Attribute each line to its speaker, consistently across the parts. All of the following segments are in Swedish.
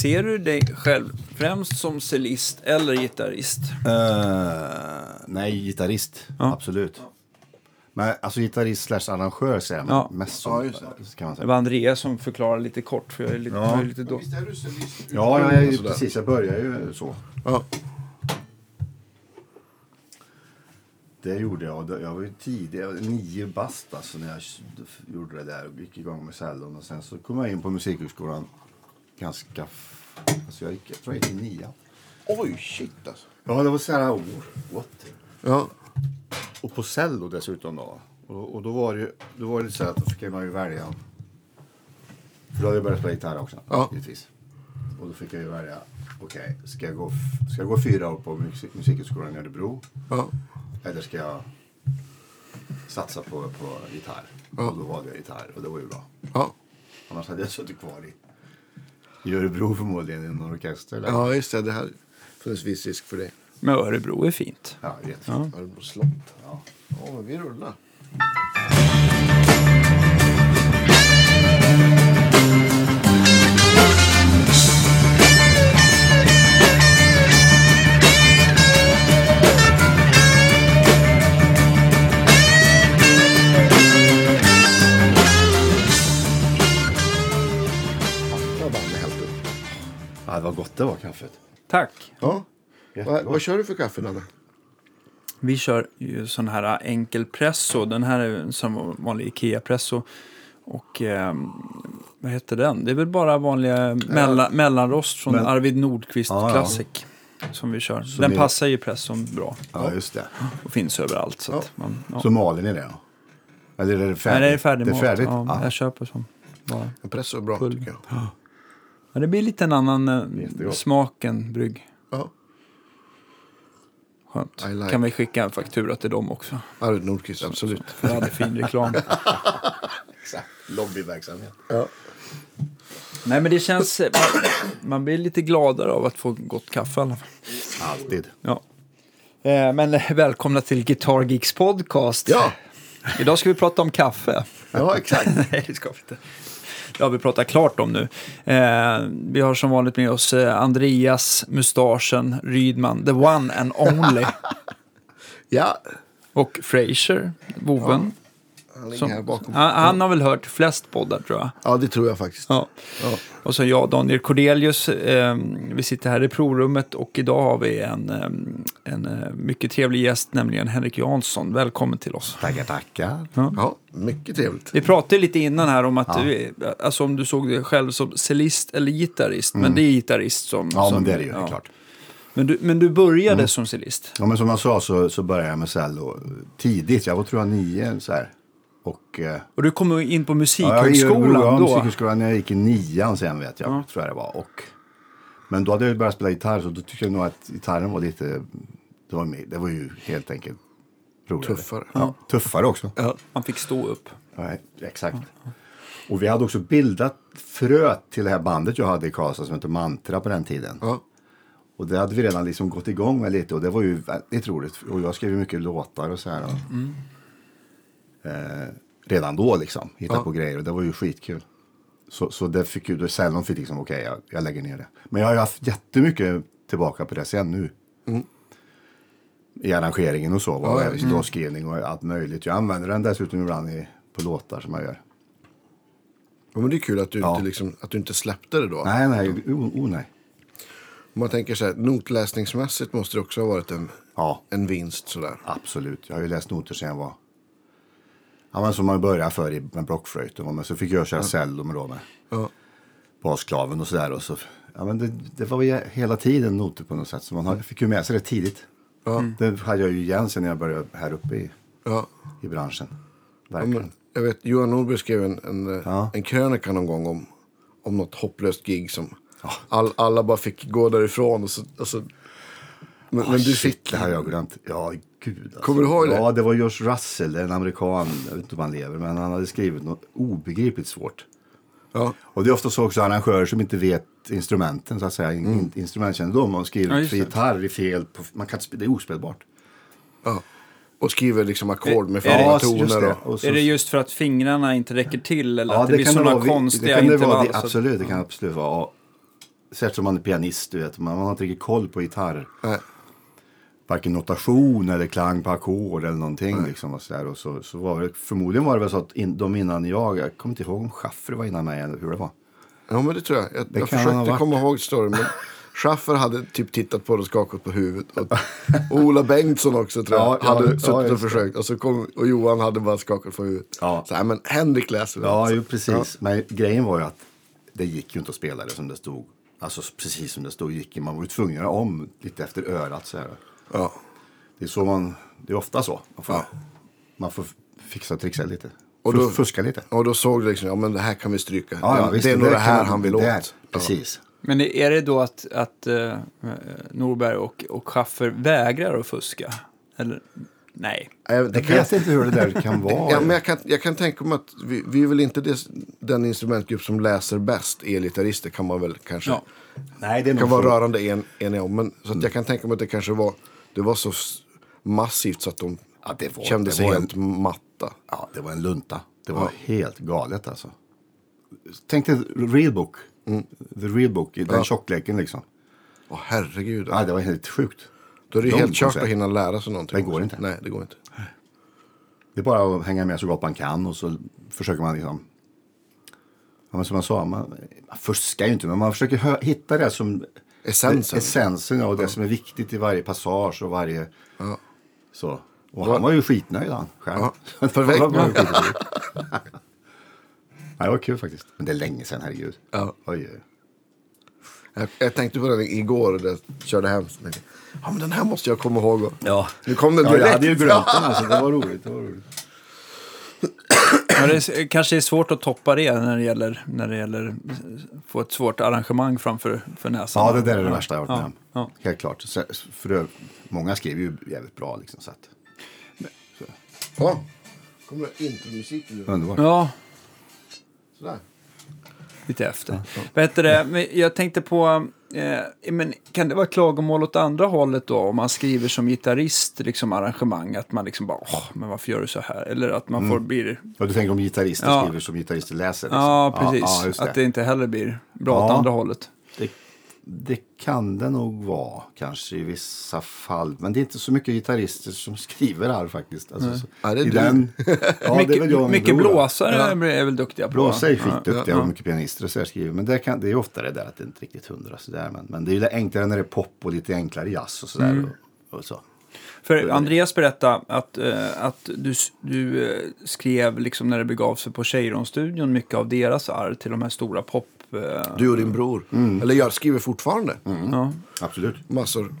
Speaker 1: Ser du dig själv främst som cellist eller gitarrist?
Speaker 2: Eh, nej, gitarrist.
Speaker 1: Ja.
Speaker 2: Absolut. Men alltså gitarrist slash arrangör säger man
Speaker 1: Ja.
Speaker 2: mest som,
Speaker 3: Ja, just det.
Speaker 2: kan man
Speaker 1: Det
Speaker 2: säga.
Speaker 1: var Andreas som förklarade lite kort, för jag är lite,
Speaker 2: Ja.
Speaker 1: jag är lite då.
Speaker 3: Visst är du cellist?
Speaker 2: Ja, jag, är ju-
Speaker 3: Sådär.
Speaker 2: precis. Jag börjar ju så.
Speaker 3: Ja.
Speaker 2: Det gjorde jag. Jag var ju tidig, jag var nio bast alltså, när jag gjorde det där och gick igång med cellon. Och sen så kom jag in på musikhögskolan ganska... f- Alltså jag, gick, jag tror jag gick i nian.
Speaker 3: Oj, shit alltså.
Speaker 2: Ja, det var så här... Oh, what?
Speaker 3: Ja.
Speaker 2: Och på cello dessutom då. Och, och då var det ju då var det så här att då fick man ju välja. För då hade jag börjat spela gitarr också.
Speaker 3: Ja.
Speaker 2: Givetvis. Och då fick jag ju välja. Okej, ska, jag gå f- ska jag gå fyra år på musik- Musikhögskolan i Örebro?
Speaker 3: Ja.
Speaker 2: Eller ska jag satsa på, på gitarr?
Speaker 3: Ja.
Speaker 2: Och då valde jag gitarr och det var ju bra.
Speaker 3: Ja.
Speaker 2: Annars hade jag suttit kvar i, i Örebro förmodligen i någon orkester. Eller?
Speaker 3: ja, just det. Det här funnits viss risk för det.
Speaker 1: Men Örebro är fint.
Speaker 2: Ja, jättefint.
Speaker 3: Örebro slott.
Speaker 2: Ja.
Speaker 3: Ja, men vi rullar. Vad var det helt upp?
Speaker 2: Ja, det var gott det var kaffet.
Speaker 1: Tack!
Speaker 3: Ja. Vad,
Speaker 2: Jättegott.
Speaker 3: vad kör du för kaffe, Danne?
Speaker 1: Vi kör ju sån här enkel presso. Den här är en som vanlig Ikea-presso. Och ehm, vad heter den? Det är väl bara vanliga mella, mellanrost från
Speaker 2: Men-
Speaker 1: Arvid Nordqvist
Speaker 2: Ja, ja.
Speaker 1: Classic. Som vi kör.
Speaker 2: Så
Speaker 1: den
Speaker 2: ni-
Speaker 1: passar ju presson bra.
Speaker 2: Ja, just det.
Speaker 1: Och finns överallt. Så att man, ja.
Speaker 2: Så maler ni det då? Eller är det färdigt?
Speaker 1: Nej, det är färdig
Speaker 2: Det är
Speaker 1: mat.
Speaker 2: färdigt?
Speaker 1: Ja,
Speaker 2: Ja.
Speaker 1: Jag köper som bara.
Speaker 3: Presso är bra,
Speaker 1: Full.
Speaker 3: tycker jag.
Speaker 1: Ja, det blir lite en annan eh,
Speaker 2: Jättegott.
Speaker 1: smak än brygg.
Speaker 3: Ja.
Speaker 1: Skönt.
Speaker 3: I like.
Speaker 1: Kan vi skicka en faktura till dem också?
Speaker 3: Arvid Nordqvist, absolut.
Speaker 1: För jag hade fin reklam.
Speaker 2: Exakt. Lobbyverksamhet.
Speaker 3: Ja.
Speaker 1: Nej, men det känns... eh, Man, man blir lite gladare av att få gott kaffe i alla fall.
Speaker 2: Alltid.
Speaker 1: Ja. Eh, Men eh, välkomna till Guitar Geeks podcast.
Speaker 3: Ja.
Speaker 1: Idag ska vi prata om kaffe.
Speaker 3: ja, exakt.
Speaker 1: Nej, det ska vi inte. Det har vi pratat klart om nu. Eh, vi har som vanligt med oss eh, Andreas, mustaschen, Rydman, the one and only.
Speaker 3: Ja,
Speaker 1: Och Fraser, boven.
Speaker 3: han ligger
Speaker 1: som,
Speaker 3: här bakom.
Speaker 1: han, han har väl hört flest poddar tror jag.
Speaker 3: Ja, det tror jag faktiskt.
Speaker 1: Ja.
Speaker 3: Ja.
Speaker 1: Och så jag, Daniel Cordelius. Eh, vi sitter här i provrummet och idag har vi en, eh, en eh, mycket trevlig gäst, nämligen Henrik Jansson. Välkommen till oss.
Speaker 2: Tackar, tackar.
Speaker 3: Ja, mycket trevligt.
Speaker 1: Vi pratade lite innan här om att du, alltså om du såg dig själv som cellist eller gitarrist. Men det är gitarrist som...
Speaker 2: Mm. Ja,
Speaker 1: som,
Speaker 2: men det är det ju. det är Klart. Mm.
Speaker 1: Men du, men du började som cellist?
Speaker 2: Ja, men som jag sa så, så började jag med cello tidigt. Jag var tror jag nio så här. Och... Eh,
Speaker 1: Och du kom in på
Speaker 2: jag gick i Örebro,
Speaker 1: musikhögskolan
Speaker 2: ja,
Speaker 1: då?
Speaker 2: Musikhögskolan när jag gick i nian sen vet jag. Tror jag det var. Och, men då hade jag ju börjat spela gitarr så då tyckte jag nog att gitarren var lite... Det var, mer- det var ju helt enkelt roligare.
Speaker 3: Tuffare.
Speaker 2: Ja, tuffare också.
Speaker 1: Man fick stå upp.
Speaker 2: Ja, exakt. Och vi hade också bildat fröet till det här bandet jag hade i Karlstad som hette Mantra på den tiden.
Speaker 3: Ja.
Speaker 2: Och det hade vi redan liksom gått igång med lite och det var ju väldigt roligt. Och jag skrev ju mycket låtar och så här. Och,
Speaker 3: Mm.
Speaker 2: eh, redan då liksom, hitta
Speaker 3: Ja.
Speaker 2: på grejer och det var ju skitkul. Så, så det fick ju, då Cellon fick liksom, okej jag, jag lägger ner det. Men jag har ju haft jättemycket tillbaka på det sen nu. I arrangeringen och så, och
Speaker 3: Mm. Ja, Mm. ja,
Speaker 2: även låtskrivning och allt möjligt. Jag använder den dessutom ibland i, på låtar som jag gör.
Speaker 3: Ja, men det är kul att du,
Speaker 2: Ja.
Speaker 3: inte, liksom, att du inte släppte det då.
Speaker 2: Nej, nej, o, o, nej.
Speaker 3: Om man tänker så här, notläsningsmässigt måste det också ha varit en,
Speaker 2: Ja,
Speaker 3: en vinst sådär.
Speaker 2: absolut. Jag har ju läst noter sedan jag var... Ja, men som man började för i- med blockflöjten. va, Men så fick jag köra cello med, då med
Speaker 3: Ja.
Speaker 2: basklaven och sådär. Och så, ja, men det, det var ju hela tiden noter på något sätt. Så man har- fick ju med sig det tidigt.
Speaker 3: Mm.
Speaker 2: Mm.
Speaker 3: Ja.
Speaker 2: Det hade jag ju igen sen när jag började här uppe i,
Speaker 3: Ja.
Speaker 2: i branschen.
Speaker 3: Ja,
Speaker 2: Verkligen.
Speaker 3: men, jag vet, Johan Norberg skrev en, en, eh,
Speaker 2: Ja.
Speaker 3: en krönika någon gång om, om något hopplöst gig som all, alla bara fick gå därifrån. Och så, och så, men, men du
Speaker 2: Ah, Shit,
Speaker 3: fick...
Speaker 2: det har jag glömt. Ja, gud. Alltså.
Speaker 3: Kommer du ihåg det?
Speaker 2: Ja, det var George Russell, det är en amerikan. Jag vet inte om han lever, men han hade skrivit något obegripligt svårt.
Speaker 3: Ja,
Speaker 2: Och det är ofta så också arrangörer som inte vet instrumenten, så att säga. In, in, instrumentkännedom. Man
Speaker 1: Mm. Ja,
Speaker 2: skriver
Speaker 1: just
Speaker 2: för
Speaker 1: det.
Speaker 2: gitarr i fel... På, man kan, inte sp- det är ospelbart.
Speaker 3: ja. Och skriver liksom ackord med
Speaker 1: Är det-
Speaker 3: fyra
Speaker 2: just
Speaker 3: toner.
Speaker 2: det.
Speaker 3: Och,
Speaker 2: Och så-
Speaker 1: Är det just för att fingrarna inte räcker till eller
Speaker 2: Ja,
Speaker 1: att det, blir sådana
Speaker 2: vara,
Speaker 1: konstiga
Speaker 2: det kan det
Speaker 1: intervall? Alltså-
Speaker 2: vara, det,
Speaker 1: så att-
Speaker 2: absolut, det kan absolut vara. Och, särskilt som man är pianist, du vet. Man, man har inte riktigt koll på gitarr.
Speaker 3: Nej.
Speaker 2: Varken notation eller klang på ackord eller någonting. Liksom, och så där. Och så, så var det, förmodligen var det väl så att in, de innan jag, jag kommer inte ihåg om Schaffer var innan mig eller hur det var.
Speaker 3: Ja, men det tror jag. Jag,
Speaker 2: Det
Speaker 3: jag
Speaker 2: kan han ha
Speaker 3: försökte
Speaker 2: varit.
Speaker 3: komma ihåg storyn, men Schaffer hade typ tittat på det och skakat på huvudet. Och, och Ola Bengtsson också tror jag,
Speaker 2: Ja, ja,
Speaker 3: hade
Speaker 2: ja,
Speaker 3: suttit och
Speaker 2: just det.
Speaker 3: försökt. Och, så kom, och Johan hade bara skakat på huvudet.
Speaker 2: Ja.
Speaker 3: Så här, men Henrik läser det.
Speaker 2: Ja, ju precis. Men grejen var ju att det gick ju inte att spela det som det stod. Alltså precis som det stod gick ju- Man var ju tvungen att göra om lite efter örat så här.
Speaker 3: Ja.
Speaker 2: Det är så man, det är ofta så. Man får,
Speaker 3: Ja.
Speaker 2: man får fixa och trixa lite. Och
Speaker 3: Och då-
Speaker 2: fuska lite.
Speaker 3: Och då såg du liksom, ja men det här kan vi stryka.
Speaker 2: Ja, ja,
Speaker 3: det,
Speaker 2: visst,
Speaker 3: det är nog
Speaker 2: där
Speaker 3: det här
Speaker 2: kan-
Speaker 3: han vill
Speaker 2: där,
Speaker 3: åt.
Speaker 2: Precis.
Speaker 1: Men är det då att, att eh, Norberg och, och Schaffer vägrar att fuska? Eller? Nej.
Speaker 3: Ja. Jag- Det
Speaker 2: Jag
Speaker 3: kan jag
Speaker 2: vet inte hur det där kan vara.
Speaker 3: Ja, men jag, kan, jag kan tänka mig att vi, vi är väl inte det, den instrumentgrupp som läser bäst, elgitarrister kan man väl kanske.
Speaker 1: Ja.
Speaker 2: Nej, det är
Speaker 3: kan
Speaker 2: nog
Speaker 3: vara
Speaker 2: så.
Speaker 3: rörande en, eniga om. Men, så att jag kan tänka mig att det kanske var, det var så s- massivt så att de
Speaker 2: Ja, det var-
Speaker 3: kände
Speaker 2: det
Speaker 3: sig
Speaker 2: var en-
Speaker 3: helt matta.
Speaker 2: Ja, det var en lunta. Det var helt galet alltså. Tänk dig real book. The real book, i den
Speaker 3: Mm. Ja.
Speaker 2: tjockleken liksom.
Speaker 3: Åh herregud.
Speaker 2: Ja, det var helt sjukt.
Speaker 3: Då är det ju
Speaker 2: lång
Speaker 3: helt kört
Speaker 2: konsert.
Speaker 3: att hinna lära sig någonting.
Speaker 2: Det går
Speaker 3: också.
Speaker 2: inte.
Speaker 3: Nej, det går inte.
Speaker 2: Det är bara att hänga med så gott man kan och så försöker man liksom... Ja, men som jag sa, man, man fuskar ju inte men man försöker hö- hitta det som...
Speaker 3: Essensen.
Speaker 2: Essensen ja, och det som är viktigt i varje passage och varje... Så. Och
Speaker 3: Vad-
Speaker 2: han var ju skitnöjd han själv.
Speaker 3: Ja,
Speaker 2: Det
Speaker 3: perfekt.
Speaker 2: var bara skitkul. Nej, det var kul faktiskt. Men det är länge sedan, herregud.
Speaker 3: Ja.
Speaker 2: Oj, oj.
Speaker 3: Jag, jag tänkte på den igår när jag körde hem. Så tänkte, jag, ja men den här måste jag komma ihåg. Och,
Speaker 2: Ja.
Speaker 3: Nu kom den
Speaker 2: ja, jag
Speaker 3: direkt.
Speaker 2: hade ju glömt den alltså. Det var roligt. Det var roligt.
Speaker 1: Ja, det är, s- kanske är svårt att toppa det när det gäller, när det gäller eh, få ett svårt arrangemang framför för näsan.
Speaker 2: Ja, det där är det värsta jag har varit med
Speaker 1: ja,
Speaker 2: om.
Speaker 1: ja.
Speaker 2: Helt klart. Så, för det, många skriver ju jävligt bra liksom. Så att,
Speaker 3: Ja. Kommer det intromusik nu?
Speaker 2: underbart.
Speaker 1: ja,
Speaker 3: Sådär.
Speaker 1: lite efter. Vad heter det? Men Jag tänkte på, eh, men kan det vara klagomål åt andra hållet då? Om man skriver som gitarrist, liksom arrangemang, att man liksom bara, åh, men varför gör du så här? Eller att man får blir,
Speaker 2: Mm. Ja, du tänker om gitarrister
Speaker 1: Ja.
Speaker 2: skriver som gitarrister läser? liksom.
Speaker 1: ja precis,
Speaker 2: Ja, ja, just det.
Speaker 1: att det inte heller blir bra åt
Speaker 2: Ja.
Speaker 1: andra hållet.
Speaker 2: Det, det kan det nog vara kanske i vissa fall. Men det är inte så mycket gitarrister som skriver här faktiskt. Alltså, så,
Speaker 3: Ja, det är
Speaker 2: i
Speaker 3: du.
Speaker 2: den- ja, det är väl jag
Speaker 1: mycket
Speaker 2: och min
Speaker 1: mycket
Speaker 2: bror, då.
Speaker 1: blåsare är väl duktiga på.
Speaker 2: Blåsare är
Speaker 1: Ja.
Speaker 2: skitduktiga och mycket pianister och så här skriver. Men det, kan, det är ofta det där att det inte riktigt hundra sådär. Men, men det är ju enklare när det är pop och lite enklare jazz och sådär. Och, och så.
Speaker 1: För Andreas berättade att, eh, att du, s- du eh, skrev liksom när det begav sig på Cheiron-studion mycket av deras arv till de här stora pop... Eh,
Speaker 3: Du och din bror. Eller jag skriver fortfarande.
Speaker 1: ja.
Speaker 2: Mm. Absolut.
Speaker 3: Massor.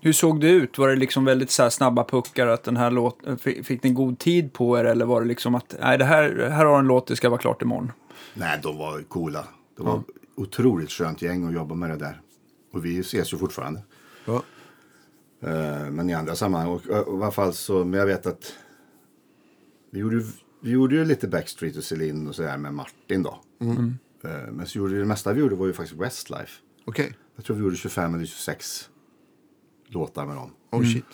Speaker 1: Hur såg det ut? Var det liksom väldigt så här snabba puckar? Att den här låt, eh, fi- fick ni god tid på er? Eller var det liksom att nej, det här, här har en låt, det ska vara klart imorgon?
Speaker 2: Nej, de var coola. Det var otroligt skönt gäng att jobba med det där. Och vi ses ju fortfarande.
Speaker 3: Ja.
Speaker 2: Eh, Men i andra sammanhang. Och, och i alla fall så, men jag vet att vi gjorde, ju- vi gjorde ju lite Backstreet och Celine och sådär med Martin då. Eh, Men så gjorde vi- det mesta vi gjorde var ju faktiskt Westlife.
Speaker 3: Okej.
Speaker 2: Jag tror vi gjorde 25 eller 26 låtar med dem.
Speaker 3: Oh shit.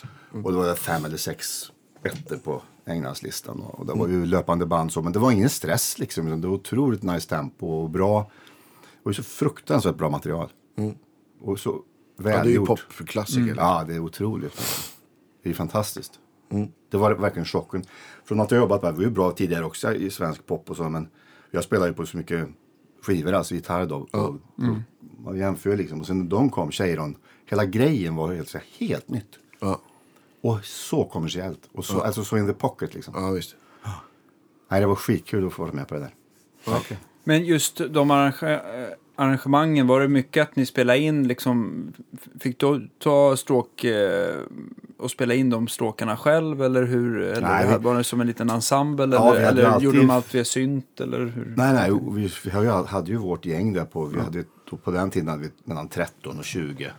Speaker 2: Och då var det fem eller sex ettor på Englandslistan. Och och det var ju löpande band så. Men det var ingen stress liksom. utan Det var otroligt nice tempo och bra. Det var ju så fruktansvärt bra material. Och så
Speaker 3: Mm. Ja, det är ju
Speaker 2: välgjort.
Speaker 3: popklassiker.
Speaker 2: Ja, det är otroligt. Det är fantastiskt.
Speaker 3: Mm.
Speaker 2: Det var verkligen chocken. Från att jag jobbat med, det var ju bra tidigare också i svensk pop och så, men jag spelar ju på så mycket skivor, alltså gitarr då. Och,
Speaker 3: Mm.
Speaker 2: och, man jämför ju liksom. Och sen när de kom, Cheiron, hela grejen var ju helt, så här, helt nytt.
Speaker 3: Ja.
Speaker 2: Och så kommersiellt. Och så, alltså, så in the pocket liksom.
Speaker 3: ja, visst.
Speaker 2: Nej, det var skitkul att få vara med på det där. Verkligen.
Speaker 1: Men just de arrange eh, arrangemangen, var det mycket att ni spelade in liksom, f- fick du ta stråk eh, och spela in de stråkarna själv eller hur? Eller
Speaker 2: Nej, vi-
Speaker 1: var det som en liten ensemble
Speaker 2: Ja,
Speaker 1: eller,
Speaker 2: vi hade
Speaker 1: eller
Speaker 2: alltid-
Speaker 1: gjorde de allt via synt eller hur?
Speaker 2: Nej, nej, och vi, vi har ju- hade ju vårt gäng där på, vi hade, då på den tiden hade vi mellan 13 och 20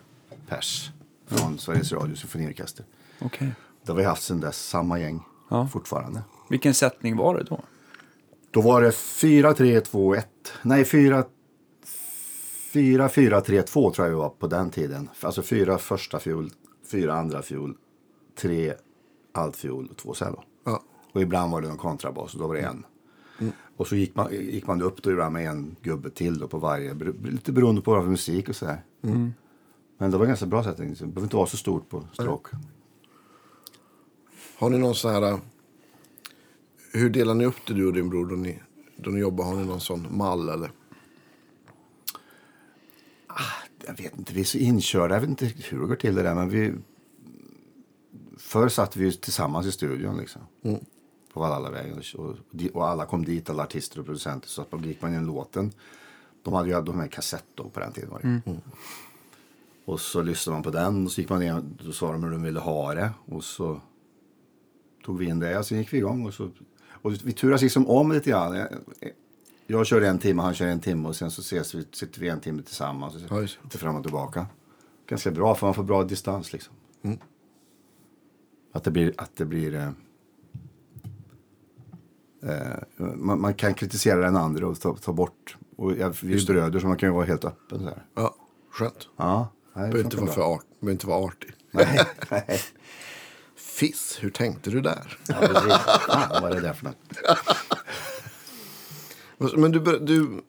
Speaker 2: pers från Sveriges Radio symfoniorkester.
Speaker 1: Okej.
Speaker 2: Det har vi haft sedan dess, samma gäng
Speaker 1: Ja.
Speaker 2: fortfarande.
Speaker 1: Vilken sättning var det då?
Speaker 2: Då var det 4, 3, 2, 1. Nej, 4, 4, 4, 3, 2 tror jag vi var på den tiden. Alltså fyra första fiol, fyra andra fiol, tre altfiol och två cello.
Speaker 3: Ja.
Speaker 2: Och ibland var det en kontrabas och då var det en. Och så gick man, gick man upp då ibland med en gubbe till då på varje. bero- Lite beroende på vad för musik och sådär. Men det var ganska bra sättning. Det behöver inte vara så stort på stråk.
Speaker 3: Har ni någon sån här... eh, Hur delar ni upp det, du och din bror, då ni, då ni jobbar? Har ni någon sån mall eller?
Speaker 2: Jag vet inte, vi är så inkörda. Jag vet inte riktigt hur det går till det där. Men vi... Förr satt vi ju tillsammans i studion liksom.
Speaker 3: Mm.
Speaker 2: På Vallallavägen. Och, och alla kom dit, alla artister och producenter. Så att man gick man in i låten. De hade ju de här kassett då på den tiden. Var det. ju. Och så lyssnade man på den och så gick man ner och sa de hur de ville ha det. Och så tog vi in det och sen gick vi igång. Och, så, och vi turas liksom om lite grann. Jag kör en timme, han kör en timme och sen så ses vi, sitter vi en timme tillsammans. Och
Speaker 3: Ja, just det.
Speaker 2: lite fram och tillbaka. Ganska bra för man får bra distans liksom.
Speaker 3: Mm.
Speaker 2: Att det blir, att det blir eh, eh, man, man kan kritisera den andra och ta, ta bort. Och jag, vi är ju bröder så man kan ju vara helt öppen så här.
Speaker 3: Ja, skönt.
Speaker 2: Ja, nej, det
Speaker 3: Behöver inte,
Speaker 2: funkar
Speaker 3: vara för
Speaker 2: bra.
Speaker 3: art, behöver inte vara artig.
Speaker 2: Nej, nej.
Speaker 3: Fiss, hur tänkte du där?
Speaker 2: Ja, precis. Fan, vad är det där för något?
Speaker 3: Men du, bör- du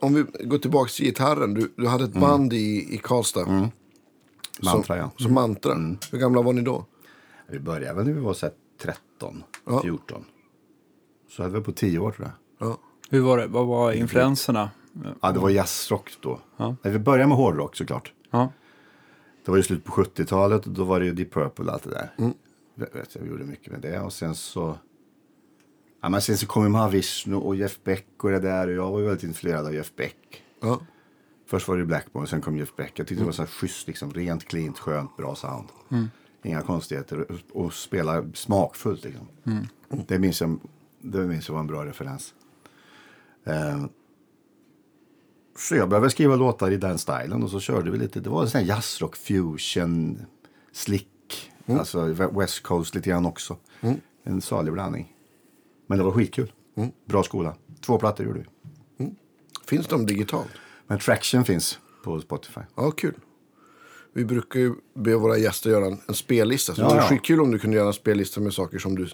Speaker 3: om vi går tillbaka till gitarren. Du, du hade ett band i, i Karlstad.
Speaker 2: Mm. Mantra,
Speaker 3: som,
Speaker 2: ja. Mm.
Speaker 3: Som mantra. Hur gamla var ni då?
Speaker 2: Vi började väl när vi var så här 13,
Speaker 3: Ja.
Speaker 2: 14. Så höll vi på 10 år tror jag.
Speaker 3: Ja.
Speaker 1: Hur var det? Vad var influenserna?
Speaker 2: Ja, det var jazzrock då.
Speaker 1: Ja.
Speaker 2: Nej, vi började med hårdrock såklart.
Speaker 1: Ja.
Speaker 2: Det var ju slut på 70-talet och då var det ju Deep Purple och allt det där. Jag vet, jag gjorde mycket med det. Och sen så... Ja, men sen så kom ju Mahavishnu och Jeff Beck och det där. Och jag var ju väldigt influerad av Jeff Beck.
Speaker 3: Ja.
Speaker 2: Först var det Blackmore och sen kom Jeff Beck. Jag tyckte det var så här schysst, liksom, rent, klint, skönt, bra sound. Inga konstigheter och, och spela smakfullt. Liksom. Det, minns jag, det minns jag var en bra referens. Eh, så jag började skriva låtar i den stilen och så körde vi lite. Det var en sån här jazzrock, fusion, slick. Alltså West Coast lite grann också. En salig blandning. Men det var skitkul. Bra skola. Två plattor gjorde vi.
Speaker 3: Finns de digitalt?
Speaker 2: Men Traction finns på Spotify.
Speaker 3: Ja, kul. Vi brukar ju be våra gäster göra en, en spellista. Så
Speaker 2: Ja,
Speaker 3: det
Speaker 2: ja.
Speaker 3: vore skitkul om du kunde göra en spellista med saker som du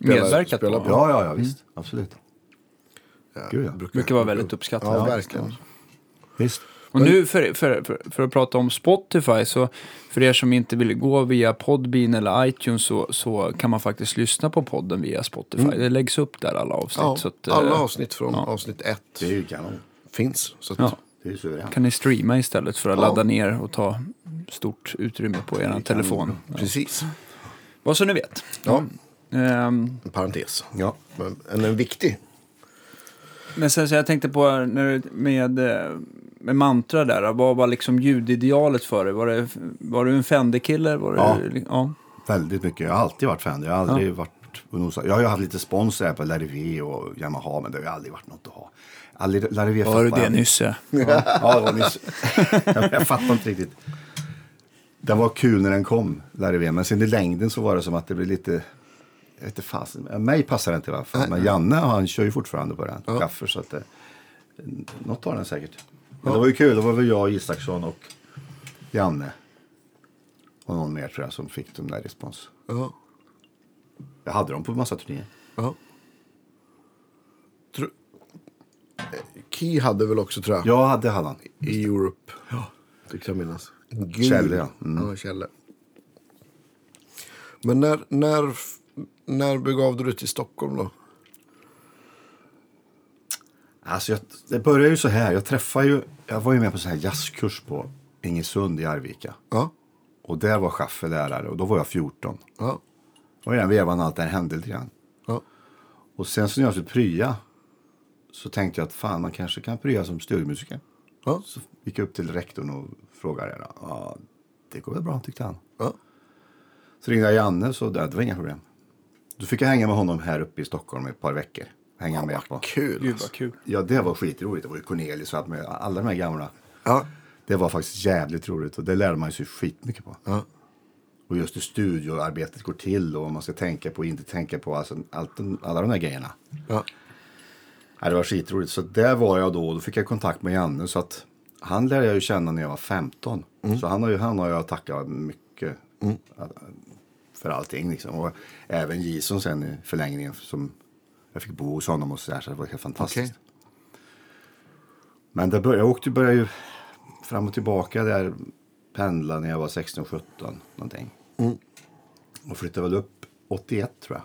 Speaker 1: Medverkat på.
Speaker 3: på.
Speaker 2: Ja, ja, ja visst. Absolut. Gud, ja.
Speaker 3: Brukar-
Speaker 1: Mycket var väldigt uppskattat.
Speaker 3: Ja, verkligen.
Speaker 2: Visst.
Speaker 1: Och nu för, för, för, för att prata om Spotify, så för er som inte vill gå via Podbean eller iTunes så, så kan man faktiskt lyssna på podden via Spotify. Det läggs upp där alla avsnitt.
Speaker 3: Mm. Ja,
Speaker 1: så att, eh,
Speaker 3: alla avsnitt från avsnitt ett
Speaker 2: Det är ju kanon.
Speaker 3: finns. Så att,
Speaker 1: Ja,
Speaker 2: Det är ju suveränt.
Speaker 1: kan ni streama istället för att
Speaker 3: Ja.
Speaker 1: ladda ner och ta stort utrymme på er telefon.
Speaker 3: Precis.
Speaker 1: Vad så ni vet.
Speaker 3: Ja,
Speaker 1: Ehm,
Speaker 3: en parentes.
Speaker 2: Ja.
Speaker 3: Men en, en viktig.
Speaker 1: Men sen så jag tänkte på när du, med, eh, med mantra där, vad var liksom ljudidealet för dig? Var, det, var du en Fender-kille? Var
Speaker 2: Ja.
Speaker 1: Du, ja.
Speaker 2: Väldigt mycket. Jag har alltid varit fan. Jag har aldrig varit och nosat. Jag har ju haft lite spons här på Larivé och Yamaha, men det har ju aldrig varit något att ha. Aldrig, Larivé
Speaker 1: Var du
Speaker 2: fattar
Speaker 1: det
Speaker 2: jag-
Speaker 1: Nysse?
Speaker 2: Ja, ja, det var nyss. jag fattar inte riktigt. Det var kul när den kom, Larivé, men sen i längden så var det som att det blev lite... Jag vet inte fasen. Mig passar det inte i alla fall. Men Janne han kör ju fortfarande på den. Kaffer, så att det, något har den säkert. Men det var ju kul. Det var väl jag, Isaksson och Janne. Och någon mer tror jag som fick den där respons.
Speaker 3: Ja.
Speaker 2: Jag hade dem på massa turnéer.
Speaker 3: ja. Tro... Eh, Key hade väl också, tror jag,
Speaker 2: Jag hade hade han.
Speaker 3: i Europe. Ja. Det kan jag minnas. Gul.
Speaker 2: Kjelle, ja.
Speaker 3: ja Kjelle. Men när, när, f- när begav du dig till Stockholm då?
Speaker 2: Alltså jag, det började ju så här. Jag träffade ju, jag var ju med på sån här jazzkurs på Ingesund i Arvika.
Speaker 3: Ja.
Speaker 2: Och där var Schaffe lärare och då var jag 14.
Speaker 3: Ja.
Speaker 2: Och i den vevan allt det här hände lite grann.
Speaker 3: Ja.
Speaker 2: Och sen så när jag skulle prya så tänkte jag att fan man kanske kan prya som studiemusiker.
Speaker 3: Ja.
Speaker 2: Så gick jag upp till rektorn och frågade. då. Ja, det går väl bra tyckte han.
Speaker 3: ja.
Speaker 2: Så ringde jag Janne så det, det var inga problem. Då fick jag hänga med honom här uppe i Stockholm i ett par veckor. Hänga med på.
Speaker 3: Kul.
Speaker 1: Gud
Speaker 3: Alltså.
Speaker 1: vad kul.
Speaker 2: Ja, det var skitroligt. Det var ju Cornelis och allt med, alla de här gamla.
Speaker 3: Ja.
Speaker 2: Det var faktiskt jävligt roligt och det lärde man sig skitmycket på.
Speaker 3: Ja.
Speaker 2: Och just hur studioarbetet går till och vad man ska tänka på och inte tänka på. Alltså, allt, de- alla de där grejerna.
Speaker 3: Ja.
Speaker 2: Ja, det var skitroligt. Så där var jag då och då fick jag kontakt med Janne. Så att han lärde jag ju känna när jag var 15. Så han har ju han har jag tackat mycket för allting. Liksom. Och även Jason sen i förlängningen som Jag fick bo hos honom och så, där, så det var helt fantastiskt.
Speaker 3: Okej.
Speaker 2: Men det började, jag åkte, började ju fram och tillbaka där, pendla när jag var 16-17 någonting. Och flyttade väl upp 81 tror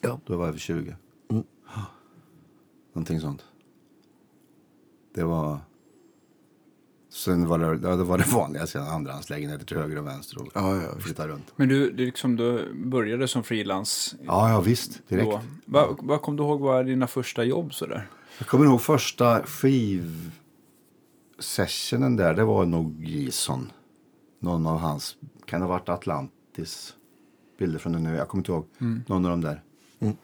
Speaker 2: jag.
Speaker 3: Ja.
Speaker 2: Då var jag över 20. Mm. Någonting sånt. Det var... Sen var det, ja, det, var det vanliga, sen andrahandslägenheter till höger och vänster och
Speaker 3: Ja, ja,
Speaker 2: flytta runt.
Speaker 1: Men du, du, liksom, du började som frilans
Speaker 2: Ja, ja visst. Direkt.
Speaker 1: då. Vad vad kom du ihåg var dina första jobb sådär?
Speaker 2: Jag kommer ihåg första skivsessionen där. Det var nog Gison. Någon av hans, kan det ha varit Atlantis? Bilder från den nu, jag kommer inte ihåg. Någon av de där. Mm.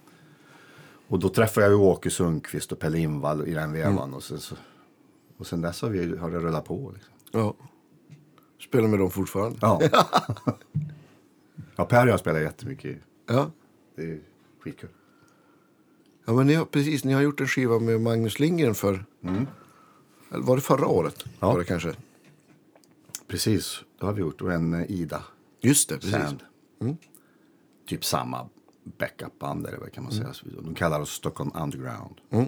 Speaker 2: Och då träffade jag ju Åke Sundqvist och Pelle Invall i den vevan. Och, sen, så, och sen dess har, vi, har det rullat på. Liksom.
Speaker 3: ja. Spelar med dem fortfarande?
Speaker 2: Ja. ja, Per och jag spelar jättemycket.
Speaker 3: Ja.
Speaker 2: Det är skitkul.
Speaker 3: Ja, men ni har, precis. Ni har gjort en skiva med Magnus Lindgren för... Eller var det förra året?
Speaker 2: Ja.
Speaker 3: Var det kanske?
Speaker 2: Precis, det har vi gjort. Och en eh, Ida.
Speaker 3: Just det, precis.
Speaker 2: Sand. Mm. Typ samma backupband eller vad kan man säga. De kallar oss Stockholm Underground. Men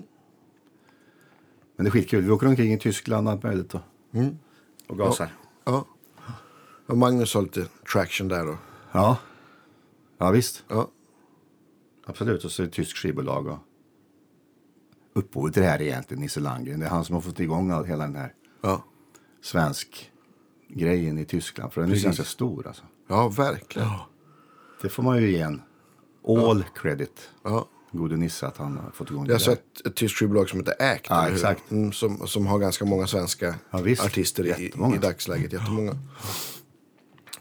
Speaker 2: det är skitkul. Vi åker omkring i Tyskland och allt möjligt. Och, och gasar.
Speaker 3: Ja. ja. Magnus har lite traction där då.
Speaker 2: Ja. ja. visst.
Speaker 3: Ja.
Speaker 2: Absolut. Och så är det ett tyskt skivbolag. Och... Upphovet till det här är egentligen Nisse Landgren. Det är han som har fått igång all, hela den här
Speaker 3: Ja.
Speaker 2: svensk grejen i Tyskland. För den är ju
Speaker 3: Precis.
Speaker 2: ganska stor alltså.
Speaker 3: Ja, verkligen. Ja.
Speaker 2: Det får man ju ge en all credit.
Speaker 3: Ja.
Speaker 2: Gode Nisse att han har fått igång
Speaker 3: Jag har
Speaker 2: det där.
Speaker 3: sett ett tyskt skivbolag som heter Act.
Speaker 2: Ja,
Speaker 3: eller hur?
Speaker 2: exakt.
Speaker 3: Mm, som, som har ganska många svenska
Speaker 2: Ja, visst.
Speaker 3: artister i,
Speaker 2: Jättemånga.
Speaker 3: i dagsläget. Jättemånga.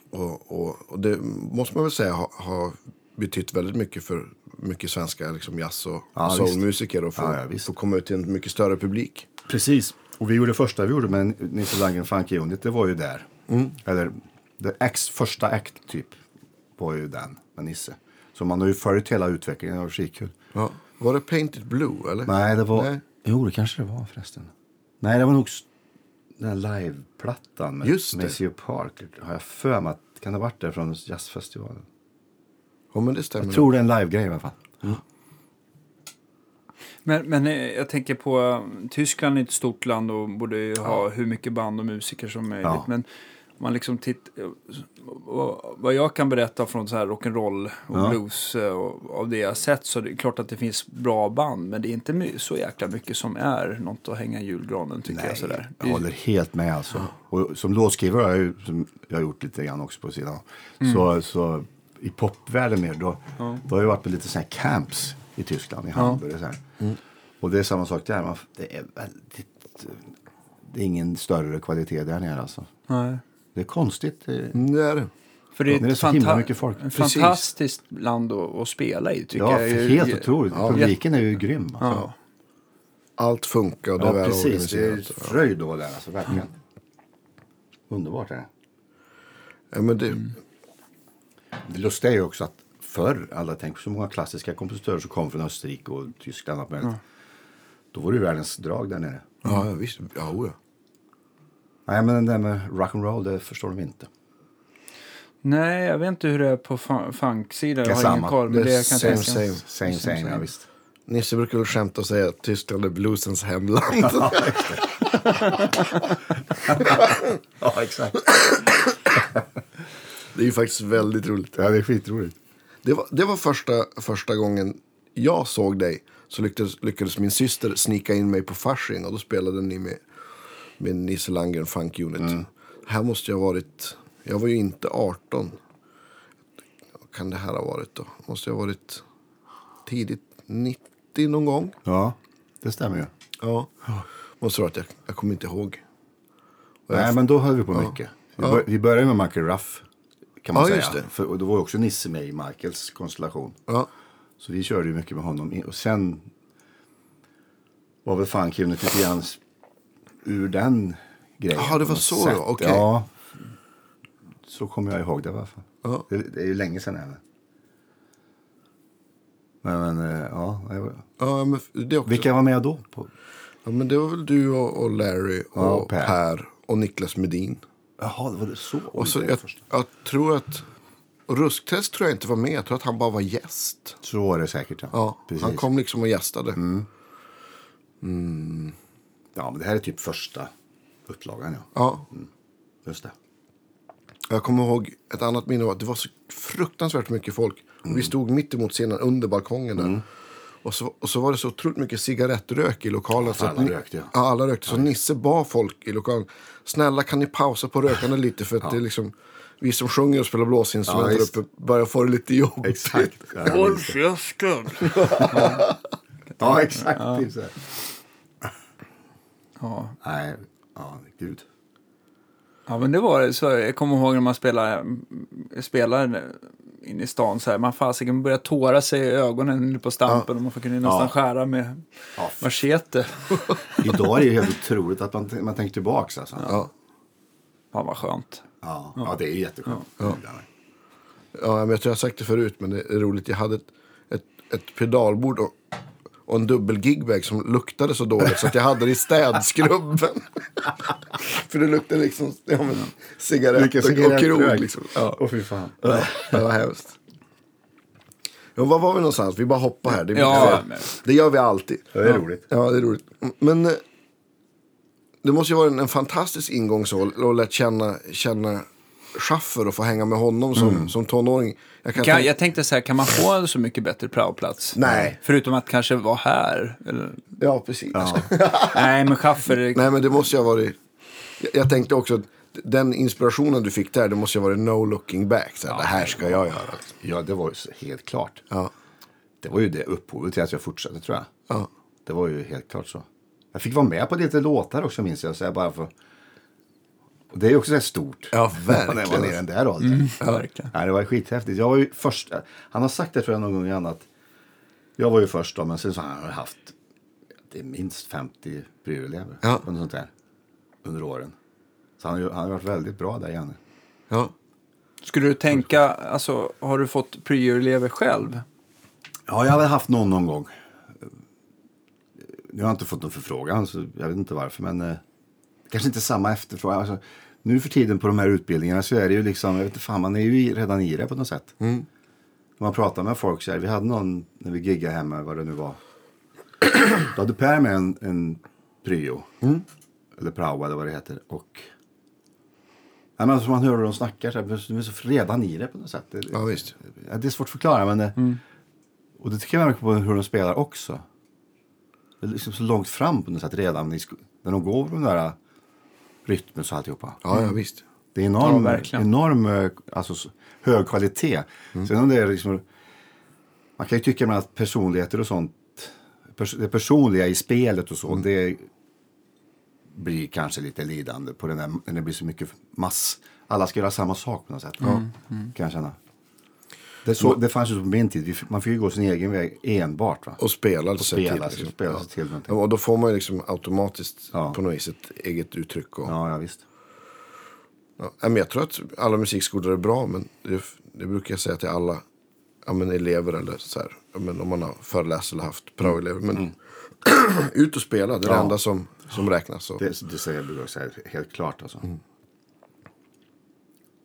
Speaker 3: Och, och, och det måste man väl säga har ha betytt väldigt mycket för mycket svenska liksom jazz och
Speaker 2: Ja,
Speaker 3: soulmusiker. Och få,
Speaker 2: Ja, ja, visst.
Speaker 3: få komma ut till en mycket större publik.
Speaker 2: Precis. Och vi gjorde det första vi gjorde med Nisse Landgren Funky Unit, det var ju där.
Speaker 3: Mm.
Speaker 2: Eller, the ex, första act typ var ju den med Nisse. Så man har ju följt hela utvecklingen, det var skitkul.
Speaker 3: Ja. Var det Painted Blue? Eller?
Speaker 2: Nej, det var...
Speaker 3: Nej.
Speaker 2: Jo, det kanske det var förresten. Nej, det var nog s- den här liveplattan med
Speaker 3: Just det.
Speaker 2: Messio Park. Har jag för mig att, kan det ha varit det från jazzfestivalen?
Speaker 3: Ja, men det stämmer.
Speaker 2: Jag tror det är en livegrej i alla fall.
Speaker 3: Mm.
Speaker 1: Men, men eh, jag tänker på, eh, Tyskland är ett stort land och borde ju ha hur mycket band och musiker som möjligt.
Speaker 2: Ja.
Speaker 1: Men om man liksom titt, eh, vad- vad jag kan berätta från så här rock'n'roll och
Speaker 2: Ja.
Speaker 1: blues eh, och av det jag har sett så är det klart att det finns bra band. Men det är inte my- så jäkla mycket som är något att hänga i julgranen tycker jag. Sådär.
Speaker 2: jag håller helt med alltså. Och som låtskrivare har jag, ju- som jag har gjort lite grann också på sidan.
Speaker 3: Mm.
Speaker 2: Så, så i popvärlden mer, då, då har jag varit på lite sådana här camps i Tyskland, i Hamburg och så här.
Speaker 3: Mm.
Speaker 2: Och det är samma sak där, man, f- det är väldigt, det är ingen större kvalitet där nere alltså.
Speaker 1: Nej.
Speaker 2: Det är konstigt. Det,
Speaker 3: Mm, Det är det.
Speaker 1: För det är
Speaker 2: Ja,
Speaker 1: ett
Speaker 2: det är så himla
Speaker 1: fanta-
Speaker 2: mycket folk.
Speaker 1: en
Speaker 3: Precis.
Speaker 1: fantastiskt land att, att spela i tycker
Speaker 2: ja,
Speaker 1: jag. Det är-
Speaker 2: helt otroligt.
Speaker 1: Ja.
Speaker 2: Publiken är ju grym. Alltså.
Speaker 1: Ja.
Speaker 3: Allt funkar och det
Speaker 2: Ja,
Speaker 3: är väl
Speaker 2: precis. Det är
Speaker 3: organiserat. Mm.
Speaker 2: fröjd att vara där alltså, verkligen. Underbart är det.
Speaker 3: Ja, men det,
Speaker 2: Mm. Det lustiga är ju också att förr, alla tänk så många klassiska kompositörer som kom från Österrike och Tyskland och allt möjligt. Då var det ju världens drag där nere.
Speaker 3: ja, ja, visst. Ja, o ja.
Speaker 2: Nej, men det där med rock'n'roll, det förstår de inte.
Speaker 1: Nej, jag vet inte hur det är på fa- funksidan.
Speaker 2: Det
Speaker 1: Jag
Speaker 2: är
Speaker 1: har
Speaker 2: samma.
Speaker 1: ingen koll. Men det,
Speaker 3: Det är
Speaker 1: jag kan
Speaker 3: same,
Speaker 1: tänka.
Speaker 2: Same,
Speaker 3: same.
Speaker 2: same, ja visst.
Speaker 3: Nisse brukar väl skämta och säga att Tyskland är bluesens hemland.
Speaker 2: Ja, exakt.
Speaker 3: det är ju faktiskt väldigt roligt.
Speaker 2: Ja, det är skitroligt.
Speaker 3: Det var, det var första, första gången jag såg dig. Så lyckades, lyckades min syster snika in mig på Fasching och då spelade ni med, med Nisse Landgren Funk Unit. Här måste jag ha varit... Jag var ju inte 18. Vad kan det här ha varit då? Måste jag ha varit tidigt 90 någon gång?
Speaker 2: Ja, det stämmer ju.
Speaker 3: Ja. Måste vara att jag, jag kommer inte ihåg.
Speaker 2: Nej, men då höll vi på mycket. Vi, bör, vi började med Michael Ruff, kan man
Speaker 3: Ja,
Speaker 2: säga.
Speaker 3: just det.
Speaker 2: För, och då var ju också Nisse med i Michaels konstellation.
Speaker 3: Ja.
Speaker 2: Så vi körde ju mycket med honom. In- Och sen var väl Funk Unit lite grann s- ur den grejen.
Speaker 3: Jaha, det
Speaker 2: på
Speaker 3: var
Speaker 2: något
Speaker 3: så
Speaker 2: sätt.
Speaker 3: det var, okej.
Speaker 2: Ja, så kommer jag ihåg det i alla fall.
Speaker 3: Ja.
Speaker 2: Det, det är ju länge sedan även. Men, men eh, ja. det var-
Speaker 3: Ja, men f- det också.
Speaker 2: Vilka var med då? På?
Speaker 3: Ja, men det var väl du och, och Larry och
Speaker 2: Ja, och Per.
Speaker 3: per. och Niklas Medin.
Speaker 2: Jaha, det var det så.
Speaker 3: Och så jag, jag tror att Och Rusktest tror jag inte var med. Jag tror att han bara var gäst.
Speaker 2: Så var det säkert. Ja.
Speaker 3: Ja,
Speaker 2: Precis. Mm.
Speaker 3: han kom liksom och gästade.
Speaker 2: ja, men det här är typ första upplagan, ja.
Speaker 3: Ja.
Speaker 2: Just det.
Speaker 3: Jag kommer ihåg ett annat minne var att det var så fruktansvärt mycket folk.
Speaker 2: Mm.
Speaker 3: Och Vi stod mitt emot scenen under balkongen där. Och, så, och så var det så otroligt mycket cigarettrök i lokalen. så att
Speaker 2: alla
Speaker 3: ni-
Speaker 2: rökte, ja.
Speaker 3: ja. alla rökte. Så Nisse bad folk i lokalen. Snälla kan ni pausa på rökande lite för att det är liksom vi som sjunger och spelar blåsinstrument
Speaker 2: Ja,
Speaker 3: där
Speaker 2: visst.
Speaker 3: uppe börjar få det lite jobbigt.
Speaker 2: Exakt. Ja,
Speaker 3: Håll käften!
Speaker 2: ja exakt. Det är så här.
Speaker 1: Ja.
Speaker 2: Nej, ja, gud.
Speaker 1: Ja, men det var det. Så jag kommer ihåg när man spelar, spelar in i stan så här. Man fasiken börjar tåra sig i ögonen på stampen och man kunde ju nästan
Speaker 2: Ja.
Speaker 1: skära med
Speaker 2: Ja, f-
Speaker 1: machete.
Speaker 2: Idag är det ju helt otroligt att man, man tänker tillbaka. Alltså. Ja.
Speaker 3: Ja.
Speaker 1: Fan vad skönt.
Speaker 2: Ja. det är jätteskönt. Ja.
Speaker 3: Ja, men jag tror jag har sagt det förut, men det är roligt. Jag hade ett, ett, ett pedalbord och, och en dubbel gigbag som luktade så dåligt så att jag hade det i städskrubben. För det luktade liksom ja, men, cigarett och, och krog. Liksom. Ja,
Speaker 2: Åh, fy fan.
Speaker 3: ja, det var hemskt. Ja, var var vi någonstans? Vi bara hoppar här. Det, är mitt
Speaker 1: Ja,
Speaker 3: fel.
Speaker 1: men-
Speaker 3: det gör vi alltid.
Speaker 2: Det är roligt.
Speaker 3: Ja, det är roligt. Men eh, det måste ju vara en, en fantastisk ingång så, och lärt känna, känna Schaffer och få hänga med honom som,
Speaker 2: Mm.
Speaker 3: som tonåring. Jag kan
Speaker 1: Kan,
Speaker 3: tänka-
Speaker 1: jag tänkte så här, kan man få en så mycket bättre praoplats?
Speaker 3: Nej.
Speaker 1: Förutom att kanske vara här. Eller...
Speaker 3: Ja, precis.
Speaker 1: Nej, men schaffer.
Speaker 3: Nej, men det måste ju ha varit... Jag, jag tänkte också att den inspirationen du fick där, det måste ju ha varit no looking back. Så här, det här ska jag göra. Liksom.
Speaker 2: Ja, det var ju så- helt klart.
Speaker 3: Ja.
Speaker 2: Det var ju det upphovet till att jag fortsatte tror jag.
Speaker 3: Ja.
Speaker 2: Det var ju helt klart så. Jag fick vara med på lite låtar också minns jag. Så jag bara för... Och det är ju också så här stort.
Speaker 3: Ja,
Speaker 2: När jag var nere i
Speaker 3: verkligen. Mm.
Speaker 2: den där åldern.
Speaker 1: Verkligen.
Speaker 2: Nej, det var skithäftigt. Jag var ju först. Han har sagt det tror jag någon gång igen att jag var ju först då, men sen så har han haft det är minst 50 prylelever
Speaker 3: Ja.
Speaker 2: under sånt där under åren. Så han, har ju- han har varit väldigt bra där Janne.
Speaker 3: Ja.
Speaker 1: Skulle du tänka, alltså har du fått pryoelever själv?
Speaker 2: Ja, jag har väl haft någon någon gång. Eh, Nu har jag inte fått någon förfrågan, så jag vet inte varför. Men eh, kanske inte samma efterfrågan. Alltså, nu för tiden på de här utbildningarna så är det ju liksom, jag vet inte fan, man är ju i- redan i det på något sätt.
Speaker 3: Mm.
Speaker 2: När man pratar med folk så här, vi hade någon när vi giggade hemma, vad det nu var. Då hade Per med en, en pryo.
Speaker 3: Mm.
Speaker 2: Eller prao eller vad det heter. Och... Nej, men som man hör hur de snackar, så här, de är så redan i det på något sätt. Det,
Speaker 3: Ja, visst.
Speaker 2: Ja, det är svårt att förklara, men... eh, Och det tycker jag märker på hur de spelar också. Det är liksom så långt fram på något sätt redan i sk- när de går på den där eh, rytmen så alltihopa.
Speaker 3: Ja, ja, visst.
Speaker 2: Det är enorm,
Speaker 1: Ja, verkligen.
Speaker 2: enorm eh, alltså, s- hög kvalitet. Sen om det är liksom, man kan ju tycka ibland att personligheter och sånt, pers det personliga i spelet och så, det blir kanske lite lidande på den där, när det blir så mycket mass. Alla ska göra samma sak på något sätt. Kan jag känna. Det, så, det fanns ju så på min tid, Vi f- man fick ju gå sin egen väg enbart. Va?
Speaker 3: Och spelar sig till.
Speaker 2: spela, sig-
Speaker 3: Liksom.
Speaker 2: spela sig till någonting.
Speaker 3: Och då får man ju liksom automatiskt
Speaker 2: Ja.
Speaker 3: på något vis ett eget uttryck. Och,
Speaker 2: Ja, ja visst.
Speaker 3: Ja, men jag tror att alla musikskolor är bra, men det, det brukar jag säga till alla ja, men elever eller så här, ja, men om man har föreläst eller haft praoelever. Men ut och spela, det är det
Speaker 2: Mm. Ja.
Speaker 3: enda som, som räknas. Och,
Speaker 2: Det, det säger jag också helt klart alltså.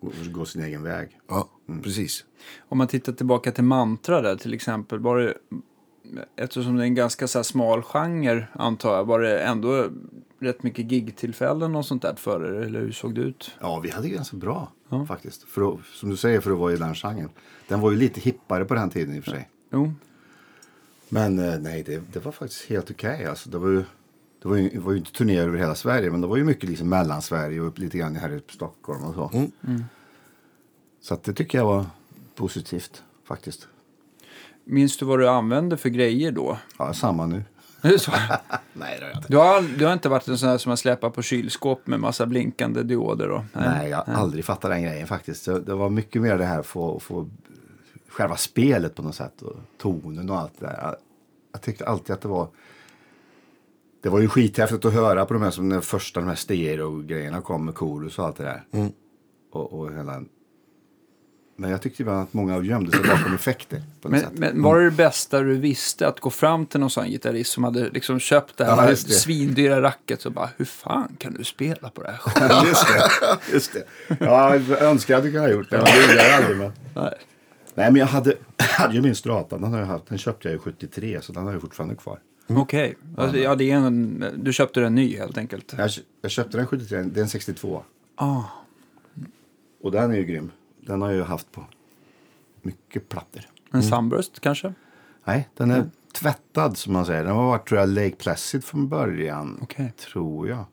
Speaker 2: Gå, gå sin egen väg.
Speaker 3: ja,
Speaker 2: Mm.
Speaker 3: precis.
Speaker 1: Om man tittar tillbaka till mantra där till exempel. Var det, eftersom det är en ganska så här smal genre antar jag. Var det ändå rätt mycket gigtillfällen och sånt där för er? Eller hur såg det ut?
Speaker 2: Ja, vi hade ganska bra faktiskt. För att, som du säger, för att vara i den genren. Den var ju lite hippare på den tiden i och för sig.
Speaker 1: Jo.
Speaker 2: Men eh, nej, det, det var faktiskt helt okej. Alltså, det, var ju, det, var ju, det var ju inte turnéer över hela Sverige, men det var ju mycket liksom mellan Sverige och lite grann här i Stockholm och så. Så att det tycker jag var positivt faktiskt.
Speaker 1: Minns du vad du använde för grejer då?
Speaker 2: Ja, samma nu.
Speaker 1: Är det så?
Speaker 2: nej, det har jag inte.
Speaker 1: Du har, ald- du har inte varit en sån här som har släpat på kylskåp med massa blinkande dioder? Då?
Speaker 2: Nej, jag har aldrig fattat den grejen faktiskt. Det, det var mycket mer det här få, få själva spelet på något sätt och tonen och allt det där. Jag, jag tyckte alltid att det var det var ju skithäftigt att höra på de här som den första de här stereo-grejerna kom med korus och allt det där. Och, och hela... Men jag tyckte ibland att många gömde sig bakom effekter på något
Speaker 1: Men,
Speaker 2: sätt.
Speaker 1: men var det det bästa du visste att gå fram till någon sån gitarrist som hade liksom köpt det här,
Speaker 2: Ja,
Speaker 1: här
Speaker 2: just det.
Speaker 1: svindyra racket och bara hur fan kan du spela på det här själv?
Speaker 2: just det. Just det. Ja, jag önskar att jag hade kunnat gjort det. Men det gjorde jag aldrig. Men...
Speaker 1: Nej.
Speaker 2: Nej, men jag hade, hade ju min strata. Den, har jag haft, den köpte jag ju 73, så den har jag fortfarande kvar.
Speaker 1: Okej. Alltså, ja, det är en, du köpte den ny helt enkelt?
Speaker 2: Jag, jag köpte den 73, det är en 62.
Speaker 1: Ah,
Speaker 2: Och den är ju grym. Den har jag ju haft på mycket plattor.
Speaker 1: en Sunburst kanske?
Speaker 2: Nej, den är tvättad som man säger. Den har varit tror jag Lake Placid från början.
Speaker 1: Okej.
Speaker 2: Tror jag.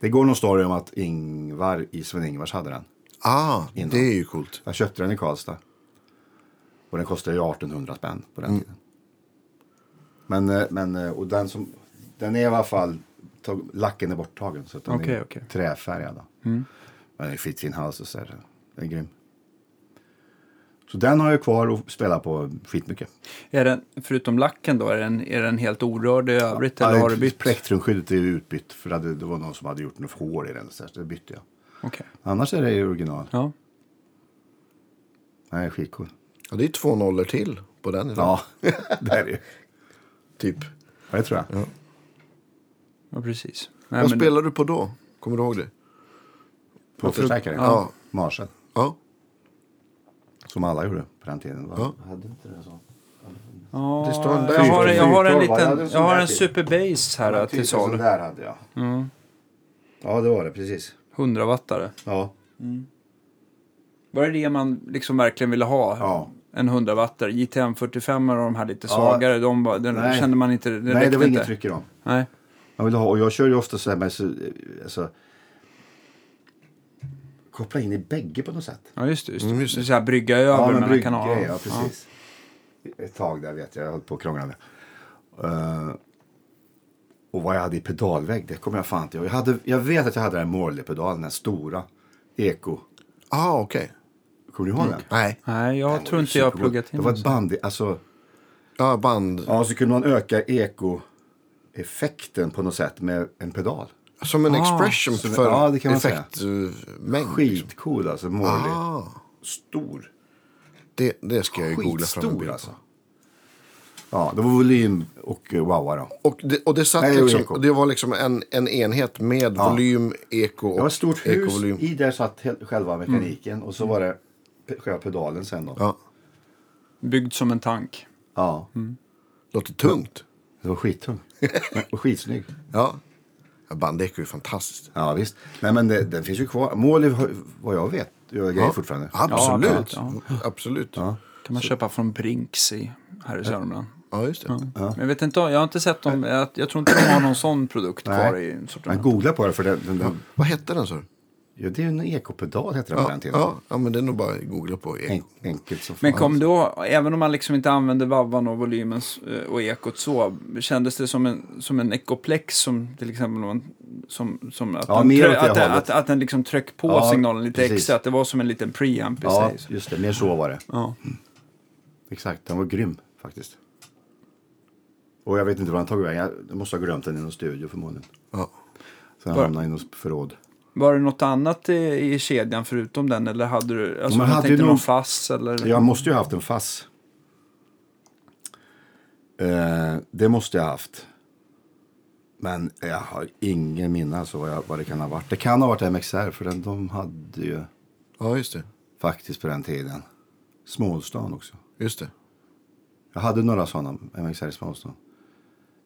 Speaker 2: Det går någon story om att Ingvar i Sven-Ingvars hade den.
Speaker 3: Ah, det är ju coolt.
Speaker 2: Jag köpte den i Karlstad. Och den kostade ju 1800 spänn på
Speaker 1: Mm.
Speaker 2: den tiden. Men, eh, men eh, och den som, den är i alla fall, tag, lacken är borttagen så att den
Speaker 1: Okej,
Speaker 2: är
Speaker 1: okej. Mm.
Speaker 2: träfärgad. Då. Men den är skitfin hals och så här. Den är grym. Så den har jag kvar och spelar på skitmycket.
Speaker 1: Är den, förutom lacken då, är den, är den helt orörd i övrigt eller har du bytt?
Speaker 2: Plektrumskyddet är ju utbytt för det, det var någon som hade gjort något hål i den så här, så det bytte jag.
Speaker 1: Okej.
Speaker 2: Annars är det ju original.
Speaker 1: Ja.
Speaker 2: Nej, skitcool.
Speaker 3: Ja, det är två nollor till på den idag.
Speaker 2: Ja, det är det ju.
Speaker 3: Typ.
Speaker 2: Ja, det tror jag.
Speaker 1: ja, precis. Nej,
Speaker 3: Vad
Speaker 1: men-
Speaker 3: spelade du på då? Kommer du ihåg det?
Speaker 2: På förstärkaren.
Speaker 3: Ja.
Speaker 2: Marsen.
Speaker 3: Ja.
Speaker 2: Som alla gjorde på den tiden.
Speaker 3: Ja.
Speaker 2: Hade inte det så?
Speaker 1: Ja,
Speaker 3: Det står en där.
Speaker 1: jag, har, jag har en
Speaker 2: Fyrtolva, jag hade en
Speaker 1: liten,
Speaker 2: sån
Speaker 1: jag har
Speaker 2: där
Speaker 1: en
Speaker 2: till.
Speaker 1: superbase här till salu.
Speaker 2: typ, där hade jag.
Speaker 1: Mm.
Speaker 2: Ja, det var det. Precis.
Speaker 1: 100 wattare.
Speaker 2: Ja.
Speaker 1: Var det det man liksom verkligen ville ha?
Speaker 2: ja.
Speaker 1: En 100 wattare. JTM 45 och de här lite svagare, de bara, den
Speaker 2: Nej.
Speaker 1: kände man inte, det
Speaker 2: Nej,
Speaker 1: räckte
Speaker 2: det var
Speaker 1: inte.
Speaker 2: inget tryck i dem.
Speaker 1: Nej.
Speaker 2: Jag ville ha, och jag kör ju ofta så här med... Så, alltså, koppla in i bägge på något sätt.
Speaker 1: Ja, just det. Just det.
Speaker 3: Mm, just det.
Speaker 1: Så här, brygga över
Speaker 2: men
Speaker 1: mellan
Speaker 2: brygg-
Speaker 1: kanalerna.
Speaker 2: Ja, precis. Ett tag där vet jag. Jag höll på att krångla med. Eh, och vad jag hade i pedalvägg, det kommer jag fan till. Jag, hade, jag vet att jag hade den här Morley-pedalen, den här stora. Eko.
Speaker 3: Ah, okej.
Speaker 2: Kommer du
Speaker 1: Mm.
Speaker 2: ihåg den?
Speaker 3: Nej.
Speaker 1: Nej, jag
Speaker 2: Den var
Speaker 1: tror
Speaker 2: ju
Speaker 1: inte jag har
Speaker 2: supergod.
Speaker 1: pluggat in
Speaker 2: Det var
Speaker 1: den.
Speaker 2: ett band, i- alltså.
Speaker 3: Ja, band.
Speaker 2: Ja, så kunde man öka eko-effekten på något sätt med en pedal.
Speaker 3: Som en
Speaker 1: Ah.
Speaker 3: expression
Speaker 2: Som-
Speaker 3: för
Speaker 2: ja, det kan man säga.
Speaker 3: effektmängd.
Speaker 2: Skitcool alltså, Morley.
Speaker 3: Ah,
Speaker 2: Stor.
Speaker 3: det, det ska jag ju googla fram en bild
Speaker 2: Skitstor
Speaker 3: på.
Speaker 2: alltså. Ja, det var volym och eh, wow då.
Speaker 3: Och det, och det, satt
Speaker 2: Nej, det var eko.
Speaker 3: liksom, det var liksom en, en enhet med volym, eko och
Speaker 2: Det var ett stort hus.
Speaker 3: ekovolym.
Speaker 2: I där satt he- själva
Speaker 1: Mm.
Speaker 2: mekaniken och så var det pe- själva pedalen sen då.
Speaker 3: Ja,
Speaker 1: Byggd som en tank.
Speaker 2: Ja.
Speaker 3: låter tungt.
Speaker 2: Det var skittung. Men- och skitsnygg.
Speaker 3: Ja. ja bandeko är ju fantastiskt.
Speaker 2: Ja visst. Nej men det, den finns ju kvar. Mål har- vad jag vet gör grejer
Speaker 3: Ja.
Speaker 2: fortfarande.
Speaker 3: Absolut.
Speaker 1: Ja, absolut,
Speaker 3: Absolut. Ja.
Speaker 2: Ja.
Speaker 1: Kan man köpa från Brinks i, här i Sörmland.
Speaker 3: just det.
Speaker 1: Men jag, vet inte, om- jag har inte sett dem. Jag, jag tror inte de har någon sån produkt
Speaker 2: Nej.
Speaker 1: kvar i
Speaker 2: Men
Speaker 1: sortimentet.
Speaker 2: googla på det för den, den, den,
Speaker 3: Vad hette den, sa du?
Speaker 2: ja, det är ju en ekopedal heter den på
Speaker 3: Ja,
Speaker 2: den tiden.
Speaker 3: ja, ja, men det är nog bara att googla på eko.
Speaker 2: En, enkelt som
Speaker 1: Men
Speaker 2: fan.
Speaker 1: kom då, även om man liksom inte använde vavvan och volymen s- och ekot så, kändes det som en, som en ekoplex som till exempel någon, som, som att,
Speaker 2: Ja,
Speaker 1: den
Speaker 2: mer åt det
Speaker 1: att, att, att,
Speaker 2: hållet.
Speaker 1: att den liksom tryck på
Speaker 2: Ja,
Speaker 1: signalen lite
Speaker 2: precis.
Speaker 1: extra, att det var som en liten preamp i
Speaker 2: Ja,
Speaker 1: sig.
Speaker 2: just det. Mer så var det.
Speaker 1: Ja.
Speaker 2: Exakt, den var grym faktiskt. Och jag vet inte var den tagit vägen. Jag måste ha glömt den i någon studio förmodligen.
Speaker 3: Ja.
Speaker 2: Sen
Speaker 1: Bara-
Speaker 2: hamnade den i något förråd.
Speaker 1: Var det något annat i, i kedjan förutom den eller hade du, alltså,
Speaker 2: Man
Speaker 1: jag
Speaker 2: hade
Speaker 1: tänkte
Speaker 2: ju
Speaker 1: någon
Speaker 2: någon-
Speaker 1: fass eller?
Speaker 2: Jag måste ju ha haft en fass. Eh, det måste jag ha haft. Men jag har ingen minne alltså vad, jag, vad det kan ha varit. Det kan ha varit MXR för den, de hade ju
Speaker 3: ja, just det.
Speaker 2: faktiskt på den tiden Smålstan också.
Speaker 3: Just det.
Speaker 2: Jag hade några sådana MXR i Smålstan.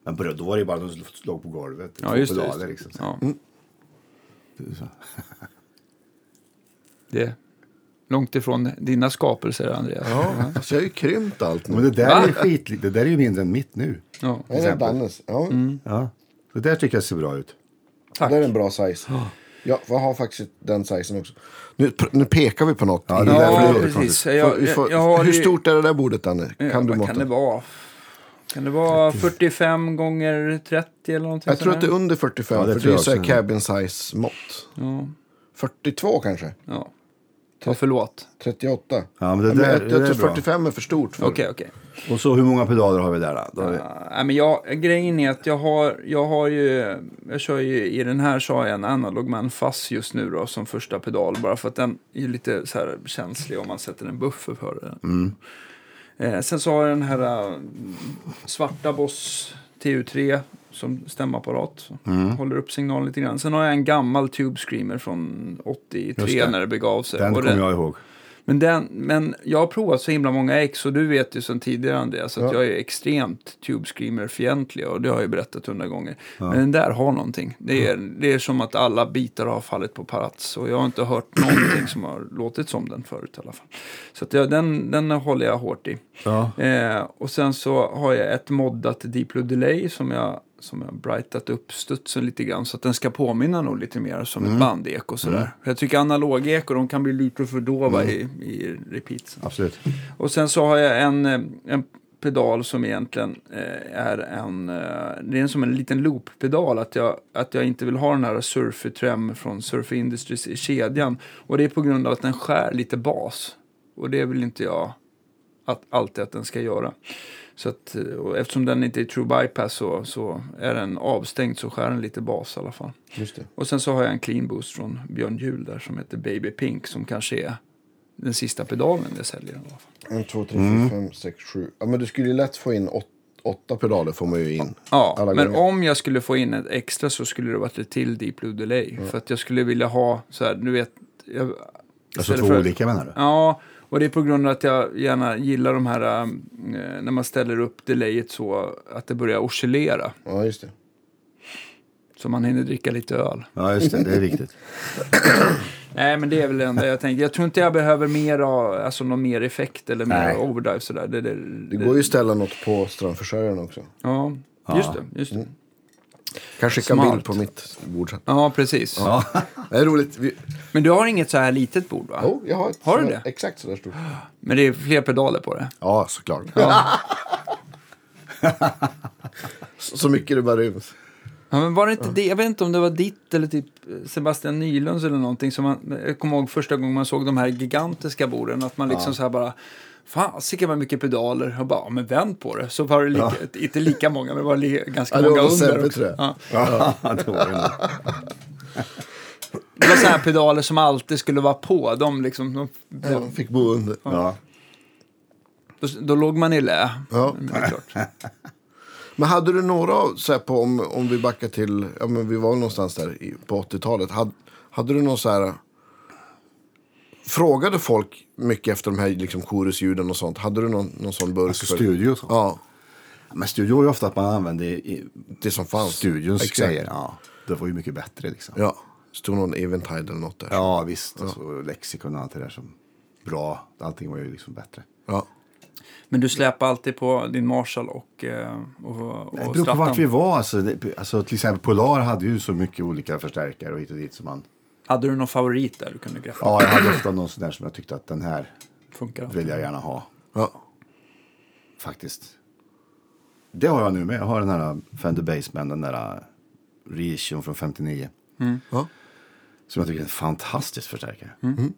Speaker 2: Men på- då var det ju bara de som låg på golvet.
Speaker 1: Ja,
Speaker 2: Två
Speaker 1: just det.
Speaker 2: pedaler,
Speaker 1: Just det.
Speaker 2: Liksom.
Speaker 1: Ja.
Speaker 2: Så.
Speaker 1: det är långt ifrån dina skapelser Andreas.
Speaker 3: Ja, så jag har ju krympt allt nu.
Speaker 2: Men det där,
Speaker 1: Va?
Speaker 2: är ju skit, det där är ju mindre än mitt nu.
Speaker 1: Ja.
Speaker 3: Ja, det är Dannes. Ja,
Speaker 2: Ja. Det där tycker jag ser bra ut.
Speaker 1: Mm, Tack.
Speaker 3: det är en bra size. Ja, jag har faktiskt den sizen också. Nu, pr- nu pekar vi på något.
Speaker 2: Ja, det är därför
Speaker 1: Ja,
Speaker 2: det låter
Speaker 1: precis.
Speaker 2: konstigt.
Speaker 1: Jag,
Speaker 3: Får- vi får-
Speaker 1: jag, jag har
Speaker 3: hur
Speaker 1: ju-
Speaker 3: stort är det där bordet, Danne?
Speaker 1: Ja,
Speaker 3: Kan du
Speaker 1: vad
Speaker 3: måtta?
Speaker 1: kan det vara? Kan det vara 45 gånger 30 eller någonting
Speaker 3: Jag tror att det är
Speaker 1: sånt
Speaker 3: under 45,
Speaker 2: Ja, det
Speaker 3: för det
Speaker 2: tror
Speaker 3: är
Speaker 2: jag
Speaker 3: så här
Speaker 2: också.
Speaker 3: cabin size mått.
Speaker 1: där? Ja,
Speaker 3: 42 kanske?
Speaker 1: ja. Ja, förlåt.
Speaker 3: 38?
Speaker 2: Ja, men det där-
Speaker 3: jag,
Speaker 2: det där
Speaker 3: jag
Speaker 2: är
Speaker 3: tror
Speaker 2: bra.
Speaker 3: 45 är för stort. För.
Speaker 1: Okej, okej.
Speaker 2: Och så hur många pedaler har vi där då? då har vi,
Speaker 1: Ah, Nej, men jag, grejen är att jag har, jag har ju, jag kör ju i den här så har jag en analog man fast just nu då som första pedal bara för att den är ju lite så här känslig om man sätter en buffer för den.
Speaker 2: Mm.
Speaker 1: Eh, sen så har jag den här eh, svarta Boss TU3 som stämapparat.
Speaker 2: Mm.
Speaker 1: Håller upp signalen lite grann. Sen har jag en gammal Tube Screamer från
Speaker 2: Just det.
Speaker 1: 83 när det begav sig.
Speaker 2: den
Speaker 1: Och
Speaker 2: kommer jag ihåg.
Speaker 1: Men, den, men jag har provat så himla många ex och du vet ju sedan tidigare Andreas att
Speaker 3: Ja.
Speaker 1: jag är extremt Tube Screamer-fientlig och det har jag ju berättat hundra gånger. Men den där har någonting. Det är, det är som att alla bitar har fallit på parats och jag har inte hört någonting som har låtit som den förut i alla fall. Så att jag, den, den håller jag hårt i.
Speaker 2: Ja.
Speaker 1: Eh, och sen så har jag ett moddat Deep Blue Delay som jag som jag har brightat upp studsen lite grann så att den ska påminna nog lite mer som ett bandeko sådär. För Jag tycker analogeko, de kan bli lite för dova i, i repeats.
Speaker 2: Absolut.
Speaker 1: Och sen så har jag en, eh, en pedal som egentligen eh, är en, eh, det är som en liten looppedal. Att jag, att jag inte vill ha den här Surfer-trem från Surfer Industries i kedjan. Och det är på grund av att den skär lite bas. Och det vill inte jag att, alltid att den ska göra. Så att, eh, och eftersom den inte är true bypass så, så är den avstängd så skär den lite bas i alla fall.
Speaker 2: Just det.
Speaker 1: Och sen så har jag en clean boost från Björn Juhl där som heter Baby Pink som kanske är den sista pedalen jag säljer. I alla fall.
Speaker 3: 1, 2, 3,
Speaker 2: Mm.
Speaker 3: 4, 5, 6, 7. Ja, men du skulle ju lätt få in åt, åtta pedaler får man ju in.
Speaker 1: Ja,
Speaker 3: alla
Speaker 1: men
Speaker 3: gånger.
Speaker 1: om jag skulle få in ett extra så skulle det varit ett till Deep Blue Delay.
Speaker 2: Mm.
Speaker 1: För att jag skulle vilja ha så här, du vet... Jag,
Speaker 2: Alltså
Speaker 1: istället
Speaker 2: två
Speaker 1: för-
Speaker 2: olika menar du?
Speaker 1: Ja, och det är på grund av att jag gärna gillar de här, eh, när man ställer upp delayet så att det börjar oscillera.
Speaker 3: Ja, just det.
Speaker 1: Så man hinner dricka lite öl.
Speaker 2: Ja, just det. Det är viktigt.
Speaker 1: Nej, men det är väl det enda jag tänker. Jag tror inte jag behöver mer, av- alltså någon mer effekt eller mer
Speaker 2: Nej.
Speaker 1: overdrive sådär. Det, det,
Speaker 3: Det går ju att ställa något på strömförsörjaren också.
Speaker 1: Ja,
Speaker 2: Ja. Mm.
Speaker 1: just det. Just det.
Speaker 3: Kanske skicka en
Speaker 1: Smart.
Speaker 3: bild på mitt bord sen.
Speaker 1: Ja, precis.
Speaker 2: Ja.
Speaker 3: Det är roligt. Vi...
Speaker 1: Men du har inget så här litet bord va?
Speaker 3: Jo, jag har ett
Speaker 1: Har du
Speaker 3: sådär-
Speaker 1: det?
Speaker 3: exakt sådär stort.
Speaker 1: Men det är fler pedaler på det.
Speaker 3: Ja, såklart. så så mycket det bara ryms.
Speaker 1: Ja, men var det inte det? Jag vet inte om det var ditt eller typ Sebastian Nylunds eller någonting. Som man, jag kommer ihåg första gången man såg de här gigantiska borden. Att man liksom så här bara, fasiken vad mycket pedaler. Och bara, ja, men vänd på det. Så var det lika, inte lika många, men det var li, ganska
Speaker 3: Ja, det
Speaker 1: många
Speaker 3: var Sebbe,
Speaker 1: under.
Speaker 3: tror jag.
Speaker 1: också. Ja.
Speaker 2: Ja, det var det nog.
Speaker 1: Det var så här pedaler som alltid skulle vara på. De liksom, de,
Speaker 3: Ja, fick bo under.
Speaker 2: Ja.
Speaker 1: då, då låg man i lä.
Speaker 3: Ja.
Speaker 1: Men det är klart.
Speaker 3: Men hade du några av- så här, på, om, om vi backar till, ja men vi var väl någonstans där i, på 80-talet. Hade, hade du någon så här, frågade folk mycket efter de här liksom korusljuden och sånt? Hade du någon, någon sån burk?
Speaker 2: Alltså
Speaker 3: för-
Speaker 2: studio och så.
Speaker 3: Ja,
Speaker 2: Men studio är ju ofta att man använder i-
Speaker 3: det som fanns.
Speaker 2: studions
Speaker 3: Exakt.
Speaker 2: grejer. Ja. Det var ju mycket bättre liksom.
Speaker 3: Ja, stod någon Eventide eller något där.
Speaker 2: Ja, visst. Och så lexikon och allt det där som bra. Allting var ju liksom bättre.
Speaker 3: Ja.
Speaker 1: Men du släpar alltid på din Marshall och, eh, och, och
Speaker 2: Det beror på
Speaker 1: Stratton.
Speaker 2: vart vi var. Alltså, det, alltså, till exempel Polar hade ju så mycket olika förstärkare och hit och dit. Som man,
Speaker 1: Hade du någon favorit där du kunde greppa?
Speaker 2: ja, jag hade ofta någon sån där som jag tyckte att den här
Speaker 1: Funkar det?
Speaker 2: vill jag gärna ha.
Speaker 3: ja.
Speaker 2: Faktiskt. Det har jag nu med. Jag har den här uh, Fender Bassman, den där reissuen från 59.
Speaker 3: ja.
Speaker 2: Som jag tycker är en fantastisk förstärkare.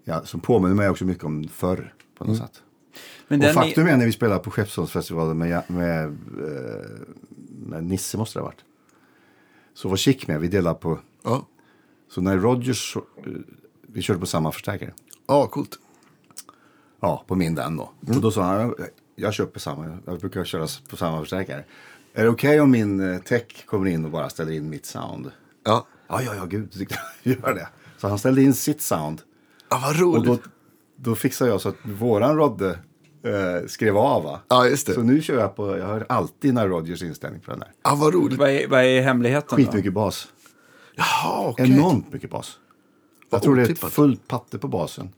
Speaker 2: Ja, som påminner mig också mycket om förr på något sätt.
Speaker 1: Men
Speaker 2: och
Speaker 1: den är-
Speaker 2: faktum är när vi spelade på Skeppsholmsfestivalen med, med, eh, med Nisse måste det ha varit. Så var Chic med, vi delade på.
Speaker 3: Ja,
Speaker 2: Så när Rogers, eh, vi körde på samma förstärkare.
Speaker 3: ja coolt.
Speaker 2: Ja, på min den då.
Speaker 1: Mm.
Speaker 2: Och då sa han, "Jag- jag köper samma, jag brukar köra s- på samma förstärkare. Är det okej om min eh, tech kommer in och bara ställer in mitt sound?
Speaker 3: Ja.
Speaker 2: Ja, ja, ja, gud, tyckte jag, gör det. Så han ställde in sitt sound.
Speaker 3: ja, vad
Speaker 2: Och
Speaker 3: roligt.
Speaker 2: då, då fixade jag så att våran Rodde eh, skrev av va?
Speaker 3: Ja, just det.
Speaker 2: Så nu kör jag på, jag har alltid när Rodgers inställning på den där.
Speaker 3: Ja, Ah, vad roligt.
Speaker 1: Vad är, vad är hemligheten då?
Speaker 2: Skitmycket bas.
Speaker 3: Jaha, okej.
Speaker 2: Enormt mycket bas.
Speaker 3: Vad
Speaker 2: Jag tror det är
Speaker 3: otippat.
Speaker 2: ett fullt patte på basen.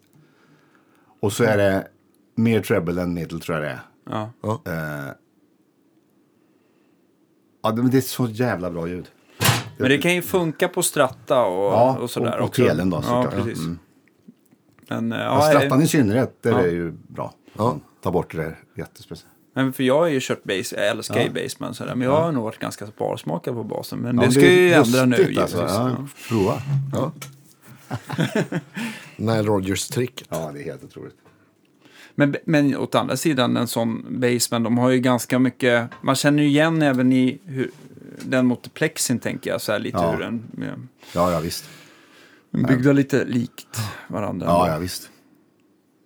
Speaker 2: Och så är det mer treble än middle tror jag det är.
Speaker 1: Ja.
Speaker 3: Ja. Eh,
Speaker 2: Ja, det- men det är så jävla bra ljud.
Speaker 1: Men det kan ju funka på Stratta och,
Speaker 2: Ja,
Speaker 1: och sådär
Speaker 2: och- och
Speaker 1: också.
Speaker 2: Telen då,
Speaker 1: ja,
Speaker 2: såklart.
Speaker 1: precis.
Speaker 2: Mm.
Speaker 1: Men, eh,
Speaker 2: Ja,
Speaker 1: ja,
Speaker 2: Strattan
Speaker 1: jag-
Speaker 2: i synnerhet, där
Speaker 1: Ja.
Speaker 2: är ju bra.
Speaker 3: Ja.
Speaker 2: Ta bort det där jättespeciellt.
Speaker 1: men för jag har ju kört base, jag älskar ju basement sådär. Men jag har nog varit ganska sparsmakad på basen. Men det ska
Speaker 2: är
Speaker 1: jag ju ändra nu.
Speaker 2: lustigt, Alltså.
Speaker 1: givetvis. Ja.
Speaker 2: Ja, Prova.
Speaker 3: Ja. Nile Rodgers-tricket.
Speaker 2: Ja, det är helt otroligt.
Speaker 1: Men, men åt andra sidan, en sån basement, de har ju ganska mycket... Man känner ju igen även i hur, den multiplexin, tänker jag. Så här lite
Speaker 2: Ja.
Speaker 1: hur den... ja.
Speaker 2: Ja, ja visst.
Speaker 1: De är byggda lite likt varandra.
Speaker 2: Ja, ja visst.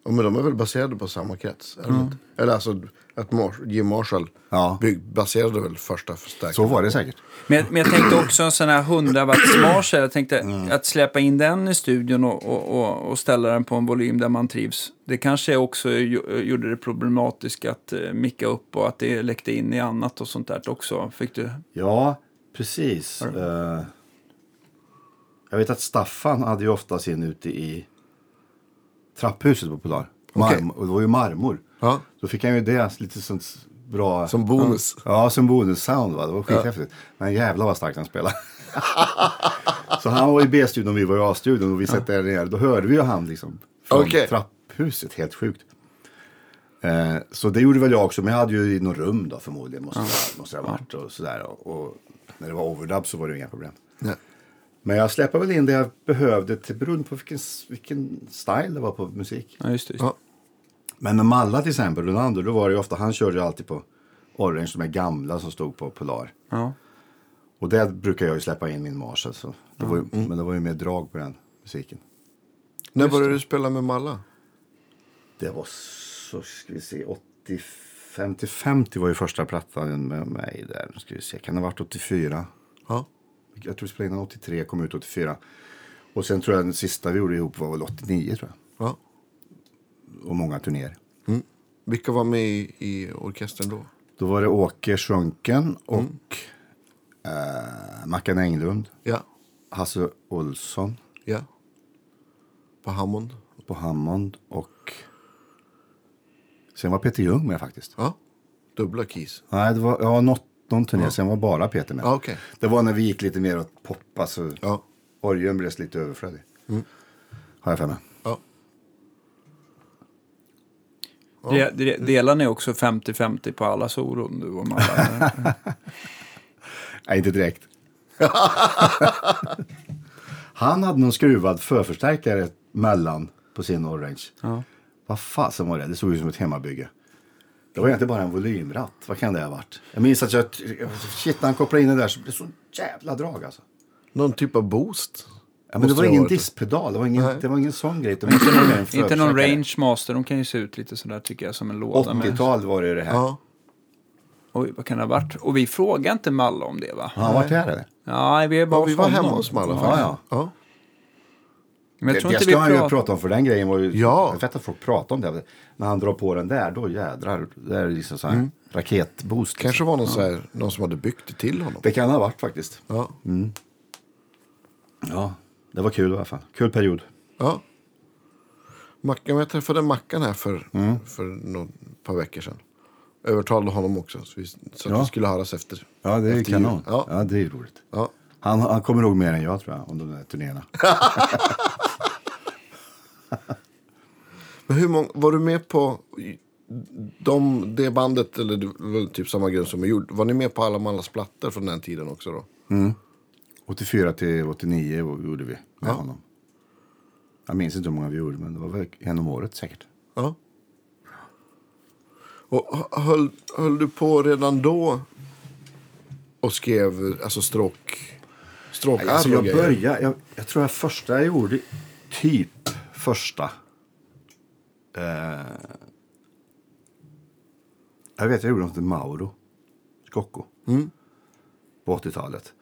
Speaker 3: Ja, men de är väl baserade på samma krets? Eller,
Speaker 2: Mm.
Speaker 3: inte? eller alltså att Mar- Jim Marshall
Speaker 2: Ja.
Speaker 3: bygg, baserade väl första
Speaker 2: Så
Speaker 3: förstärkaren?
Speaker 2: var det säkert.
Speaker 1: Men, jag- men jag tänkte också en sån här 100 watts marsch. Jag tänkte att släppa in den i studion och, och, och, och ställa den på en volym där man trivs. Det kanske också gjo- gjorde det problematiskt att eh, micka upp och att det läckte in i annat och sånt där också. Fick du?
Speaker 2: Ja, precis. Eh, jag vet att Staffan hade ju ofta sin ute i trapphuset på Polar.
Speaker 3: Okej.
Speaker 2: Marm- Och det var ju marmor.
Speaker 3: Ja.
Speaker 2: Då fick han ju det lite sånt bra...
Speaker 3: Som bonus.
Speaker 2: Ja, som bonussound. Va? Det var skithäftigt. Men jävlar vad starkt han spelade. så han var i B-studion och vi var i A-studion och vi satt där nere. Då hörde vi ju han liksom. Från
Speaker 3: Okej.
Speaker 2: trapphuset, helt sjukt. Eh, så det gjorde väl jag också, men jag hade ju i något rum då förmodligen. Måste, det- måste det ha varit och sådär. Och, och när det var overdub så var det ju inga problem.
Speaker 3: Nej.
Speaker 2: Men jag släppte väl in det jag behövde till beroende på vilken, vilken style det var på musik.
Speaker 1: Ja, just det. Just. det.
Speaker 3: Ja.
Speaker 2: Men med Malla till exempel, Ronaldo, då var det ju ofta, han körde ju alltid på Orange, de här gamla som stod på Polar.
Speaker 1: Ja.
Speaker 2: Och där brukar jag ju släppa in min Marshall, så det var ju, men det var ju mer drag på den musiken.
Speaker 3: När började du spela med Malla?
Speaker 2: Det var så, ska vi se, 80, 50, 50 var ju första plattan med mig där. Nu ska vi se, kan det ha varit 84?
Speaker 3: Ja.
Speaker 2: Jag tror vi spelade in den 83, kom ut 84. Och sen tror jag den sista vi gjorde ihop var väl 89 tror jag.
Speaker 3: ja.
Speaker 2: Och många turnéer.
Speaker 3: Vilka var med i, i orkestern då?
Speaker 2: Då var det Åke Sjunken och eh, Mackan Englund.
Speaker 3: Ja.
Speaker 2: Hasse Olsson
Speaker 3: Ja. På Hammond?
Speaker 2: på Hammond och sen var Peter Ljung med faktiskt.
Speaker 3: Ja. Dubbla keys?
Speaker 2: Nej, det var ja, något, någon turné, sen var bara Peter med.
Speaker 3: Ja, okej.
Speaker 2: Det var när vi gick lite mer åt poppa så
Speaker 3: Ja.
Speaker 2: orgeln blev lite överflödig. Har jag för mig.
Speaker 3: Ja.
Speaker 1: De, de, delar ni också 50-50 på alla solon du och Malla?
Speaker 2: Nej, inte direkt. Han hade någon skruvad förförstärkare mellan på sin Orange.
Speaker 1: ja.
Speaker 2: Vad fasen var det? Det såg ut som ett hemmabygge. Det var egentligen bara en volymratt. Vad kan det ha varit? Jag minns att jag... Shit, när han kopplade in det där så blev det så jävla drag alltså.
Speaker 3: Någon typ av boost?
Speaker 2: Ja, men
Speaker 3: Måste
Speaker 2: det var
Speaker 3: ha
Speaker 2: ingen
Speaker 3: varit.
Speaker 2: disspedal. Det var ingen, det var ingen sån grej. Det var inte någon,
Speaker 1: Inte någon range master, de kan ju se ut lite sådär tycker jag som en låda. med-
Speaker 2: 80-tal var det ju det här.
Speaker 3: Ja.
Speaker 1: Oj, vad kan det ha varit? Och vi frågade inte Malla om det va?
Speaker 2: Har han varit här eller?
Speaker 1: Nej, vi är bara
Speaker 3: ja vi
Speaker 1: hos
Speaker 3: var
Speaker 1: honom.
Speaker 3: hemma hos Malla
Speaker 2: Ja,
Speaker 3: faktiskt.
Speaker 2: ja.
Speaker 3: ja.
Speaker 1: Men jag
Speaker 2: Det,
Speaker 1: tror
Speaker 2: det
Speaker 1: inte vi
Speaker 2: ska han ju
Speaker 1: pratar-
Speaker 2: prata om för den grejen var ju...
Speaker 3: Ja.
Speaker 2: Jag vet att folk pratar om det. När han drar på den där, då jädrar. Det är liksom så här
Speaker 1: Mm.
Speaker 2: raketboost. liksom.
Speaker 3: Kanske var någon, så här, någon som hade byggt det till honom.
Speaker 2: Det Mm. kan ha varit faktiskt.
Speaker 3: Ja.
Speaker 2: Ja, det var kul i alla fall. Kul period.
Speaker 3: ja. Mackan, jag träffade Mackan här för,
Speaker 2: Mm.
Speaker 3: för någon par veckor sedan. Övertalade honom också så, vi, så att
Speaker 2: Ja.
Speaker 3: vi skulle höras efter.
Speaker 2: Ja, det är ju
Speaker 3: efter jul.
Speaker 2: kanon.
Speaker 3: Ja.
Speaker 2: ja, det är ju roligt.
Speaker 3: Ja.
Speaker 2: Han, han kommer ihåg mer än jag tror jag, om de där turnéerna.
Speaker 3: Men hur många, var du med på de, det bandet, eller det var typ samma grund som är gjord. Var ni med på alla Mallas plattor från den tiden också då?
Speaker 2: 84 till 89 gjorde vi med honom. Jag minns inte hur många vi gjorde, men det var väl en om året säkert.
Speaker 3: Ja. Och h- höll, höll du på redan då och skrev alltså stråk, stråkar
Speaker 2: Alltså,
Speaker 3: och
Speaker 2: jag
Speaker 3: grejer?
Speaker 2: började, jag, jag tror jag första jag gjorde, typ första. Eh, jag vet, jag gjorde något till Mauro Scocco. På 80-talet.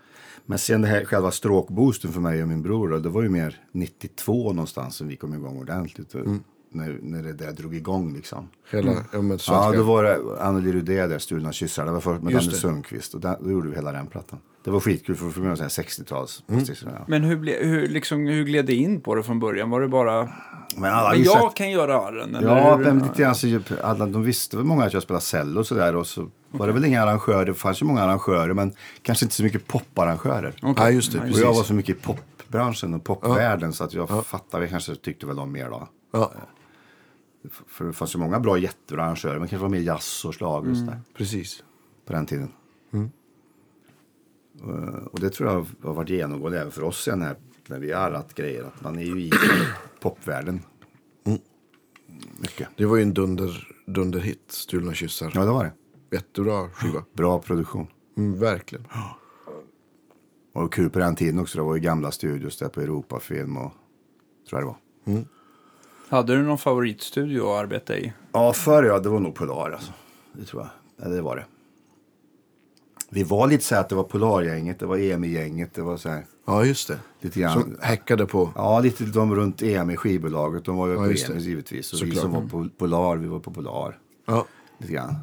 Speaker 2: Men sen det här, själva stråkboosten för mig och min bror, då, det var ju mer 92 någonstans som vi kom igång ordentligt. och När, när det där drog igång liksom.
Speaker 3: Hela, ja, men svenska.
Speaker 2: Ja, då var det Anneli Rudé där, Stulna kyssar. Det var först med
Speaker 3: Just
Speaker 2: Danne
Speaker 3: det.
Speaker 2: Sundqvist. Och där, då gjorde vi hela den plattan. Det var skitkul för att få med oss en 60-tals. Ja.
Speaker 1: Men hur, ble, hur, liksom, hur gled det in på det från början? Var det bara...
Speaker 2: Men alla
Speaker 1: Men
Speaker 2: visste
Speaker 1: jag
Speaker 2: att-
Speaker 1: kan göra arren? eller
Speaker 2: Ja,
Speaker 1: hur?
Speaker 2: men lite grann så ju- alla, de visste väl många att jag spelade cello och sådär. Och så var det väl inga arrangörer. Det fanns ju många arrangörer, men kanske inte så mycket poparrangörer.
Speaker 1: Okej.
Speaker 3: Ja, just det,
Speaker 1: Nej,
Speaker 2: Och jag
Speaker 3: precis.
Speaker 2: var så mycket i popbranschen och popvärlden så att jag fattade, jag kanske tyckte väl om mer då.
Speaker 3: Ja,
Speaker 2: För det fanns ju många bra jättebra arrangörer, men kanske var mer jazz och schlager och sådär.
Speaker 3: precis.
Speaker 2: på den tiden. Eh, Och det tror jag har varit genomgående även för oss sen här, när vi har arrat grejer. Att man är ju i popvärlden. Mycket.
Speaker 3: Det var ju en dunder, dunderhit, Stulna kyssar.
Speaker 2: Ja, det var det.
Speaker 3: Jättebra skiva.
Speaker 2: Bra produktion.
Speaker 3: Mm, verkligen.
Speaker 2: Och kul på den tiden också. Det var ju gamla studios där på Europafilm och tror jag det var.
Speaker 1: Hade du någon favoritstudio att arbeta i?
Speaker 2: Ja, förr ja, det var nog Polar alltså. Det tror jag. Ja, det var det. Vi var lite så här att det var Polargänget, det var EMI-gänget, det var så här
Speaker 3: Ja, just det.
Speaker 2: lite grann.
Speaker 3: Som häckade på...
Speaker 2: Ja, lite de runt EMI skivbolaget. De var ju
Speaker 3: Ja,
Speaker 2: på
Speaker 3: just det.
Speaker 2: EMI givetvis. Och vi
Speaker 3: Såklart.
Speaker 2: som var på Polar, vi var på Polar.
Speaker 3: Ja.
Speaker 2: Lite grann.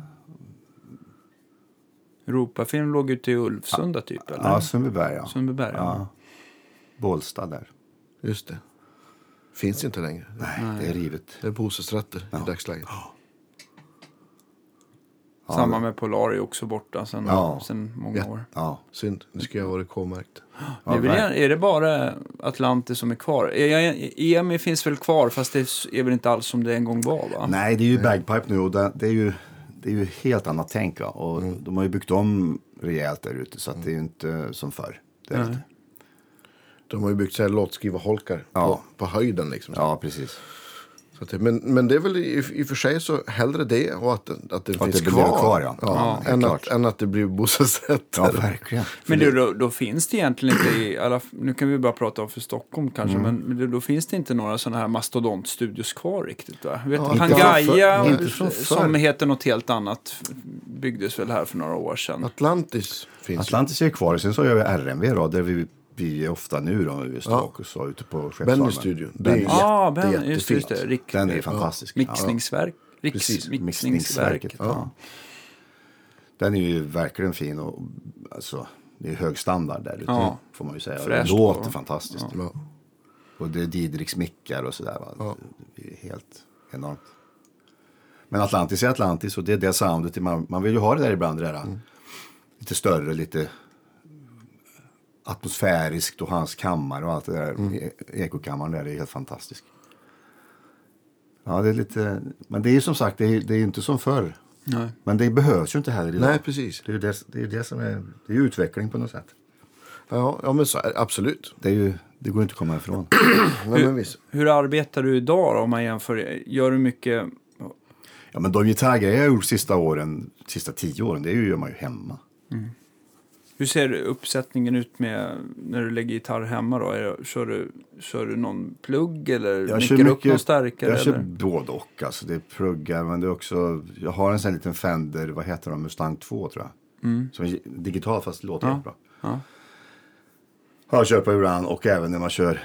Speaker 1: Europafilm låg ute i Ulvsunda typ, eller?
Speaker 2: Ja, Sundbyberg ja.
Speaker 1: Sundbyberg? Ja.
Speaker 2: ja. Bålsta där.
Speaker 3: Just det. Finns inte längre.
Speaker 2: Nej, det är rivet.
Speaker 3: Det är bostadsrätter i dagsläget.
Speaker 1: Samma med Polar är också borta sedan
Speaker 2: Ja.
Speaker 1: sen många
Speaker 3: Ja.
Speaker 1: år.
Speaker 2: Ja.
Speaker 3: Synd. Nu ska jag vara K-märkt.
Speaker 2: Ja,
Speaker 1: det är, väl,
Speaker 2: verkligen.
Speaker 1: gärna- är det bara Atlantis som är kvar? Är jag- EMI finns väl kvar, fast det är väl inte alls som det en gång var? va?
Speaker 2: Nej, det är ju bagpipe nu och det, det är ju, det är ju helt annat tänk. Va? Och
Speaker 3: Mm.
Speaker 2: De har ju byggt om rejält där ute så att det är ju inte som förr. Det är det inte.
Speaker 3: De har ju byggt så här låtskrivarholkar
Speaker 2: Ja.
Speaker 3: på, på höjden. Liksom.
Speaker 2: Ja, precis.
Speaker 3: Så att det, men, men det är väl i, i och för sig så hellre det och att, den- att det
Speaker 2: att
Speaker 3: finns
Speaker 2: det blir
Speaker 3: kvar.
Speaker 2: kvar, ja. Ja, helt
Speaker 3: än,
Speaker 2: klart.
Speaker 3: att, än att det blir bostadsrätter.
Speaker 2: Ja, verkligen.
Speaker 1: Men du, då, då finns det egentligen inte i alla, nu kan vi bara prata om för Stockholm kanske,
Speaker 2: Mm.
Speaker 1: men- men då, då finns det inte några sådana här mastodontstudios kvar riktigt va? Vet,
Speaker 3: Ja, inte
Speaker 1: Pangaya, eh,
Speaker 2: från förr. Inte från
Speaker 1: som
Speaker 2: förr.
Speaker 1: heter något helt annat, byggdes väl här för några år sedan.
Speaker 3: Atlantis finns
Speaker 2: Atlantis är kvar. Sen så har jag RMV då, där vi, vi är ofta nu då, i USA och USA, ute på
Speaker 3: ju.
Speaker 2: Skeppsholmen.
Speaker 3: Bennys studio. Det är
Speaker 2: Benny.
Speaker 3: ju
Speaker 1: Ja, ah,
Speaker 3: jätte,
Speaker 1: ben, just, just det.
Speaker 3: jättefint.
Speaker 1: Rick,
Speaker 2: Den är fantastisk.
Speaker 1: mixningsverk. Riks,
Speaker 2: Precis,
Speaker 1: mixningsverket.
Speaker 2: mixningsverket. Ja. Den är ju verkligen fin och alltså, det är hög standard där ute,
Speaker 1: Ja.
Speaker 2: får man ju säga. Och
Speaker 1: Fräscht
Speaker 2: det låter
Speaker 1: och-
Speaker 2: fantastiskt.
Speaker 3: Ja.
Speaker 2: Och det är Didriks mickar och sådär. Va?
Speaker 3: Ja.
Speaker 2: Det är helt enormt. Men Atlantis är Atlantis och det är det soundet. Man, man vill ju ha det där ibland. Det där,
Speaker 3: Mm.
Speaker 2: Lite större, lite atmosfäriskt och hans kammare och allt det där.
Speaker 3: Mm.
Speaker 2: E- Ekokammaren där är helt fantastisk. Ja, det är lite... Men det är ju som sagt, det är, det är ju inte som förr.
Speaker 1: Nej.
Speaker 2: Men det behövs ju inte heller idag.
Speaker 3: Nej, precis.
Speaker 2: Det är ju det, det, är ju det som är... Det är ju utveckling på något sätt.
Speaker 3: Ja, ja, men så är det. Absolut.
Speaker 2: Det, är ju, det går ju inte att komma ifrån.
Speaker 3: Nej, men visst.
Speaker 1: Hur arbetar du idag då, om man jämför? Gör du mycket?
Speaker 2: Ja, men de gitarrgrejer jag har gjort sista åren, sista tio åren, det är ju- gör man ju hemma.
Speaker 1: Hur ser uppsättningen ut med när du lägger gitarr hemma då? Är det, kör, du, kör du någon plugg eller
Speaker 2: Jag
Speaker 1: nickar upp någon starkare?
Speaker 2: jag kör
Speaker 1: eller?
Speaker 2: både och. Alltså, det är pluggar, men det är också, jag har en sån här liten Fender, vad heter de, Mustang 2 tror jag. Som är digital fast det låter
Speaker 1: Mm. Ja.
Speaker 2: ja. bra.
Speaker 1: Ja.
Speaker 2: Har jag kört på ibland och även när man kör,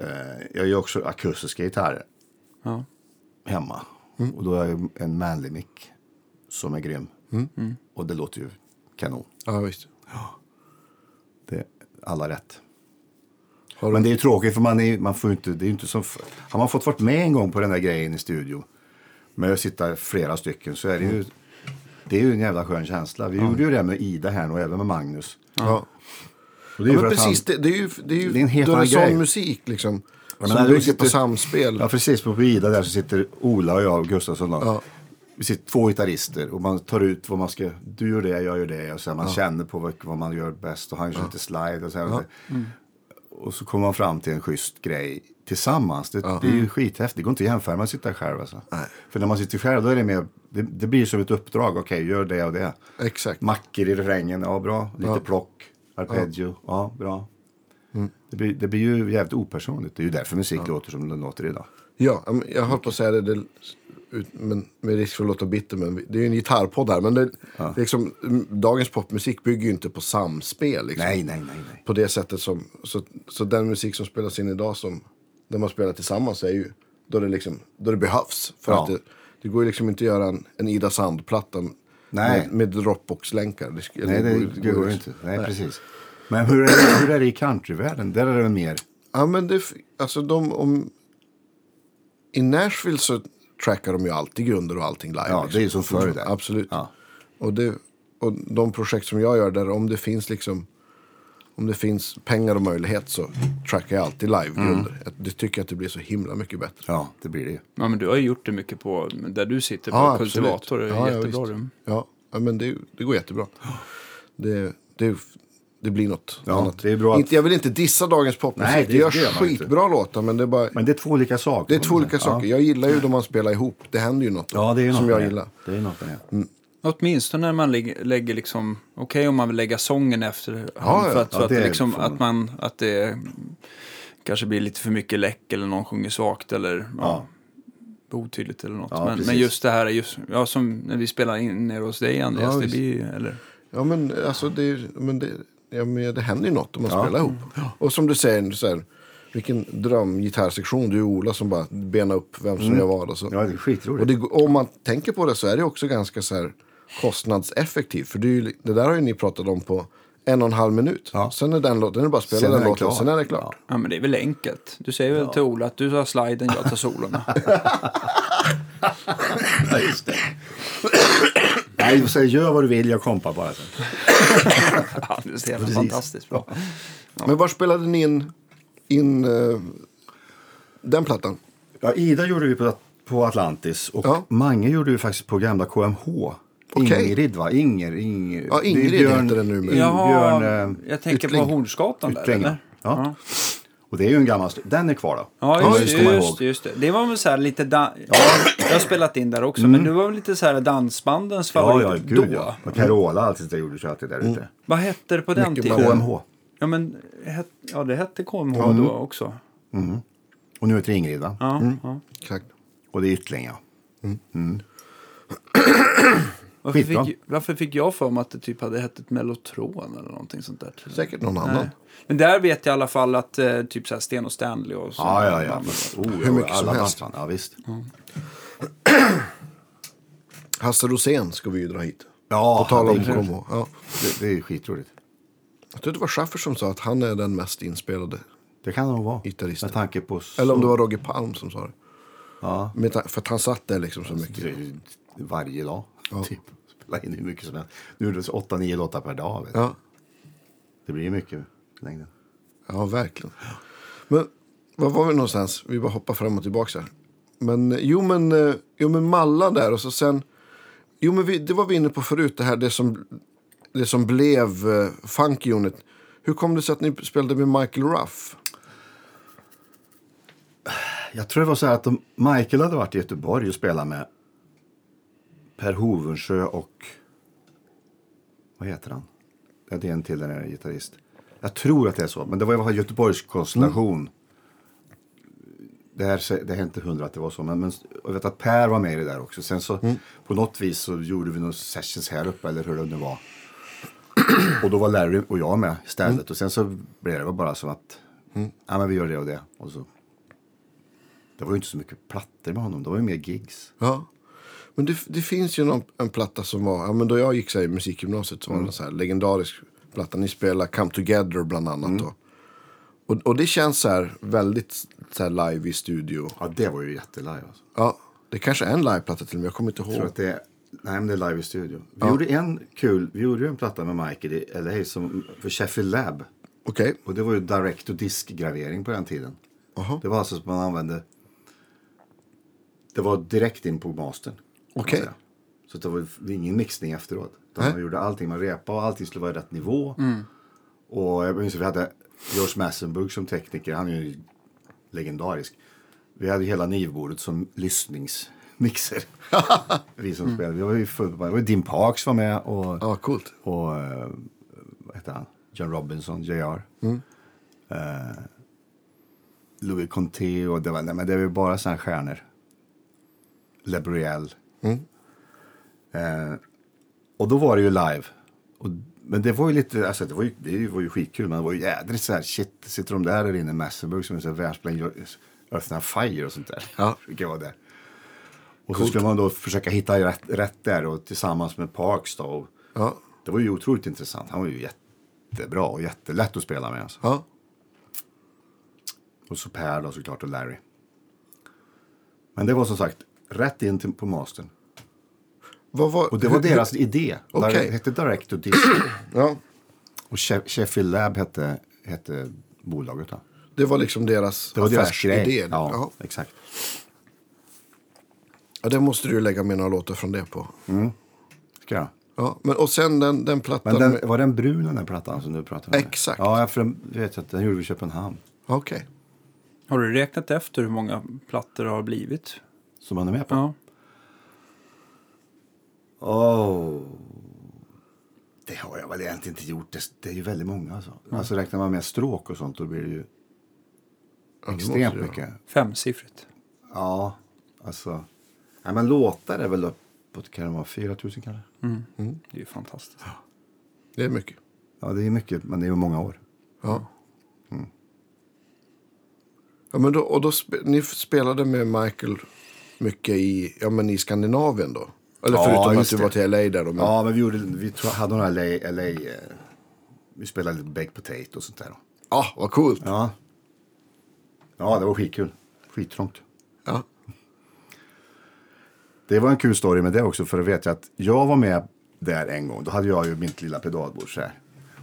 Speaker 2: eh, jag gör också akustiska gitarrer
Speaker 1: Ja.
Speaker 2: hemma.
Speaker 1: Mm.
Speaker 2: Och då har jag en manly mic som är grym.
Speaker 1: Mm.
Speaker 2: Och det låter ju kanon.
Speaker 3: Ja, visst.
Speaker 2: Det är alla rätt.
Speaker 3: Har
Speaker 2: Men det är ju tråkigt för man, är, man får ju inte, det är ju inte som, f- har man fått varit med en gång på den där grejen i studio med att sitta flera stycken så är det ju, det är ju en jävla skön känsla. Vi gjorde ju det med Ida här och även med Magnus.
Speaker 3: Ja.
Speaker 2: Och det är
Speaker 3: Ja,
Speaker 2: ju
Speaker 3: men
Speaker 2: för att
Speaker 3: precis,
Speaker 2: han,
Speaker 3: det, det är ju, det är ju
Speaker 2: Det är en helt
Speaker 3: då är
Speaker 2: annan
Speaker 3: det sån
Speaker 2: grej.
Speaker 3: musik liksom.
Speaker 2: men
Speaker 3: som
Speaker 2: han
Speaker 3: bygger
Speaker 2: sitter-
Speaker 3: på samspel.
Speaker 2: ja precis, på Ida där så sitter Ola och jag och Gustafsson då.
Speaker 3: Ja.
Speaker 2: Vi sitter två gitarrister och man tar ut vad man ska, du gör det, jag gör det och så här, man känner på vad, vad man gör bäst och han kör lite slide och så här. Mm. Och så kommer man fram till en schysst grej tillsammans. Det, det är
Speaker 3: Mm.
Speaker 2: ju skithäftigt. Det går inte att jämföra med att sitta själv. Alltså. För när man sitter själv då är det mer, det, det blir som ett uppdrag. Okej, gör det och det.
Speaker 3: Exakt.
Speaker 2: Mackor i refrängen, ja bra. Lite plock, arpeggio, ja, bra.
Speaker 3: Mm.
Speaker 2: Det, blir, det blir ju jävligt opersonligt. Det är ju därför musik låter som den låter idag.
Speaker 3: Ja, ja, men jag höll på att säga det, det ut- men, med risk för att låta bitter, men vi- det är ju en gitarrpodd här. Men det, liksom, m- dagens popmusik bygger ju inte på samspel. Liksom,
Speaker 2: Nej, nej, nej. nej.
Speaker 3: På det sättet som, så, så den musik som spelas in idag, som när man spelar tillsammans, är ju då det, liksom, då det behövs. För
Speaker 2: Ja.
Speaker 3: att det, det går ju liksom inte att göra en, en Ida Sand-platta
Speaker 2: Nej.
Speaker 3: med, med Dropbox-länkar. Det, sk-
Speaker 2: Nej, det, det går ju inte. Nej, precis. Men hur är, det, hur är det i countryvärlden? Där är det mer...
Speaker 3: Ja, men det, f- alltså de om... I Nashville så trackar de ju alltid grunder och allting live. liksom.
Speaker 2: Ja, det är ju som förr där.
Speaker 3: Absolut.
Speaker 2: Ja.
Speaker 3: Och, det, och de projekt som jag gör där, om det finns liksom... Om det finns pengar och möjlighet så trackar jag alltid live-grunder. Jag- Det tycker jag att det blir så himla mycket bättre.
Speaker 2: Mm. Ja, det blir det ju.
Speaker 1: Ja, men du har ju gjort det mycket på där du sitter på
Speaker 3: absolut.
Speaker 1: Kultivator. Det är
Speaker 3: Ja, ja,
Speaker 1: jättebra
Speaker 3: visst.
Speaker 1: rum.
Speaker 3: Ja, ja, men det, det går jättebra. Det, det, det blir något
Speaker 2: Ja,
Speaker 3: annat.
Speaker 2: det är bra att-
Speaker 3: Inte, jag vill inte dissa dagens popmusik.
Speaker 2: Nej,
Speaker 3: det,
Speaker 2: det-
Speaker 3: görs
Speaker 2: det gör man inte.
Speaker 3: skitbra låtar, men det är bara...
Speaker 2: Men det är två olika saker.
Speaker 3: Det är två
Speaker 2: Mm, Ja.
Speaker 3: olika saker. Jag gillar ju när man spelar ihop. Det händer ju något
Speaker 2: Ja, det är ju något
Speaker 3: som
Speaker 2: med
Speaker 3: jag
Speaker 2: det.
Speaker 3: gillar.
Speaker 2: Det är något med det.
Speaker 1: Åtminstone när man lägger, lägger liksom, okej om man vill lägga sången efter
Speaker 3: Ja, ja.
Speaker 1: för att,
Speaker 2: Ja,
Speaker 1: för att,
Speaker 2: det
Speaker 1: det liksom,
Speaker 2: får man.
Speaker 1: att, man, att det kanske blir lite för mycket läck eller någon sjunger svagt eller ja,
Speaker 2: Ja.
Speaker 1: otydligt eller något.
Speaker 2: Ja,
Speaker 1: men, men
Speaker 2: precis.
Speaker 1: just det här, är just, ja, som när vi spelar in nere hos dig Andreas, det
Speaker 3: visst.
Speaker 1: blir, eller,
Speaker 3: Ja, men alltså det, är- men det, ja, men det händer ju något om man
Speaker 2: Ja.
Speaker 3: spelar ihop. Och som du säger, så här, vilken drömgitarrsektion du och Ola som bara benar upp vem som gör vad. Och så.
Speaker 2: Mm. Ja, det är skitroligt.
Speaker 3: Och det, om man tänker på det så är det också ganska så här kostnadseffektivt. För det, är ju, det där har ju ni pratat om på en och en halv minut.
Speaker 2: Ja.
Speaker 3: Sen är den låten, den är bara att spela
Speaker 2: Sen är
Speaker 3: den
Speaker 2: den
Speaker 3: låten,
Speaker 2: klar.
Speaker 3: sen är det klart.
Speaker 1: ja men det är väl enkelt. Du säger väl till Ola att du tar sliden, jag tar solorna.
Speaker 2: Ja, just det. Nej, så gör vad du vill, jag kompar bara sen.
Speaker 1: ja, det är så jävla
Speaker 2: Precis.
Speaker 1: fantastiskt bra.
Speaker 3: Men var spelade ni in, in eh, den plattan?
Speaker 2: Ja, Ida gjorde vi på, på Atlantis och
Speaker 3: Ja.
Speaker 2: Mange gjorde vi faktiskt på gamla KMH.
Speaker 3: Okej.
Speaker 2: Ingrid va? Inger, Inger.
Speaker 3: Ja, Ingrid
Speaker 2: det är Björn,
Speaker 3: heter den nu med.
Speaker 2: Björn,
Speaker 1: Jaha,
Speaker 2: eh,
Speaker 1: jag tänker
Speaker 3: Yttling.
Speaker 1: på Hornsgatan där
Speaker 2: Yttling,
Speaker 1: eller?
Speaker 2: ja. Och det är ju en gammal... st- Den är kvar då.
Speaker 1: Ja,
Speaker 2: Man
Speaker 1: just,
Speaker 2: ska komma
Speaker 1: det,
Speaker 2: ihåg.
Speaker 1: just, det, just det. Det var väl så här lite... Da- Jag har spelat in där också, men det var väl lite så här dansbandens
Speaker 2: Mm. Ja,
Speaker 1: favorit
Speaker 2: ja,
Speaker 1: då.
Speaker 2: gud ja. Och Carola alltid där gjorde tjötigt
Speaker 3: Mm.
Speaker 2: där ute.
Speaker 1: Vad hette det på den
Speaker 3: Mycket
Speaker 1: tiden?
Speaker 3: bra.
Speaker 2: KMH.
Speaker 1: Ja, men het, ja, det hette KMH
Speaker 2: mm.
Speaker 1: då också.
Speaker 2: Och nu heter det Ingrid va?
Speaker 1: Ja, ja.
Speaker 3: Exakt.
Speaker 2: Och det är Yttling ja.
Speaker 1: Varför,
Speaker 2: Skitbra.
Speaker 1: fick, varför fick jag för mig att det typ hade hett Mellotron eller någonting sånt där?
Speaker 3: Säkert någon
Speaker 1: Nej.
Speaker 3: annan.
Speaker 1: Men där vet jag i alla fall att eh, typ så här Sten och Stanley och så.
Speaker 2: Ja, ja, ja.
Speaker 1: band.
Speaker 2: Oh,
Speaker 3: Hur mycket
Speaker 2: ja,
Speaker 3: som
Speaker 2: alla
Speaker 3: helst.
Speaker 2: dansband, Ja, visst.
Speaker 3: Hasse Rosén ska vi ju dra hit.
Speaker 2: Ja,
Speaker 3: På tal om
Speaker 2: det är-
Speaker 3: promo. Ja.
Speaker 2: Det, det är skitroligt.
Speaker 3: Jag tror det var Schaffer som sa att han är den mest inspelade.
Speaker 2: Det kan det nog vara.
Speaker 3: Gitarristen.
Speaker 2: Med tanke på... Så...
Speaker 3: Eller om det var Roger Palm som sa det.
Speaker 2: Ja.
Speaker 3: Med ta- För att han satt där liksom så mycket.
Speaker 2: Varje dag. Typ. Spela in hur mycket som helst. Nu är det 8-9 låtar per dag. Vet du.
Speaker 3: Ja,
Speaker 2: Det blir ju mycket i längden.
Speaker 3: ja verkligen. Men var var vi någonstans? Vi bara hoppar fram och tillbaka här. Men eh, jo men, eh, jo, men Malla där och så sen. Jo men vi, det var vi inne på förut det här det som, det som blev eh, Funk Unit. Hur kom det sig att ni spelade med Michael Ruff?
Speaker 2: Jag tror det var så här att om Michael hade varit i Göteborg och spelat med Per Hovensjö och... Vad heter han? Ja, det är en till, den här gitarrist. Jag tror att det är så, men det var i alla fall Göteborgs konstellation. Det, här, sä- det är inte hundra att det var så, men, men jag vet att Per var med i det där också. Sen så på något vis så gjorde vi några sessions här uppe, eller hur det nu var. Och då var Larry och jag med istället. Och sen så blev det bara som att, ja men vi gör det och det. Och så det var ju inte så mycket plattor med honom, det var ju mer gigs.
Speaker 3: Ja. Men det, det finns ju någon, en platta som var, ja, men då jag gick så här, i
Speaker 2: Mm.
Speaker 3: musikgymnasiet så var det en så här legendarisk platta. Ni spelar Come Together bland annat
Speaker 2: Mm.
Speaker 3: då. Och, och det känns så här väldigt så här live i studio.
Speaker 2: Ja, det var ju jättelive alltså.
Speaker 3: Ja, det kanske är en liveplatta till och med, jag kommer inte
Speaker 2: Jag tror
Speaker 3: ihåg.
Speaker 2: att det är, nej men det är live i studio. Vi gjorde en kul, vi gjorde ju en platta med Michael i LA som, för Sheffield Lab.
Speaker 3: Okej,
Speaker 2: Och det var ju direct to disk gravering på den tiden.
Speaker 3: Jaha.
Speaker 2: Det var alltså att man använde, det var direkt in på mastern. kan man
Speaker 3: Okej.
Speaker 2: säga. Så det var ju ingen mixning efteråt. Utan
Speaker 3: Nej. Mm.
Speaker 2: man gjorde allting, man repade och allting skulle vara i rätt nivå. Och jag minns att vi hade George Massenburg som tekniker, han är ju legendarisk. Vi hade ju hela nivbordet som lyssningsmixer. vi som spelade. Vi var ju full, det var ju Dim Parks var med och,
Speaker 3: ja coolt.
Speaker 2: och eh, vad heter han? John Robinson, JR. Eh, Louis Conte och det var, nej, men det var ju bara sådana stjärnor. Le Briel. Eh, och då var det ju live. Och, men det var ju lite, alltså det var ju, det var ju skitkul, men det var ju jädrigt så här, shit, sitter de där där inne i Messenburg som är så här världsbländ, gör- öppnar fire och sånt där.
Speaker 3: Ja.
Speaker 2: Brukar vara där. Och så skulle man då försöka hitta rätt, rätt där och tillsammans med Parks då. Och
Speaker 3: Ja,
Speaker 2: Det var ju otroligt intressant. Han var ju jättebra och jättelätt att spela med. Alltså.
Speaker 3: ja.
Speaker 2: Och så Per då såklart och Larry. Men det var som sagt rätt in till, på mastern.
Speaker 3: Vad var,
Speaker 2: Och det var
Speaker 3: hur-
Speaker 2: deras idé.
Speaker 3: Okej.
Speaker 2: Direct- hette Direct to Disc.
Speaker 3: Ja,
Speaker 2: Och She- Sheffield Lab hette, hette bolaget då.
Speaker 3: det var liksom deras
Speaker 2: Det var deras
Speaker 3: affärsidé.
Speaker 2: grej.
Speaker 3: Ja.
Speaker 2: Ja, exakt.
Speaker 3: Ja, det måste du ju lägga med några låtar från det på.
Speaker 2: Mm. Ska jag?
Speaker 3: Ja, men, och sen den, den plattan.
Speaker 2: Men den, var den brun den där plattan som du pratade om?
Speaker 3: Exakt.
Speaker 2: Ja, för den, vet jag, att den gjorde vi i Köpenhamn.
Speaker 3: Okej.
Speaker 1: Har du räknat efter hur många plattor det har blivit?
Speaker 2: Som han är med på.
Speaker 1: Ja.
Speaker 2: Oh. Det har jag väl Mm. egentligen inte gjort. Det, det är ju väldigt många. Alltså. alltså räknar man med stråk och sånt då blir det ju
Speaker 3: Ja, det måste
Speaker 2: Extremt
Speaker 3: det göra.
Speaker 2: mycket.
Speaker 1: Femsiffrigt.
Speaker 2: Ja, alltså. Nej, men låtar är väl uppåt, kan det vara 4 000 kanske?
Speaker 1: Mm.
Speaker 2: Mm.
Speaker 1: Det är ju fantastiskt.
Speaker 3: Det är mycket.
Speaker 2: Ja, det är mycket, men det är ju många år.
Speaker 3: Ja. ja men då, och då spe, ni spelade med Michael mycket i, ja, men i Skandinavien då? Eller
Speaker 2: Ja,
Speaker 3: förutom att
Speaker 2: just
Speaker 3: du
Speaker 2: det.
Speaker 3: var till LA där då. Men,
Speaker 2: Ja, men vi, gjorde, vi tro- hade några LA, LA eh, vi spelade lite baked potato och sånt där. då.
Speaker 3: Ja, Ah, vad coolt.
Speaker 2: Ja.
Speaker 3: Ja.
Speaker 2: Ja, det var skitkul. Skittrångt.
Speaker 3: Ja.
Speaker 2: Det var en kul story med det också, för att veta att jag var med där en gång. Då hade jag ju mitt lilla pedalbord så här.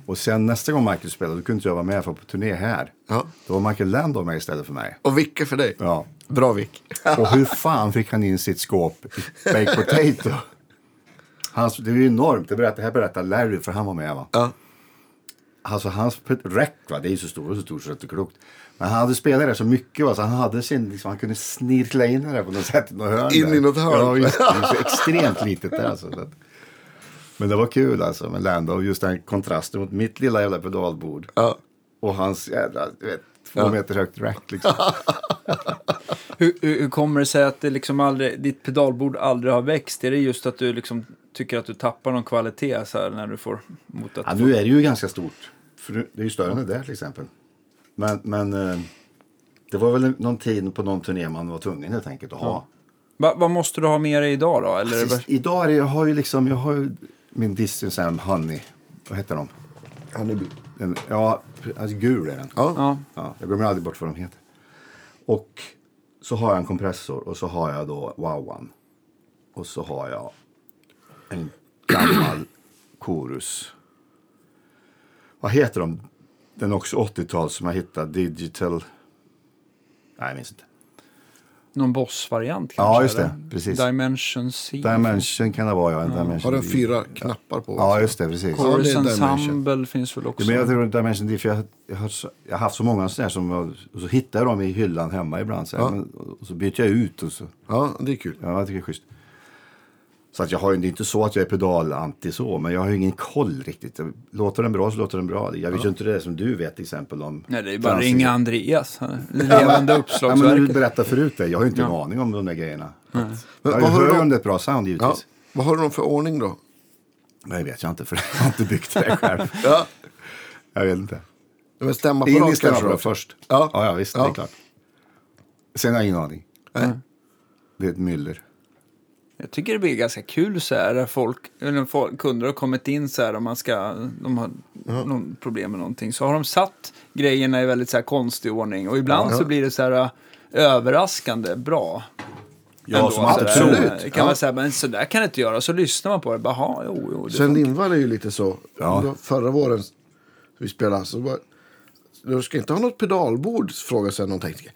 Speaker 2: Och sen nästa gång Michael spelade, då kunde inte jag vara med för på turné här. Då var Michael Landau med istället för mig.
Speaker 3: Och Vicke för dig.
Speaker 2: Ja.
Speaker 3: Bra Vick.
Speaker 2: Och hur fan fick han in sitt skåp i baked potato? Hans, det är ju enormt, det, berättar, det här berättar Larry för han var med va?
Speaker 3: Ja.
Speaker 2: Alltså hans pet- räck va, det är ju så stort och så stort så det är inte klokt. Men han hade spelat där så mycket va, så han hade sin, liksom, han kunde snirkla in det där på något sätt. i Något hörn
Speaker 3: In
Speaker 2: där.
Speaker 3: i något hörn.
Speaker 2: Ja, just, det. det är så extremt litet där alltså. Så att. Men det var kul alltså med Landau, just den kontrasten mot mitt lilla jävla pedalbord.
Speaker 3: Ja.
Speaker 2: Och hans jävla, du vet, två meter högt rack liksom.
Speaker 1: Hur, hur, hur kommer det sig att det liksom aldrig, ditt pedalbord aldrig har växt? Är det just att du liksom tycker att du tappar någon kvalitet så här när du får mot att...
Speaker 2: Ja, nu är det ju ganska stort. För nu- det är ju större än det där till exempel. Men, men eh, det var väl en- någon tid på någon turné man var tvungen helt enkelt att ha.
Speaker 1: Va, vad måste du ha med dig idag då? Eller är det
Speaker 2: Precis,
Speaker 1: bara-
Speaker 2: idag är det, jag har ju liksom, jag har ju min Distance and Honey. Vad heter de?
Speaker 3: Honeybee.
Speaker 2: Den, ja, alltså gul är den.
Speaker 3: Ja.
Speaker 1: ja.
Speaker 2: Ja, jag glömmer aldrig bort vad de heter. Och så har jag en kompressor och så har jag då wowan. Och så har jag en gammal chorus. Vad heter de? Den är också 80-tal som jag hittade. Digital... Nej, jag minns inte.
Speaker 1: Någon bossvariant kanske?
Speaker 2: Ja, just det.
Speaker 1: eller?
Speaker 2: Precis.
Speaker 1: Dimension C.
Speaker 2: Dimension kan det vara, ja. En dimension
Speaker 3: Har den
Speaker 2: D.
Speaker 3: fyra knappar på?
Speaker 2: Ja, just det. Precis.
Speaker 3: Ja, det
Speaker 1: Chorus
Speaker 3: är Dimension.
Speaker 1: Ensemble finns väl också?
Speaker 2: Ja, men jag tror Dimension D, för jag, jag, har, så- jag har haft så många sådana här som jag- och så hittar jag dem i hyllan hemma ibland. Så här,
Speaker 3: Ja.
Speaker 2: men, och så byter jag ut och så.
Speaker 3: ja, det är kul.
Speaker 2: Ja, jag tycker det är schysst. Så att jag har ju, det är inte så att jag är pedalanti så, men jag har ju ingen koll riktigt. Låter den bra så låter den bra. Jag vet ju inte det som du vet till exempel om...
Speaker 1: Nej, det är bara
Speaker 2: Francis.
Speaker 1: ringa Andreas. Han är Levande
Speaker 2: Ja, men du
Speaker 1: uppslagsverket.
Speaker 2: berättade förut det. Jag har ju inte en aning om de där grejerna. Att,
Speaker 3: Men
Speaker 2: jag
Speaker 3: vad har
Speaker 2: hör
Speaker 3: du
Speaker 2: ju
Speaker 3: då-
Speaker 2: om det är ett bra sound
Speaker 3: Ja.
Speaker 2: givetvis.
Speaker 3: Vad har de för ordning då?
Speaker 2: Men det vet jag inte för jag har inte byggt det själv.
Speaker 3: Ja.
Speaker 2: Jag vet inte.
Speaker 3: Men
Speaker 2: In i
Speaker 3: stämapparat kanske
Speaker 2: stämapparat
Speaker 3: då?
Speaker 2: först.
Speaker 3: Ja.
Speaker 2: ja, visst. Det
Speaker 3: Ja.
Speaker 2: är klart. Sen har jag ingen aning. Mm. Det är ett myller.
Speaker 1: Jag tycker det blir ganska kul så här när folk, eller när folk, kunder har kommit in så här om man ska, de har någon problem med någonting. Så har de satt grejerna i väldigt så här konstig ordning och ibland så blir det så här äh, överraskande bra.
Speaker 2: Ja, som man
Speaker 1: man
Speaker 2: inte
Speaker 3: tror.
Speaker 1: Det kan
Speaker 3: Ja.
Speaker 1: man säga, men så där kan det inte göra. Så lyssnar man på det, bara, "Jaha, jo, jo. Det
Speaker 3: Sven
Speaker 1: funkar."
Speaker 3: Lindvall är ju lite så.
Speaker 2: Ja.
Speaker 3: Då Förra våren vi spelade så bara, du ska inte ha något pedalbord? Frågade Sven någon tekniker.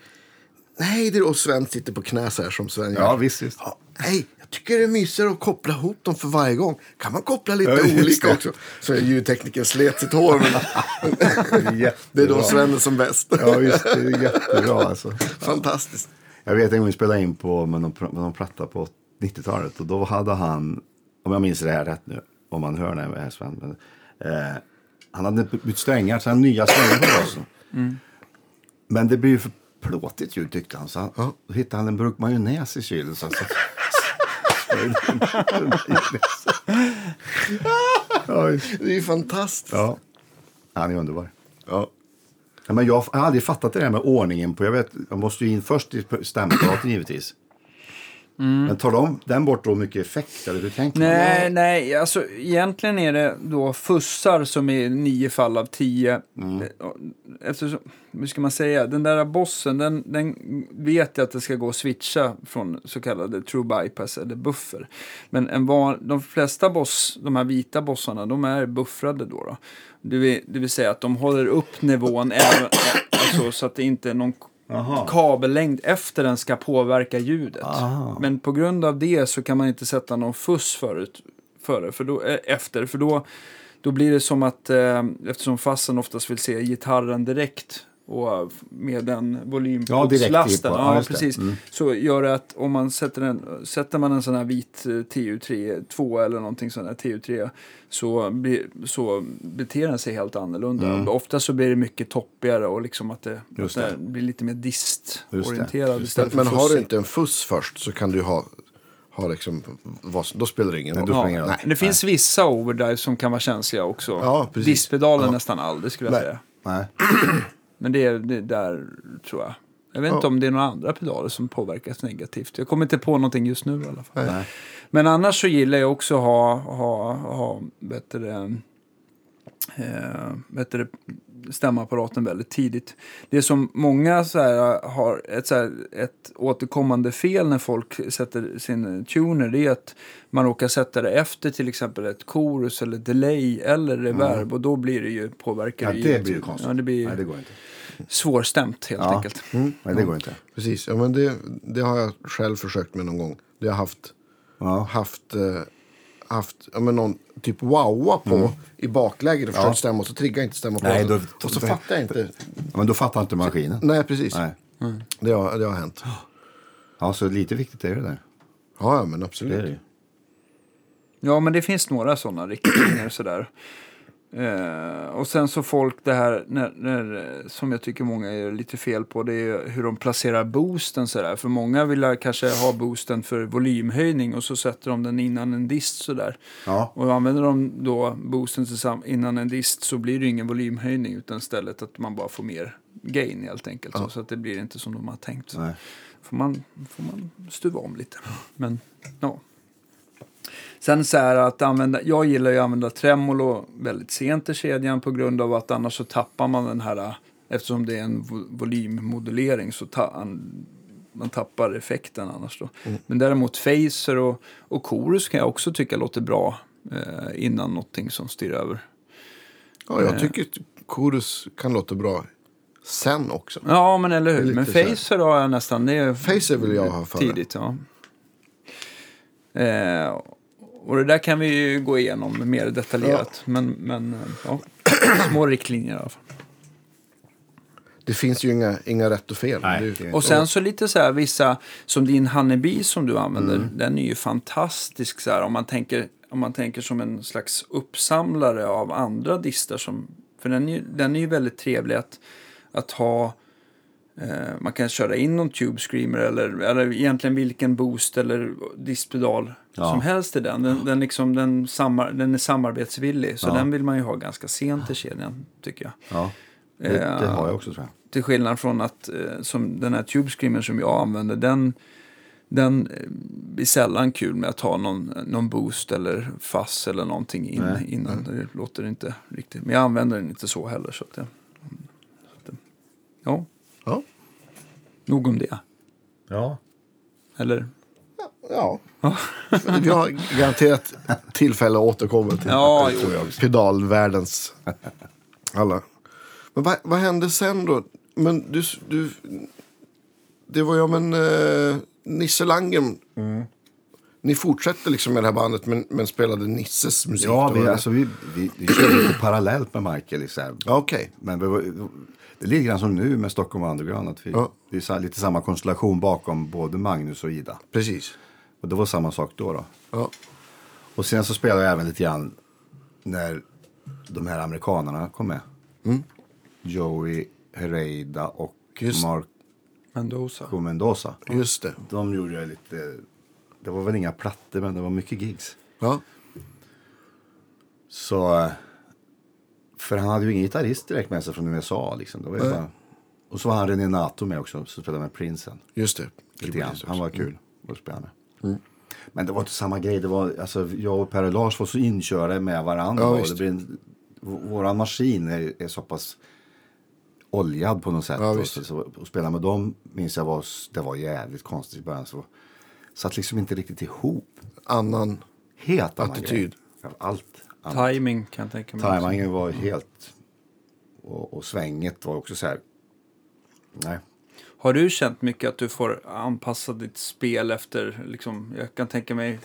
Speaker 3: Nej, det är och Sven sitter på knä så här som Sven gör.
Speaker 2: Ja, visst, visst.
Speaker 3: Ja, nej, jag tycker det är mysigare att koppla ihop dem för varje gång. Kan man koppla lite
Speaker 2: Ja, just
Speaker 3: olika
Speaker 2: det.
Speaker 3: också? Så ljudteknikern slet sitt hår. Men det är då
Speaker 2: Jättebra.
Speaker 3: Sven är som bäst.
Speaker 2: Ja, visst. Det är jättebra alltså.
Speaker 3: Fantastiskt.
Speaker 2: Jag vet en gång vi spelade in på, med, någon, pr- med någon platta på 90-talet och då hade han, om jag minns det här rätt nu, om man hör när jag är Sven, men, eh, han hade bytt strängar, så han hade nya strängar på basen. Men det blev ju för plåtigt ljud tyckte han, så han, då hittade han en burk majonnäs i kylen. Så han satt- Ja, just-
Speaker 3: Det är ju fantastiskt.
Speaker 2: ja. Han är underbar.
Speaker 3: Ja.
Speaker 2: Ja, men jag har aldrig fattat det där med ordningen. på. Jag vet, jag måste ju in först i stämpapparaten givetvis. Men tar de den bort då mycket effekt? Eller hur tänker man?
Speaker 1: Nej, nej, alltså egentligen är det då fussar som är nio fall av tio.
Speaker 2: Mm.
Speaker 1: Eh, Eftersom, hur ska man säga, den där bossen, den, den vet jag att det ska gå att switcha från så kallade true bypass eller buffer. Men en van, de flesta boss, de här vita bossarna, de är buffrade då. då. Det, vill, det vill säga att de håller upp nivån även, alltså, så att det inte är någon
Speaker 2: Jaha.
Speaker 1: kabellängd efter den ska påverka ljudet.
Speaker 2: Aha.
Speaker 1: Men på grund av det så kan man inte sätta någon fuss förut, före, för då, eh, efter. För då, då blir det som att, eh, eftersom fassen oftast vill se gitarren direkt och med den
Speaker 2: Ja, direkt
Speaker 1: volympuckslasten.
Speaker 2: hippo. Ja,
Speaker 1: ja,
Speaker 2: just det. Mm.
Speaker 1: precis. Så gör det att om man sätter en, sätter man en sån här vit eh, TU3, 2 eller någonting sån här TU3 så, blir, så beter den sig helt annorlunda. Ofta så blir det mycket toppigare och liksom att det, att
Speaker 2: Mm. Just
Speaker 1: det
Speaker 2: det.
Speaker 1: blir lite mer
Speaker 2: Just det,
Speaker 1: distorienterad
Speaker 2: just
Speaker 1: istället för
Speaker 3: Men har du
Speaker 1: fussig.
Speaker 3: inte en fuss först så kan du ha, ha liksom, vad, som- då spelar det ingen roll.
Speaker 2: då spelar
Speaker 1: Ja,
Speaker 2: det ingen roll.
Speaker 1: men det finns vissa overdrive som kan vara känsliga också.
Speaker 3: Ja, precis.
Speaker 1: Diskpedalen nästan aldrig skulle jag
Speaker 3: Nej.
Speaker 1: säga.
Speaker 2: Nej.
Speaker 1: Men det är det är där tror jag. Jag vet inte om det är några andra pedaler som påverkas negativt. Jag kommer inte på någonting just nu i alla fall.
Speaker 2: Nej.
Speaker 1: Men annars så gillar jag också att ha, ha, ha bättre, eh, bättre stämapparaten väldigt tidigt. Det som många så här, eh, har ett, så här, ett återkommande fel när folk sätter sin tuner det är att man råkar sätta det efter till exempel ett chorus eller delay eller reverb och då blir det ju
Speaker 2: Mm. Ja,
Speaker 1: påverkar
Speaker 2: det
Speaker 1: ju-
Speaker 2: blir ju konstigt.
Speaker 1: Ja, det blir
Speaker 2: Nej, det går inte.
Speaker 1: svårstämt helt
Speaker 2: Ja.
Speaker 1: enkelt.
Speaker 2: Nej, det går inte.
Speaker 3: Precis, ja, men det, det har jag själv försökt med någon gång. Det har jag haft,
Speaker 2: Ja.
Speaker 3: haft, eh, haft ja, men någon typ wowa på i bakläge. Det försökte stämma och så triggar inte stämma på
Speaker 2: Mm. Nej,
Speaker 3: den.
Speaker 2: då-
Speaker 3: Och så fattar jag inte.
Speaker 2: Men då fattar inte maskinen.
Speaker 3: Nej, precis.
Speaker 2: Nej.
Speaker 3: Det, har, det har hänt.
Speaker 2: Ja, så lite viktigt är det där.
Speaker 3: Ja, ja, men
Speaker 2: Det är
Speaker 3: absolut.
Speaker 2: det ju.
Speaker 1: Ja, men det finns några sådana riktlinjer sådär. Eh, och sen så folk det här när, när, som jag tycker många gör lite fel på det är hur de placerar boosten sådär. För många vill ha- kanske ha boosten för volymhöjning och så sätter de den innan en dist sådär.
Speaker 2: Ja.
Speaker 1: Och använder de då boosten tillsamm- innan en dist så blir det ju ingen volymhöjning utan istället att man bara får mer gain helt enkelt. Så, så att det blir inte som de har tänkt.
Speaker 2: Nej.
Speaker 1: får man, får man stuva om lite. Men, ja. Sen så här att använda, jag gillar ju att använda tremolo väldigt sent i kedjan på grund av att annars så tappar man den här, eftersom det är en vo- volymmodulering så ta, an, man tappar effekten annars då.
Speaker 3: Mm.
Speaker 1: Men däremot phaser och, och chorus kan jag också tycka låter bra eh, innan någonting som styr över.
Speaker 3: Ja,
Speaker 2: Eh.
Speaker 3: jag tycker att chorus kan låta bra sen också.
Speaker 1: Ja, men eller hur.
Speaker 3: Lite
Speaker 1: Men
Speaker 3: så här.
Speaker 1: phaser har jag nästan, det är
Speaker 3: Phaser vill jag ha före.
Speaker 1: Tidigt, ja. Eh, och det där kan vi ju gå igenom mer detaljerat. Men, men eh, ja. små riktlinjer i alla fall.
Speaker 3: Det finns ju inga, inga rätt och fel.
Speaker 2: Nej,
Speaker 3: det,
Speaker 2: det är
Speaker 1: Och sen så lite så här vissa, som din Honeybee som du använder, den är ju fantastisk så här om man tänker, om man tänker som en slags uppsamlare av andra distar som, för den är ju, den är ju väldigt trevlig att, att ha Eh, man kan köra in någon Tube Screamer eller, eller egentligen vilken boost eller diskpedal
Speaker 2: Ja.
Speaker 1: som helst i den. Den, den, liksom, den, samar, den är samarbetsvillig, så den vill man ju ha ganska sent i kedjan tycker jag. Eh,
Speaker 2: Ja. Det, det har jag också tror jag.
Speaker 1: Till skillnad från att eh, som den här Tube Screamer som jag använder, den, den eh, blir sällan kul med att ha någon, någon boost eller fass eller någonting in, innan. Det låter inte riktigt. Men jag använder den inte så heller. Så att det, så att det, ja,
Speaker 3: Ja.
Speaker 1: nog om det.
Speaker 2: Ja.
Speaker 1: Eller?
Speaker 3: Ja. Vi har garanterat tillfälle att återkomma till
Speaker 1: Ja, jo,
Speaker 3: pedalvärldens alla. Men vad, vad hände sen då? Men du, du, det var ju om en eh, Nisse Langen. Ni fortsätter liksom med det här bandet men, men spelade Nisses musik?
Speaker 2: Ja,
Speaker 3: då,
Speaker 2: vi,
Speaker 3: eller?
Speaker 2: alltså, vi, vi, vi körde lite parallellt med Michael. Liksom.
Speaker 3: Ja, Okej.
Speaker 2: Men vi var, det ligger grann som nu med Stockholm Underground. Att vi,
Speaker 3: Ja.
Speaker 2: Det är sa- lite samma konstellation bakom både Magnus och Ida.
Speaker 3: Precis.
Speaker 2: Och det var samma sak då. då.
Speaker 3: Ja.
Speaker 2: Och sen så spelade jag även lite grann när de här amerikanerna kom med.
Speaker 3: Mm.
Speaker 2: Joey Herreida och
Speaker 3: Just-
Speaker 2: Marco
Speaker 1: Mendoza.
Speaker 2: Mendoza.
Speaker 3: Just det.
Speaker 2: De gjorde jag lite... Det var väl inga plattor, men det var mycket gigs.
Speaker 3: Ja.
Speaker 2: Så... eh, För han hade ju ingen gitarrist direkt med sig från USA. Liksom. Det var ju
Speaker 3: Nej.
Speaker 2: bara... Och så var han René Nato med också, så spelade med Prinsen.
Speaker 3: Just det.
Speaker 2: Lite grann. Han
Speaker 3: Mm.
Speaker 2: var kul att spela med. Men det var inte samma grej. Det var, alltså, jag och Per och Lars var så inkörda med varandra.
Speaker 3: Ja,
Speaker 2: och
Speaker 3: visst.
Speaker 2: det blir en, v- våran maskin är, är så pass oljad på något sätt.
Speaker 3: Ja,
Speaker 2: och
Speaker 3: visst.
Speaker 2: så, så, och spela med dem minns jag var, s- det var jävligt konstigt i början. Så, satt liksom inte riktigt ihop.
Speaker 3: Annan.
Speaker 2: Helt annan
Speaker 3: Attityd.
Speaker 2: Grej. Allt annat.
Speaker 1: Timing kan jag tänka mig. också.
Speaker 2: Tajmingen var helt... Och, och svänget var också så här... Nej.
Speaker 1: Har du känt mycket att du får anpassa ditt spel efter, liksom, jag kan tänka mig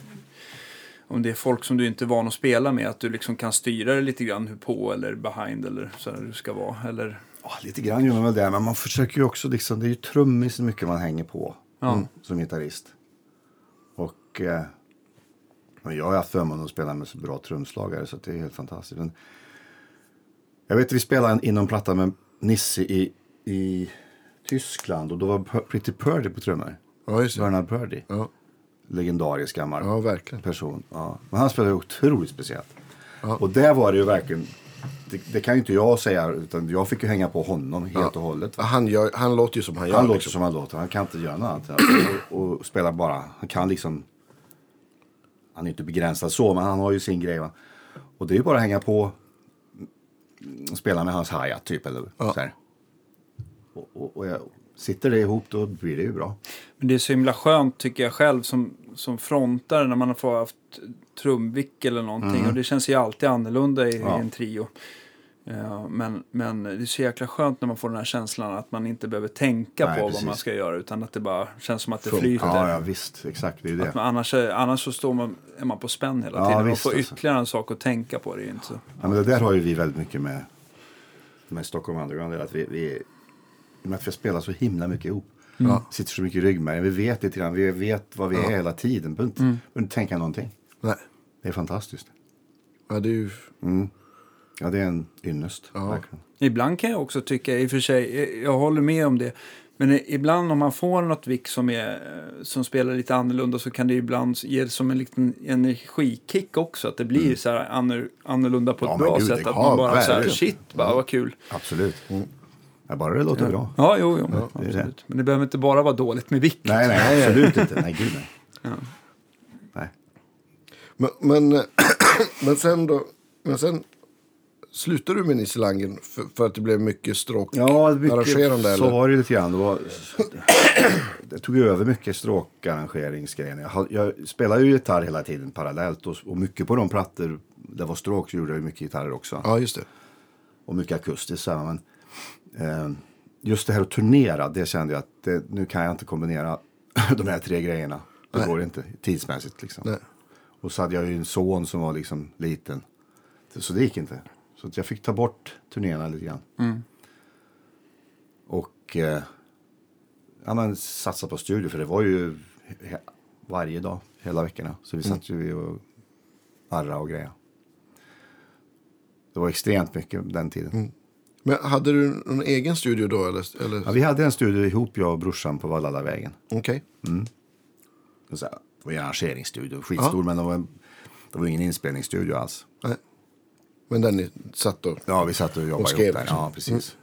Speaker 1: om det är folk som du inte är van att spela med, att du liksom kan styra det lite grann hur på eller behind eller så här du ska vara? Eller
Speaker 2: Ja, lite grann gör man väl det, men man försöker ju också liksom, det är ju trummis mycket man hänger på
Speaker 1: Ja.
Speaker 2: mm, som gitarrist. Och eh, men jag har haft förmånen att spela med så bra trumslagare så att det är helt fantastiskt. Men, jag vet att vi spelade en- in någon platta med Nisse i, i Tyskland och då var P- Pretty Purdy på trummor.
Speaker 3: Ja, just det.
Speaker 2: Bernard Purdy,
Speaker 3: Ja,
Speaker 2: legendarisk gammal
Speaker 3: ja verkligen.
Speaker 2: person. Ja. Men han spelade ju otroligt speciellt. Och där var det ju verkligen, det, det kan ju inte jag säga, utan jag fick ju hänga på honom helt och hållet.
Speaker 3: Han, gör, han låter ju som han gör.
Speaker 2: Han låter
Speaker 3: liksom.
Speaker 2: som han låter, han kan inte göra något annat. Och, och spelar bara, han kan liksom, han är inte begränsad så, men han har ju sin grej. Va? Och det är ju bara att hänga på och spela med hans hi-hat typ. Eller, så här. Och, och, och jag, sitter det ihop då blir det ju bra.
Speaker 1: Men det är så himla skönt tycker jag själv som, som frontare när man har fått haft trumvick eller någonting. Och det känns ju alltid annorlunda i,
Speaker 2: Ja.
Speaker 1: i en trio. Eh, men, men det är så jäkla skönt när man får den här känslan att man inte behöver tänka
Speaker 2: Nej,
Speaker 1: på
Speaker 2: precis.
Speaker 1: vad man ska göra utan att det bara känns som att det
Speaker 3: Funkar.
Speaker 1: flyter.
Speaker 2: Ja, ja visst, exakt. Det är ju det.
Speaker 1: Men annars, är- annars så står man, är man på spänn hela
Speaker 2: Ja,
Speaker 1: tiden. Man
Speaker 2: visst,
Speaker 1: får
Speaker 2: alltså.
Speaker 1: ytterligare en sak att tänka på. Det är ju inte så.
Speaker 2: Ja, men det där har ju vi väldigt mycket med, med Stockholm Underground. det är Att vi, vi, I och med att vi spelar så himla mycket ihop. Sitter så mycket i ryggmärgen. Vi vet lite grann. Vi vet vad vi är hela tiden. Behöver inte, behöver inte tänka någonting.
Speaker 3: Nej.
Speaker 2: Det är fantastiskt.
Speaker 3: Ja, det är ju...
Speaker 2: Ja, det är en ynnest. verkligen.
Speaker 1: Ibland kan jag också tycka, i och för sig, eh, jag håller med om det. Men i- ibland om man får något vick som, är, eh, som spelar lite annorlunda så kan det ibland ge som en liten energikick också. Att det blir så här anor- annorlunda på ett
Speaker 2: Mm. Ja, men
Speaker 1: bra
Speaker 2: gud, det
Speaker 1: sätt. Att
Speaker 2: kan
Speaker 1: man
Speaker 2: Mm.
Speaker 1: bara så här,
Speaker 2: verkligen.
Speaker 1: shit, bara, vad kul.
Speaker 2: Absolut. Mm. Ja, bara det låter bra.
Speaker 1: Ja, jo, jo.
Speaker 2: det är det.
Speaker 1: absolut. Men det behöver inte bara vara dåligt med vick.
Speaker 2: Nej, nej, absolut inte. Nej, gud nej. nej.
Speaker 3: Men, men, men sen då... Men sen slutade du med Nisse Langen för, för att det blev mycket stråk
Speaker 2: Ja, mycket,
Speaker 3: arrangerande?
Speaker 2: så
Speaker 3: eller?
Speaker 2: var det lite grann. Det, var, det tog över mycket stråkarrangeringsgrejerna. Jag, hade- jag spelade ju gitarr hela tiden parallellt och, och mycket på de plattor där det var stråk så gjorde jag ju mycket gitarrer också.
Speaker 3: Ja, just det.
Speaker 2: Och mycket akustiskt. så här, Men, eh, just det här att turnera, det kände jag att det, nu kan jag inte kombinera de här tre grejerna. Det går inte tidsmässigt liksom.
Speaker 3: Nej.
Speaker 2: Och så hade jag ju en son som var liksom liten. Så det gick inte. Så att jag fick ta bort turnéerna lite grann. Och eh, ja, men satsa på studier, för det var ju he- varje dag, hela veckorna. Så vi satt ju och arra och grejer. Det var extremt mycket den tiden.
Speaker 3: Men hade du någon egen studio då? Eller, eller?
Speaker 2: Ja, vi hade en studio ihop, jag och brorsan, på Valladavägen.
Speaker 3: Okej.
Speaker 2: Det var en arrangeringsstudio, skitstor, men det var, en, det var ingen inspelningsstudio alls.
Speaker 3: Nej. Men den ni satt och...
Speaker 2: Ja, vi satt och jobbade
Speaker 3: skrev
Speaker 2: ihop där.
Speaker 3: liksom.
Speaker 2: Ja, precis.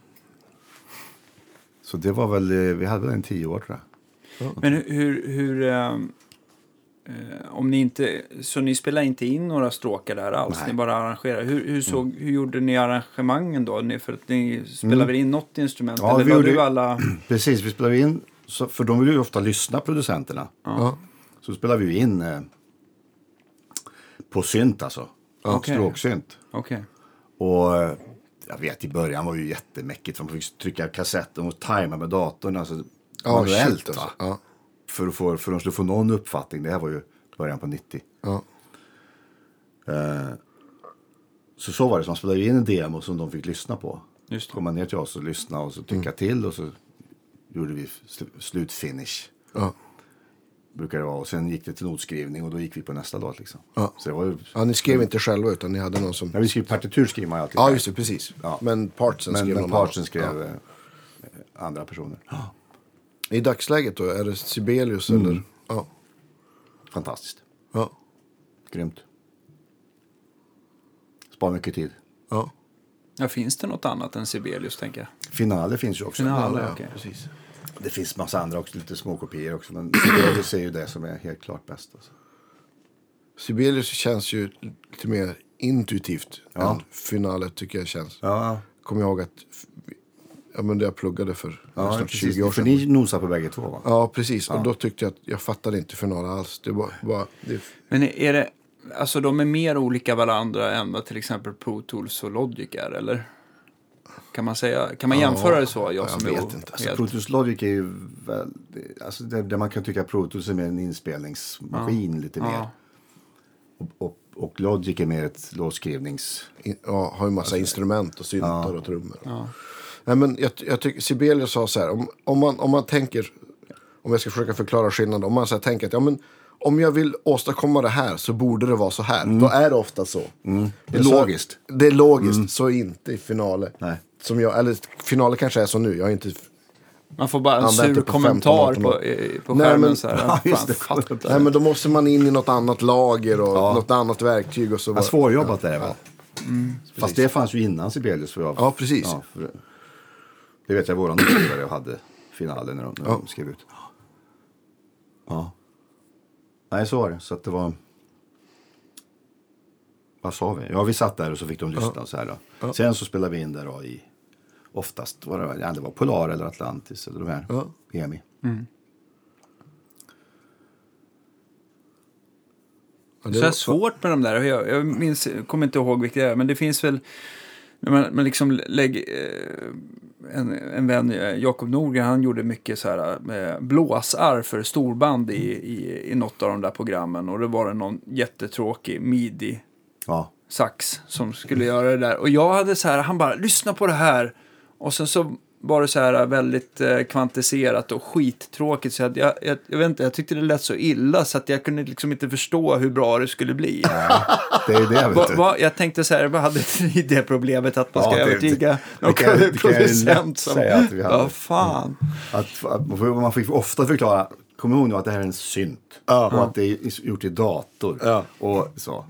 Speaker 2: Så det var väl, eh, vi hade väl en tio år tror jag.
Speaker 1: Men hur... hur, hur ehm, eh, om ni inte, så ni spelar inte in några stråkar där alls,
Speaker 2: Nej. Mm.
Speaker 1: ni bara arrangerar. Hur, hur, såg, hur gjorde ni arrangemangen då? Ni, för att ni spelade väl in något instrument?
Speaker 2: Ja,
Speaker 1: eller
Speaker 2: vi
Speaker 1: la
Speaker 2: gjorde-
Speaker 1: du alla...
Speaker 2: Precis, vi spelade in, så, för de vill ju ofta lyssna producenterna.
Speaker 3: Ja.
Speaker 2: Så spelar vi ju in eh, på synt alltså.
Speaker 1: Okej.
Speaker 2: Stråksynt.
Speaker 1: Okej.
Speaker 2: Och eh, jag vet i början var det ju jättemäckigt för man fick trycka kassetten och tajma med datorn. Alltså,
Speaker 3: Ja,
Speaker 2: manuellt
Speaker 3: shit, alltså.
Speaker 2: va?
Speaker 3: Ja.
Speaker 2: För, att få, för att de skulle få någon uppfattning. Det här var ju början på 90.
Speaker 3: Ja.
Speaker 2: Så så var det, så man spelade ju in en demo som de fick lyssna på.
Speaker 1: Just det.
Speaker 2: kom man ner till oss och lyssnade och så tycka
Speaker 3: Mm.
Speaker 2: till och så gjorde vi sl- slutfinish.
Speaker 3: Ja.
Speaker 2: Brukar det vara. Och sen gick det till notskrivning och då gick vi på nästa låt liksom.
Speaker 3: Ja.
Speaker 2: Så det var ju...
Speaker 3: ja, ni skrev inte själva utan ni hade någon
Speaker 2: När
Speaker 3: som...
Speaker 2: vi skrev partitur skrev man ju alltid.
Speaker 3: Ja, just det, precis.
Speaker 2: Ja.
Speaker 3: Men partsen
Speaker 2: men
Speaker 3: skrev
Speaker 2: men
Speaker 3: någon
Speaker 2: Parsen
Speaker 3: annan.
Speaker 2: skrev
Speaker 3: Ja.
Speaker 2: eh, andra personer.
Speaker 3: I dagsläget då, är det Sibelius
Speaker 2: Mm.
Speaker 3: eller? Ja.
Speaker 2: Fantastiskt.
Speaker 3: Ja.
Speaker 2: Grymt. Spar mycket tid.
Speaker 3: Ja.
Speaker 1: Ja, finns det något annat än Sibelius, tänker jag?
Speaker 2: Finaler finns ju också.
Speaker 1: Finale,
Speaker 2: ja.
Speaker 1: okej.
Speaker 3: Precis.
Speaker 2: Det finns massa andra också, lite små kopior också. Men Sibelius är ju det som är helt klart bäst. Alltså.
Speaker 3: Sibelius känns ju lite mer intuitivt än finalet tycker jag känns.
Speaker 2: Ja,
Speaker 3: Kommer jag ihåg att ja, men det jag pluggade för
Speaker 2: ja
Speaker 3: snart 20
Speaker 2: precis.
Speaker 3: år
Speaker 2: För
Speaker 3: sedan.
Speaker 2: ni nosar på bägge två va?
Speaker 3: Ja, precis. Och då tyckte jag att jag fattade inte finalen alls. Det var bara... Det,
Speaker 1: Men är- är det... Alltså, de är mer olika varandra än vad till exempel Pro Tools och Logic är, eller? Kan man säga... Kan man jämföra det så? Jag,
Speaker 3: jag
Speaker 1: som är
Speaker 3: vet
Speaker 1: o-
Speaker 3: inte.
Speaker 2: Alltså,
Speaker 1: helt-
Speaker 2: Pro Tools Logic är ju väl, alltså det, det man kan tycka Pro Tools är mer en inspelningsmaskin lite mer.
Speaker 1: Ja.
Speaker 2: Och, och, och Logic är mer ett låtskrivnings...
Speaker 3: in, ja, har ju massa instrument och syntar och trummor.
Speaker 1: Ja.
Speaker 3: Nej, men jag, jag tycker Sibelius sa så här, om, om, man, om man tänker, om jag ska försöka förklara skillnaden, om man så här tänker att ja, men, om jag vill åstadkomma det här så borde det vara så här. Då är det ofta så.
Speaker 2: Mm. Det är
Speaker 3: Så-
Speaker 2: logiskt. Mm.
Speaker 3: Det är logiskt, så inte i finaler.
Speaker 2: Nej.
Speaker 3: Som jag, eller finaler kanske är så nu, jag har inte
Speaker 1: Man får bara en
Speaker 3: Använt det
Speaker 1: sur
Speaker 2: typ
Speaker 3: på
Speaker 1: kommentar
Speaker 3: 15-18
Speaker 1: på, eh, på
Speaker 3: Nej,
Speaker 1: skärmen.
Speaker 3: men-
Speaker 1: så här,
Speaker 2: Ja, just
Speaker 1: Fan,
Speaker 2: det.
Speaker 1: fattar.
Speaker 3: Nej, men då måste man in i något annat lager och något annat verktyg. Och så
Speaker 2: Ja,
Speaker 3: bara...
Speaker 2: svårjobbat är det väl? Fast
Speaker 3: precis.
Speaker 2: det fanns ju innan Sibelius. För jag,
Speaker 3: Ja, precis.
Speaker 2: för, det vet jag våran utgivare hade finalen när de, när de skrev ut. Ja. Nej, så var det. Så att det var... Vad sa vi? Ja, vi satt där och så fick de lyssna. och Så här då. Sen så spelade vi in där då i... Oftast var det, ja, det var Polar eller Atlantis eller de här.
Speaker 3: Ja.
Speaker 2: EMI.
Speaker 3: Ja,
Speaker 1: Det är svårt med de där. Jag, jag minns, kommer inte ihåg vilka det är, men det finns väl... När man, man liksom lägg, eh, en, en vän, eh, Jakob Norgren, han gjorde mycket så här, eh, blåsar för storband i, i, i något av de där programmen. Och det var det någon jättetråkig midi
Speaker 2: Ja.
Speaker 1: sax som skulle göra det där. Och jag hade så här, han bara, lyssna på det här. Och sen så var det så här väldigt eh, kvantiserat och skittråkigt. Så att jag, jag, jag vet inte, jag tyckte det lät så illa så att jag kunde liksom inte förstå hur bra det skulle bli.
Speaker 2: Det är det, vet
Speaker 1: Va,
Speaker 2: du.
Speaker 1: va, jag tänkte så här, vad hade ni det problemet att man ska
Speaker 2: Ja, det-
Speaker 1: övertyga
Speaker 2: det-
Speaker 1: någon
Speaker 2: det kan jag- det kan jag
Speaker 1: producent
Speaker 2: lätt
Speaker 1: som...
Speaker 2: säga att vi hade.
Speaker 1: Ja, fan.
Speaker 2: Att, att man, får, man fick ofta förklara, kom ihåg nu att det här är en synt. Och att det är gjort i dator.
Speaker 3: Ja.
Speaker 2: Och så.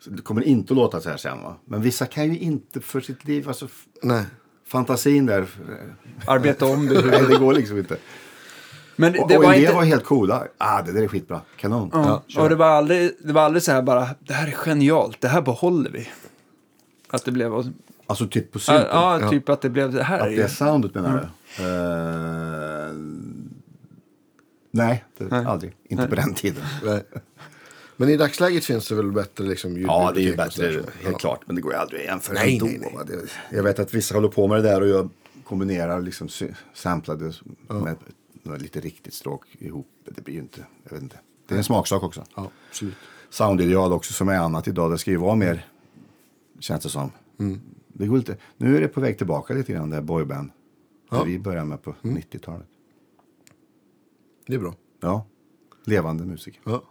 Speaker 2: så det kommer inte att låta så här sen va? Men vissa kan ju inte för sitt liv, alltså f-
Speaker 3: Nej.
Speaker 2: fantasin där.
Speaker 1: Arbeta om det.
Speaker 2: Nej, det går liksom inte.
Speaker 1: Men
Speaker 2: Och,
Speaker 1: det
Speaker 2: och
Speaker 1: var
Speaker 2: en del
Speaker 1: inte...
Speaker 2: var helt coola. Ah, det där är skitbra. Kanon.
Speaker 1: Ja,
Speaker 2: kör.
Speaker 1: och det var, aldrig, det var aldrig så här bara, det här är genialt, det här behåller vi. Att det blev... åt-
Speaker 2: Alltså titt på synten.
Speaker 1: Ja, ja, typ Mm. att det blev det här.
Speaker 2: Att det
Speaker 1: ju.
Speaker 2: är soundet menar du? Eh, nej, det, aldrig. Inte på den tiden.
Speaker 3: Nej. Men i dagsläget finns det väl bättre liksom,
Speaker 2: Ja, det är ju
Speaker 3: ljudbibliotek och
Speaker 2: bättre,
Speaker 3: sådär
Speaker 2: helt
Speaker 3: som-
Speaker 2: klart. Men det går ju aldrig att jämföra
Speaker 3: Nej,
Speaker 2: ändå.
Speaker 3: nej, nej.
Speaker 2: va. Det, jag vet att vissa håller på med det där och jag kombinerar liksom sy- samplade med några lite riktigt stråk ihop. Det blir ju inte, jag vet inte. Det är en smaksak också.
Speaker 3: Ja. Ja, absolut.
Speaker 2: Soundideal också som är annat idag. Det ska ju vara mer, känns det som. Det går lite, nu är det på väg tillbaka lite grann, det här boyband. Det vi började med på 90-talet.
Speaker 3: Det är bra.
Speaker 2: Ja, levande musik.
Speaker 3: Ja.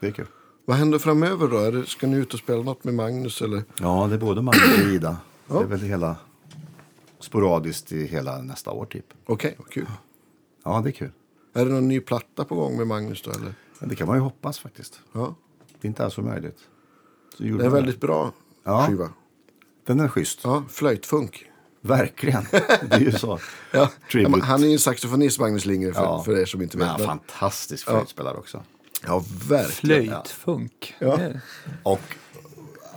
Speaker 2: Det är kul.
Speaker 3: Vad händer framöver då? Är det, ska ni ut och spela något med Magnus? Eller?
Speaker 2: Ja, det är både Magnus och Ida. Det är väl hela sporadiskt i hela nästa år typ.
Speaker 3: Okej, vad kul.
Speaker 2: Ja, det är kul.
Speaker 3: Är det någon ny platta på gång med Magnus då? Eller?
Speaker 2: Men det kan man ju hoppas faktiskt.
Speaker 3: Ja.
Speaker 2: Det är inte alls omöjligt. Så gjorde
Speaker 3: Det är en
Speaker 2: man
Speaker 3: väldigt bra
Speaker 2: Ja.
Speaker 3: skiva.
Speaker 2: Den är schysst.
Speaker 3: Ja, flöjtfunk.
Speaker 2: Verkligen. Det är ju så.
Speaker 3: Ja.
Speaker 2: Tribute.
Speaker 3: men Han är ju en saxofonist, Magnus Lindgren, för,
Speaker 2: Ja.
Speaker 3: för er som inte
Speaker 2: Men
Speaker 3: vet.
Speaker 2: han är
Speaker 3: Men-
Speaker 2: fantastisk flöjtspelare också.
Speaker 3: ja verkligen.
Speaker 1: Flöjtfunk. Det-
Speaker 2: Och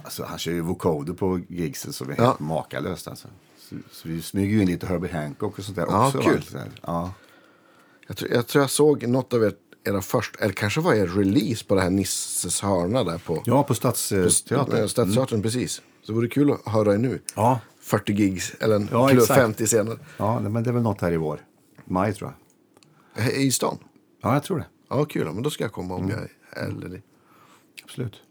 Speaker 2: alltså, han kör ju vocoder på gigsen som är
Speaker 3: Ja.
Speaker 2: helt makalöst. Alltså. Så, så vi smyger ju in lite Herbie Hancock och sånt där
Speaker 3: Ja,
Speaker 2: också. va?
Speaker 3: kul.
Speaker 2: Så här, Ja.
Speaker 3: Jag tror, jag tror jag såg något av er, era först, eller kanske var er release på det här Nisses hörna där på
Speaker 2: ja, på Stadsteatern. Mm.
Speaker 3: eh, Stadsteatern, precis. Så det vore kul att höra er nu.
Speaker 2: Ja.
Speaker 3: 40 gigs, eller en
Speaker 2: Ja,
Speaker 3: klubb
Speaker 2: exakt.
Speaker 3: 50 senare.
Speaker 2: Ja, nej, men det är väl något här i vår. Maj tror jag.
Speaker 3: Eh, I stan?
Speaker 2: Ja, jag tror det.
Speaker 3: Ja, kul. Ja, Men då ska jag
Speaker 2: Mm.
Speaker 3: komma om jag är eller
Speaker 2: Absolut.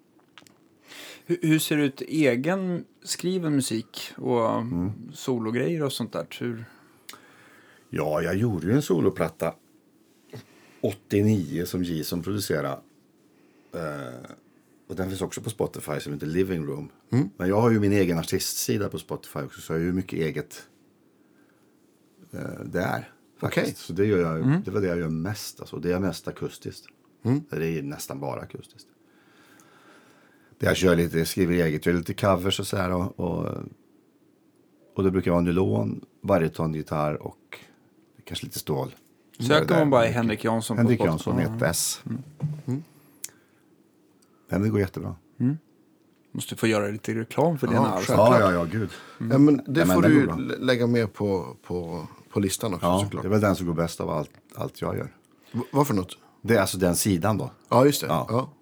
Speaker 1: Hur, hur ser det ut egen skriven musik och
Speaker 2: Mm.
Speaker 1: sologrejer och sånt där? Hur,
Speaker 2: Ja, jag gjorde ju en soloplatta 89 som Jason producerade. Eh, och den finns också på Spotify som heter Living Room.
Speaker 1: Mm.
Speaker 2: Men jag har ju min egen artistsida på Spotify också så jag har ju mycket eget eh, där. faktiskt.
Speaker 3: Okej.
Speaker 2: Så det, gör jag,
Speaker 1: Mm.
Speaker 2: det var det jag gör mest. Alltså. Det är mest akustiskt. Det är nästan bara akustiskt. Där jag kör lite, skriver eget, gör lite covers och sådär. Och, och, och det brukar vara nylon, barytongitarr och kanske lite stål.
Speaker 1: söker
Speaker 2: där.
Speaker 1: man bara i Henrik Jansson
Speaker 2: Henrik
Speaker 1: på
Speaker 2: Jansson med ett S.
Speaker 3: Mm.
Speaker 2: Nej, men det går jättebra.
Speaker 1: Måste få göra lite reklam för det.
Speaker 3: Ja, Mm.
Speaker 1: när allt-
Speaker 3: självklart.
Speaker 2: ja, ja, gud.
Speaker 3: Ja, men det
Speaker 2: men
Speaker 3: får
Speaker 2: det
Speaker 3: du
Speaker 2: går bra.
Speaker 3: ju lä- lägga med på, på, på listan också
Speaker 2: Ja,
Speaker 3: såklart.
Speaker 2: det är väl den som går bäst av allt, allt jag gör.
Speaker 3: V- Vad för något?
Speaker 2: Det är alltså den sidan då.
Speaker 3: Ja, just det.
Speaker 2: Ja.
Speaker 3: Ja. Ja.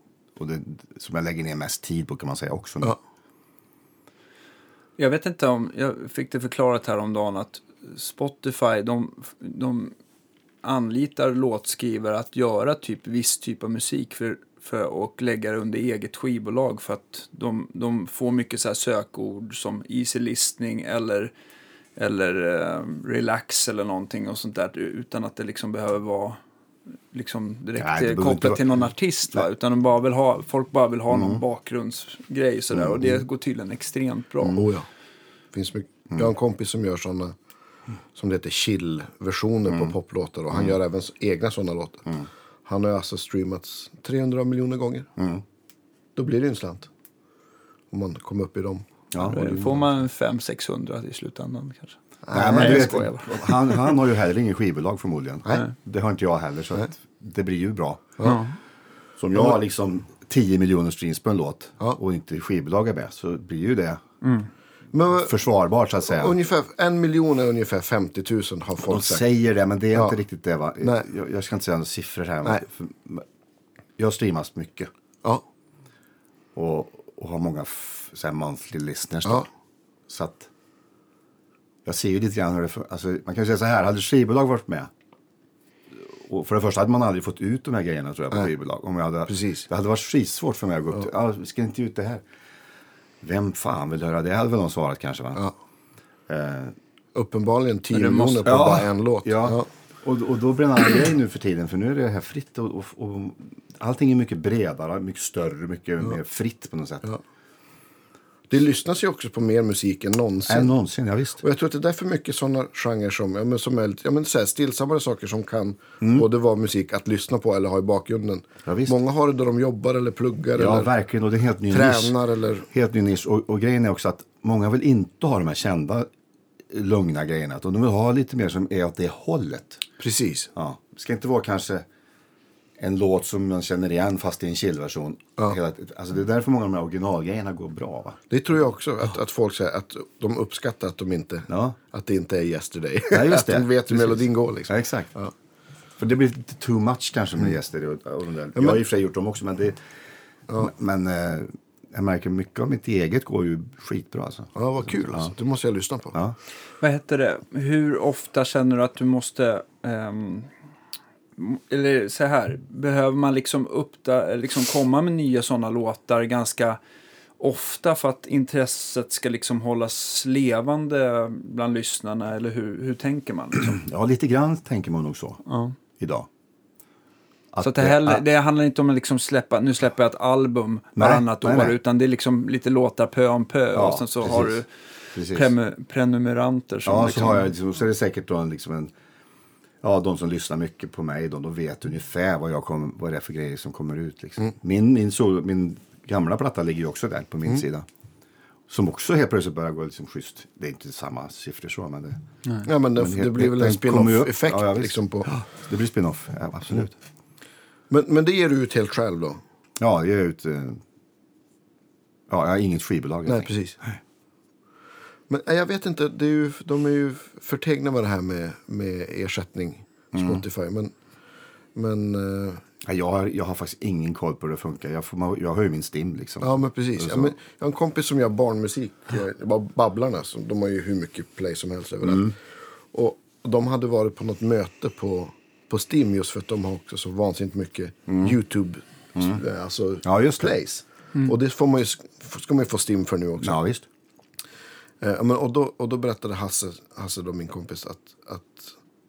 Speaker 2: Och det, som jag lägger ner mest tid på kan man säga också. nu.
Speaker 3: Ja.
Speaker 1: Jag vet inte om, jag fick det förklarat häromdagen att Spotify, de, de anlitar låtskrivare att göra typ viss typ av musik för, för och lägga det under eget skivbolag för att de, de får mycket så här sökord som easy listening eller eller eh, relax eller någonting och sånt där utan att det liksom behöver vara liksom direkt
Speaker 2: Nej, det
Speaker 1: eh,
Speaker 2: behöver inte
Speaker 1: kopplat
Speaker 2: vara- Mm.
Speaker 1: till någon artist. Va? Utan de bara vill ha, folk bara vill ha någon bakgrundsgrej sådär och det går tydligen extremt bra.
Speaker 2: Mm.
Speaker 3: Oh, ja. Finns mycket. Jag har en kompis som gör sådana som det heter chill-versioner
Speaker 2: Mm.
Speaker 3: på poplåtar och han gör även s- egna sådana låtar. Han har ju alltså streamats 300 miljoner gånger.
Speaker 2: Mm.
Speaker 3: Då blir det ju en slant. Om man kommer upp i dem.
Speaker 2: Ja.
Speaker 1: Då Får man 500-600 i slutändan kanske.
Speaker 2: Nej, men du
Speaker 1: jag
Speaker 2: vet,
Speaker 1: skojar bara.
Speaker 2: han, han har ju heller ingen skivbolag förmodligen.
Speaker 3: Nej.
Speaker 2: Det har inte jag heller, så att det blir ju bra.
Speaker 1: Ja.
Speaker 2: Så om jag har liksom 10 miljoner streams på en låt
Speaker 3: Ja.
Speaker 2: och inte skivbolag är bäst så blir ju det
Speaker 3: Men vad-
Speaker 2: försvarbart så att säga.
Speaker 3: ungefär, en miljon är ungefär 50 000 har
Speaker 2: De
Speaker 3: folk sagt.
Speaker 2: säger det, men det är
Speaker 3: Ja.
Speaker 2: inte riktigt det. Va?
Speaker 3: Nej.
Speaker 2: Jag, jag ska inte säga några siffror här.
Speaker 3: Nej.
Speaker 2: Men för, jag streamas mycket
Speaker 3: Ja,
Speaker 2: och, och har många f- så här monthly listeners. då.
Speaker 3: Ja.
Speaker 2: Så att jag ser ju lite grann hur det för, alltså, Man kan ju säga så här, hade skivbolag varit med och för det första hade man aldrig fått ut de här grejerna tror jag på
Speaker 3: Nej.
Speaker 2: skivbolag. Om jag hade,
Speaker 3: Precis.
Speaker 2: Det hade varit skitsvårt för mig att gå upp till, ah, vi ska inte ut det här. Vem fan vill höra det? hade väl någon svarat kanske va?
Speaker 3: Ja.
Speaker 2: Eh,
Speaker 3: uppenbarligen 10
Speaker 1: Men det
Speaker 3: miljoner
Speaker 1: måste-
Speaker 3: på bara en låt.
Speaker 2: Ja.
Speaker 3: Ja.
Speaker 2: Och, och då blir det en annan grej nu för tiden. För nu är det här fritt. Och, och, och allting är mycket bredare, mycket större, mycket mer fritt på något sätt.
Speaker 3: Det lyssnas ju också på mer musik än någonsin.
Speaker 2: Än någonsin, ja visst.
Speaker 3: Och jag tror att det är därför mycket sådana genrer som, ja, men som är lite, ja, men så här, stillsammare saker som kan både vara musik att lyssna på eller ha i bakgrunden.
Speaker 2: Mm. Ja, visst.
Speaker 3: Många har det där de jobbar eller pluggar
Speaker 2: Ja,
Speaker 3: eller
Speaker 2: verkligen. Och det är en helt ny nisch.
Speaker 3: tränar eller...
Speaker 2: Helt ny nisch. Och, och grejen är också att många vill inte ha de här kända lugna grejerna. Utan de vill ha lite mer som är åt det hållet.
Speaker 3: Precis.
Speaker 2: Ja. Det ska inte vara kanske en låt som man känner igen fast i en chillversion.
Speaker 3: Ja.
Speaker 2: Hela- Alltså det är därför många av de här originalgrejerna går bra. Va?
Speaker 3: Det tror jag också, att, att folk säger att de uppskattar att, de inte,
Speaker 2: Ja.
Speaker 3: att det inte är yesterday.
Speaker 2: Ja, just
Speaker 3: att de
Speaker 2: det.
Speaker 3: vet hur
Speaker 2: Precis.
Speaker 3: melodin går liksom.
Speaker 2: Ja, exakt. För det blir lite too much kanske med gäster. Och, och de där.
Speaker 3: men-
Speaker 2: Jag har i och för sig gjort dem också, men det... Men eh, jag märker mycket av mitt eget går ju skitbra alltså.
Speaker 3: Ja, vad kul alltså. Det måste jag lyssna på.
Speaker 2: Ja.
Speaker 1: Vad heter det? Hur ofta känner du att du måste... ehm, m- eller så här, behöver man liksom, uppda, liksom komma med nya sådana låtar ganska ofta för att intresset ska liksom hållas levande bland lyssnarna? Eller hur, hur tänker man? Liksom?
Speaker 2: ja, lite grann tänker man nog så idag.
Speaker 1: Så att det, heller, det handlar inte om att liksom släppa, nu släpper jag ett album
Speaker 2: Nej,
Speaker 1: varannat
Speaker 2: nej,
Speaker 1: år,
Speaker 2: nej.
Speaker 1: utan det är liksom lite låtar pö om pö
Speaker 2: Ja,
Speaker 1: och sen så
Speaker 2: precis.
Speaker 1: har du
Speaker 2: Precis.
Speaker 1: premu- prenumeranter som
Speaker 2: Ja,
Speaker 1: liksom,
Speaker 2: så, har jag, liksom, så är det säkert då en, liksom en... Ja, de som lyssnar mycket på mig, de, de vet ungefär vad, jag kommer, vad det är för grejer som kommer ut. Liksom.
Speaker 3: Mm.
Speaker 2: Min, min, sol, min gamla platta ligger ju också där på min
Speaker 3: Mm.
Speaker 2: sida. Som också helt plötsligt börjar gå liksom schysst. Det är inte samma siffror så, men det,
Speaker 3: Ja, men det,
Speaker 2: Men helt-
Speaker 3: det blir väl
Speaker 2: den
Speaker 3: en
Speaker 2: kommer ju upp.
Speaker 3: spin-off-effekt.
Speaker 2: Ja, ja, visst.
Speaker 3: liksom på. Mm.
Speaker 2: det blir spin-off. Ja, absolut.
Speaker 3: men, men det ger du ut helt själv då?
Speaker 2: Ja, jag är ut... eh, Ja, jag har inget skivbolag. helt
Speaker 3: Nej,
Speaker 2: enkelt.
Speaker 3: precis. Men nej, jag vet inte, det är ju, de är ju förtegna med det här med, med ersättning, Spotify. Men, men, eh,
Speaker 2: Nej, jag, har, jag har faktiskt ingen koll på hur det funkar. Jag, får, man- jag har ju min STIM liksom.
Speaker 3: ja, men precis. Ja, men, jag har en kompis som gör barnmusik, eh, bara Babblarna, som, de har ju hur mycket play som helst överallt. Och de hade varit på något möte på, på Steam just för att de har också så vansinnigt mycket YouTube, eh, alltså
Speaker 2: Ja, just det.
Speaker 3: plays. Och det får man ju, ska man ju få Steam för nu också.
Speaker 2: ja visst.
Speaker 3: Eh, ja, men, och, då, och då berättade Hasse, Hasse då, min kompis, att, att,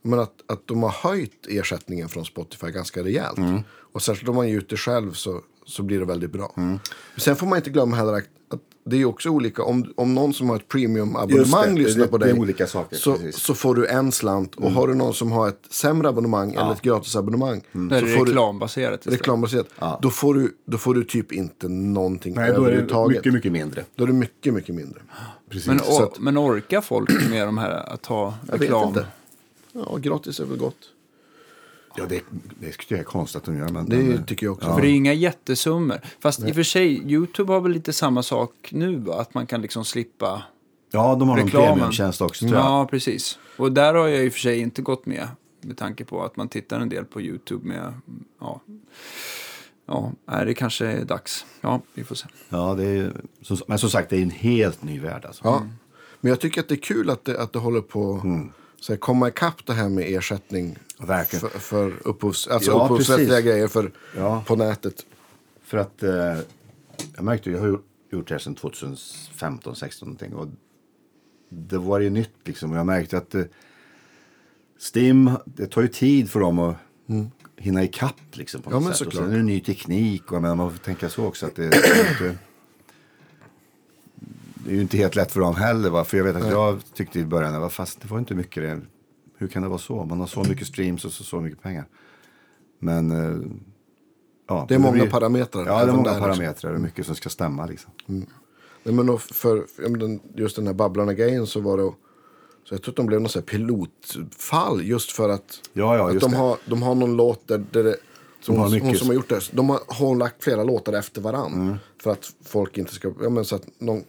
Speaker 3: men att, att de har höjt ersättningen från Spotify ganska rejält.
Speaker 2: Mm.
Speaker 3: Och särskilt om man ger ut det själv så, så blir det väldigt bra.
Speaker 2: Mm.
Speaker 3: Men sen får man inte glömma heller att, att det är också olika. Om, om någon som har ett
Speaker 2: Just det,
Speaker 3: premium-abonnemang
Speaker 2: det-
Speaker 3: lyssnar
Speaker 2: det-
Speaker 3: på
Speaker 2: det
Speaker 3: dig
Speaker 2: är olika saker,
Speaker 3: så,
Speaker 2: precis. Mm.
Speaker 3: så får du en slant. Och har du någon som har ett sämre abonnemang eller ett gratisabonnemang
Speaker 2: Mm.
Speaker 1: där
Speaker 3: så
Speaker 1: är det
Speaker 3: får du
Speaker 1: reklambaserat. istället.
Speaker 3: reklambaserat. Då, får du, då får du typ inte någonting
Speaker 2: Nej, då är det
Speaker 3: överhuvudtaget.
Speaker 2: mycket, mycket mindre.
Speaker 3: Då är det mycket, mycket mindre.
Speaker 2: Precis.
Speaker 1: Men,
Speaker 3: Så
Speaker 1: or-
Speaker 3: att-
Speaker 1: men orkar folk med de här att ta
Speaker 3: Jag vet
Speaker 1: reklam?
Speaker 3: inte. Ja, gratis är väl gott.
Speaker 2: ja, det, det tycker jag är typ konstigt att de gör. Men,
Speaker 3: Det
Speaker 2: men,
Speaker 3: tycker jag också.
Speaker 1: För det är inga jättesummor. Fast i och för sig, YouTube har väl lite samma sak nu va? Att man kan liksom slippa
Speaker 2: ja, de har någon
Speaker 1: reklamen.
Speaker 2: premiumtjänst också tror jag.
Speaker 1: Ja, precis. Och där har jag i och för sig inte gått med. Med tanke på att man tittar en del på YouTube med, ja, ja, nej, det kanske är dags. Ja, vi får se.
Speaker 2: Ja, det är, som, men som sagt, det är en helt ny värld alltså.
Speaker 3: Ja. Men jag tycker att det är kul att det, att det håller på att så här, komma ikapp det här med ersättning
Speaker 2: Mm. Verkligen.
Speaker 3: för, för upphovs, alltså
Speaker 2: Ja,
Speaker 3: upphovsrättsliga
Speaker 2: precis.
Speaker 3: grejer för,
Speaker 2: Ja.
Speaker 3: på nätet.
Speaker 2: För att eh, jag märkte, jag har ju gjort det här sedan 2015, 16 någonting. Och det var ju nytt liksom. Och jag märkte att eh, STIM, det tar ju tid för dem att hinna ikapp liksom. På
Speaker 3: Mm. Ja,
Speaker 2: något
Speaker 3: men
Speaker 2: sätt. Och
Speaker 3: såklart.
Speaker 2: sen är det ny teknik och jag menar, man får tänka så också. Att det, det är ju inte, det är ju inte helt lätt för dem heller. Va? För jag vet att jag tyckte i början, va, fast det var inte mycket det. Hur kan det vara så? Man har
Speaker 3: Mm.
Speaker 2: så mycket streams och så, så mycket pengar. Men... eh, Ja,
Speaker 3: Det är många
Speaker 2: blir-
Speaker 3: parametrar.
Speaker 2: Ja, det är
Speaker 3: även
Speaker 2: många
Speaker 3: där, liksom.
Speaker 2: parametrar och mycket som ska stämma liksom.
Speaker 3: Nej, men och för, för ja, men den- just den här Babblarna-grejen så var det... Så jag tror att de blev något så här pilotfall just för att,
Speaker 2: Ja, ja,
Speaker 3: att
Speaker 2: just
Speaker 3: de,
Speaker 2: det.
Speaker 3: har, de har någon låt där, där det,
Speaker 2: Som har
Speaker 3: hon,
Speaker 2: mycket-
Speaker 3: hon som har gjort det. De har, har lagt flera låtar efter varann.
Speaker 2: Mm.
Speaker 3: För att folk inte ska... Ja, men så att någon,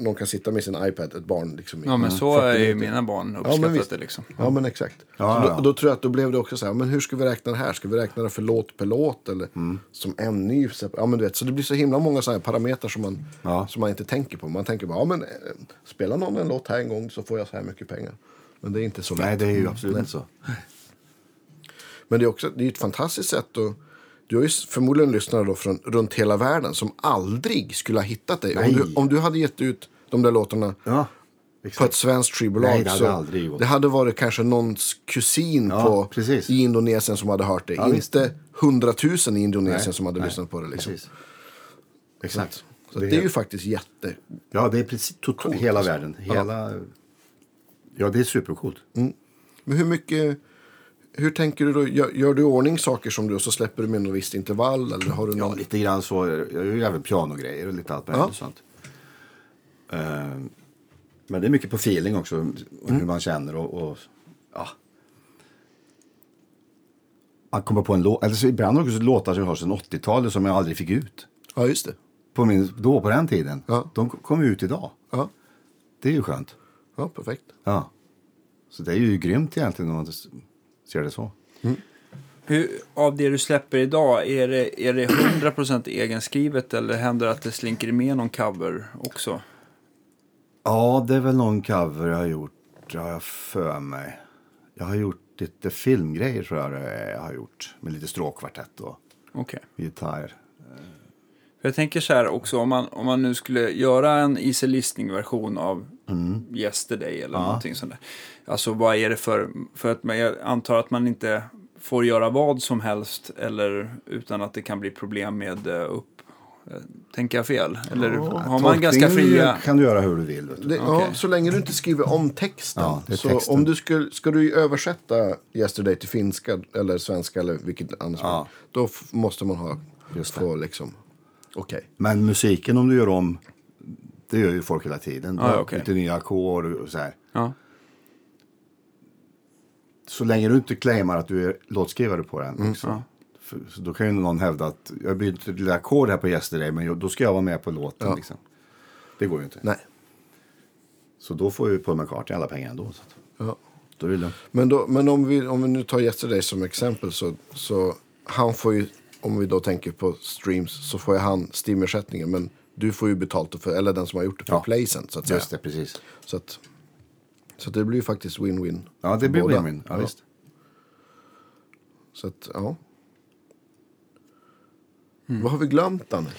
Speaker 3: någon kan sitta med sin iPad, ett barn liksom. i-
Speaker 1: Ja, men så är ju mina barn
Speaker 3: Ja, men
Speaker 1: uppskattat
Speaker 3: visst.
Speaker 1: det liksom.
Speaker 3: Ja, men exakt.
Speaker 2: Ja,
Speaker 3: så
Speaker 2: ja.
Speaker 3: då, då tror jag att då blev det också så här, men hur ska vi räkna det här? Ska vi räkna det för låt per låt eller
Speaker 2: Mm.
Speaker 3: som en ny? sep- Ja, men du vet, så det blir så himla många sådana här parametrar som man,
Speaker 2: Ja.
Speaker 3: som man inte tänker på. Man tänker bara, ja men eh, spelar någon en låt här en gång så får jag så här mycket pengar. Men det är inte så lätt.
Speaker 2: Nej, det är ju absolut inte så.
Speaker 3: Men det är också det är ett fantastiskt sätt att du har ju s- förmodligen lyssnare då från runt hela världen som aldrig skulle ha hittat dig. Om
Speaker 2: Nej.
Speaker 3: du, om du hade gett ut de där låtarna
Speaker 2: Ja,
Speaker 3: på ett svenskt skivbolag.
Speaker 2: Nej, det hade
Speaker 3: så
Speaker 2: aldrig gått.
Speaker 3: det hade varit kanske någons kusin
Speaker 2: Ja,
Speaker 3: på,
Speaker 2: precis.
Speaker 3: i Indonesien som hade hört det.
Speaker 2: visst.
Speaker 3: Inte hundratusen i Indonesien
Speaker 2: Nej,
Speaker 3: som hade
Speaker 2: nej,
Speaker 3: lyssnat på det. Liksom.
Speaker 2: Precis. Exakt.
Speaker 3: Så
Speaker 2: Mm. är
Speaker 3: det,
Speaker 2: alltså.
Speaker 3: är ju
Speaker 2: helt-
Speaker 3: faktiskt jätte...
Speaker 2: Ja, det är precis totalt hela världen. Hela... Ja, det är supercoolt.
Speaker 3: Men hur mycket... Hur tänker du då? Gör, gör du i ordning saker som du och så släpper du med något visst intervall? Eller har du
Speaker 2: Ja,
Speaker 3: någon...
Speaker 2: lite grann så. Jag gör ju även pianogrejer och lite allt möjligt
Speaker 3: Ja.
Speaker 2: sånt. Ehm, men det är mycket på feeling också. och Hur man känner och... och ja. Man kommer på en låt. Eller så ibland också låtar som jag har sedan 80-talet som jag aldrig fick ut.
Speaker 3: Ja, just det.
Speaker 2: På min, då, på den tiden.
Speaker 3: Ja.
Speaker 2: De kom ut idag.
Speaker 3: Ja,
Speaker 2: Det är ju skönt.
Speaker 3: ja perfekt.
Speaker 2: Ja. Så det är ju grymt egentligen om man s- ser det så.
Speaker 1: Hur, av det du släpper idag, är det, är det 100% egenskrivet eller händer det att det slinker med någon cover också?
Speaker 2: Ja, det är väl någon cover jag har gjort, har jag för mig. Jag har gjort lite filmgrejer tror jag det är jag har gjort. Med lite stråkkvartett och
Speaker 1: Okej.
Speaker 2: gitarr.
Speaker 1: För Jag tänker så här också, om man, om man nu skulle göra en easy listening-version av Yesterday eller någonting sånt där. Alltså vad är det för, för att man, jag antar att man inte får göra vad som helst eller utan att det kan bli problem med eh, upp... eh, Tänker jag fel? Eller har man ganska
Speaker 2: Tolkningen
Speaker 1: fria...
Speaker 2: kan du göra hur du vill. Vet du.
Speaker 3: Det, ja,
Speaker 1: Okej.
Speaker 3: så länge du inte skriver om texten.
Speaker 2: Ja, det är
Speaker 3: så
Speaker 2: texten.
Speaker 3: om du skulle, ska du översätta Yesterday till finska eller svenska eller vilket annat språk. Då f- måste man ha
Speaker 2: Just det.
Speaker 3: få liksom. Okej.
Speaker 2: Men musiken om du gör om, det gör ju folk hela tiden.
Speaker 1: Ja, okej.
Speaker 2: Lite nya ackord och så här.
Speaker 1: Ja.
Speaker 2: Så länge du inte claimar att du är låtskrivare på den.
Speaker 3: Mm,
Speaker 2: Också. För, så då kan ju någon hävda att jag byter lite ackord här på Yesterday men jag- då ska jag vara med på låten. Liksom. Det går ju inte.
Speaker 3: Nej.
Speaker 2: Så då får ju Paul McCartney alla pengar ändå. Så att,
Speaker 3: Ja.
Speaker 2: då är det lugnt.
Speaker 3: Men, då, men om, vi, om vi nu tar Yesterday som exempel så, så han får ju, om vi då tänker på streams, så får ju han Steam-ersättningen. Men du får ju betalt för, eller den som har gjort det för
Speaker 2: Ja.
Speaker 3: Placent så att säga.
Speaker 2: Just det, precis.
Speaker 3: Så att, så att det blir ju faktiskt win-win.
Speaker 2: Ja, det
Speaker 3: för
Speaker 2: blir
Speaker 3: båda.
Speaker 2: win-win. Ja, visst.
Speaker 3: Så att, ja.
Speaker 2: Mm.
Speaker 3: Vad har vi glömt, Danne?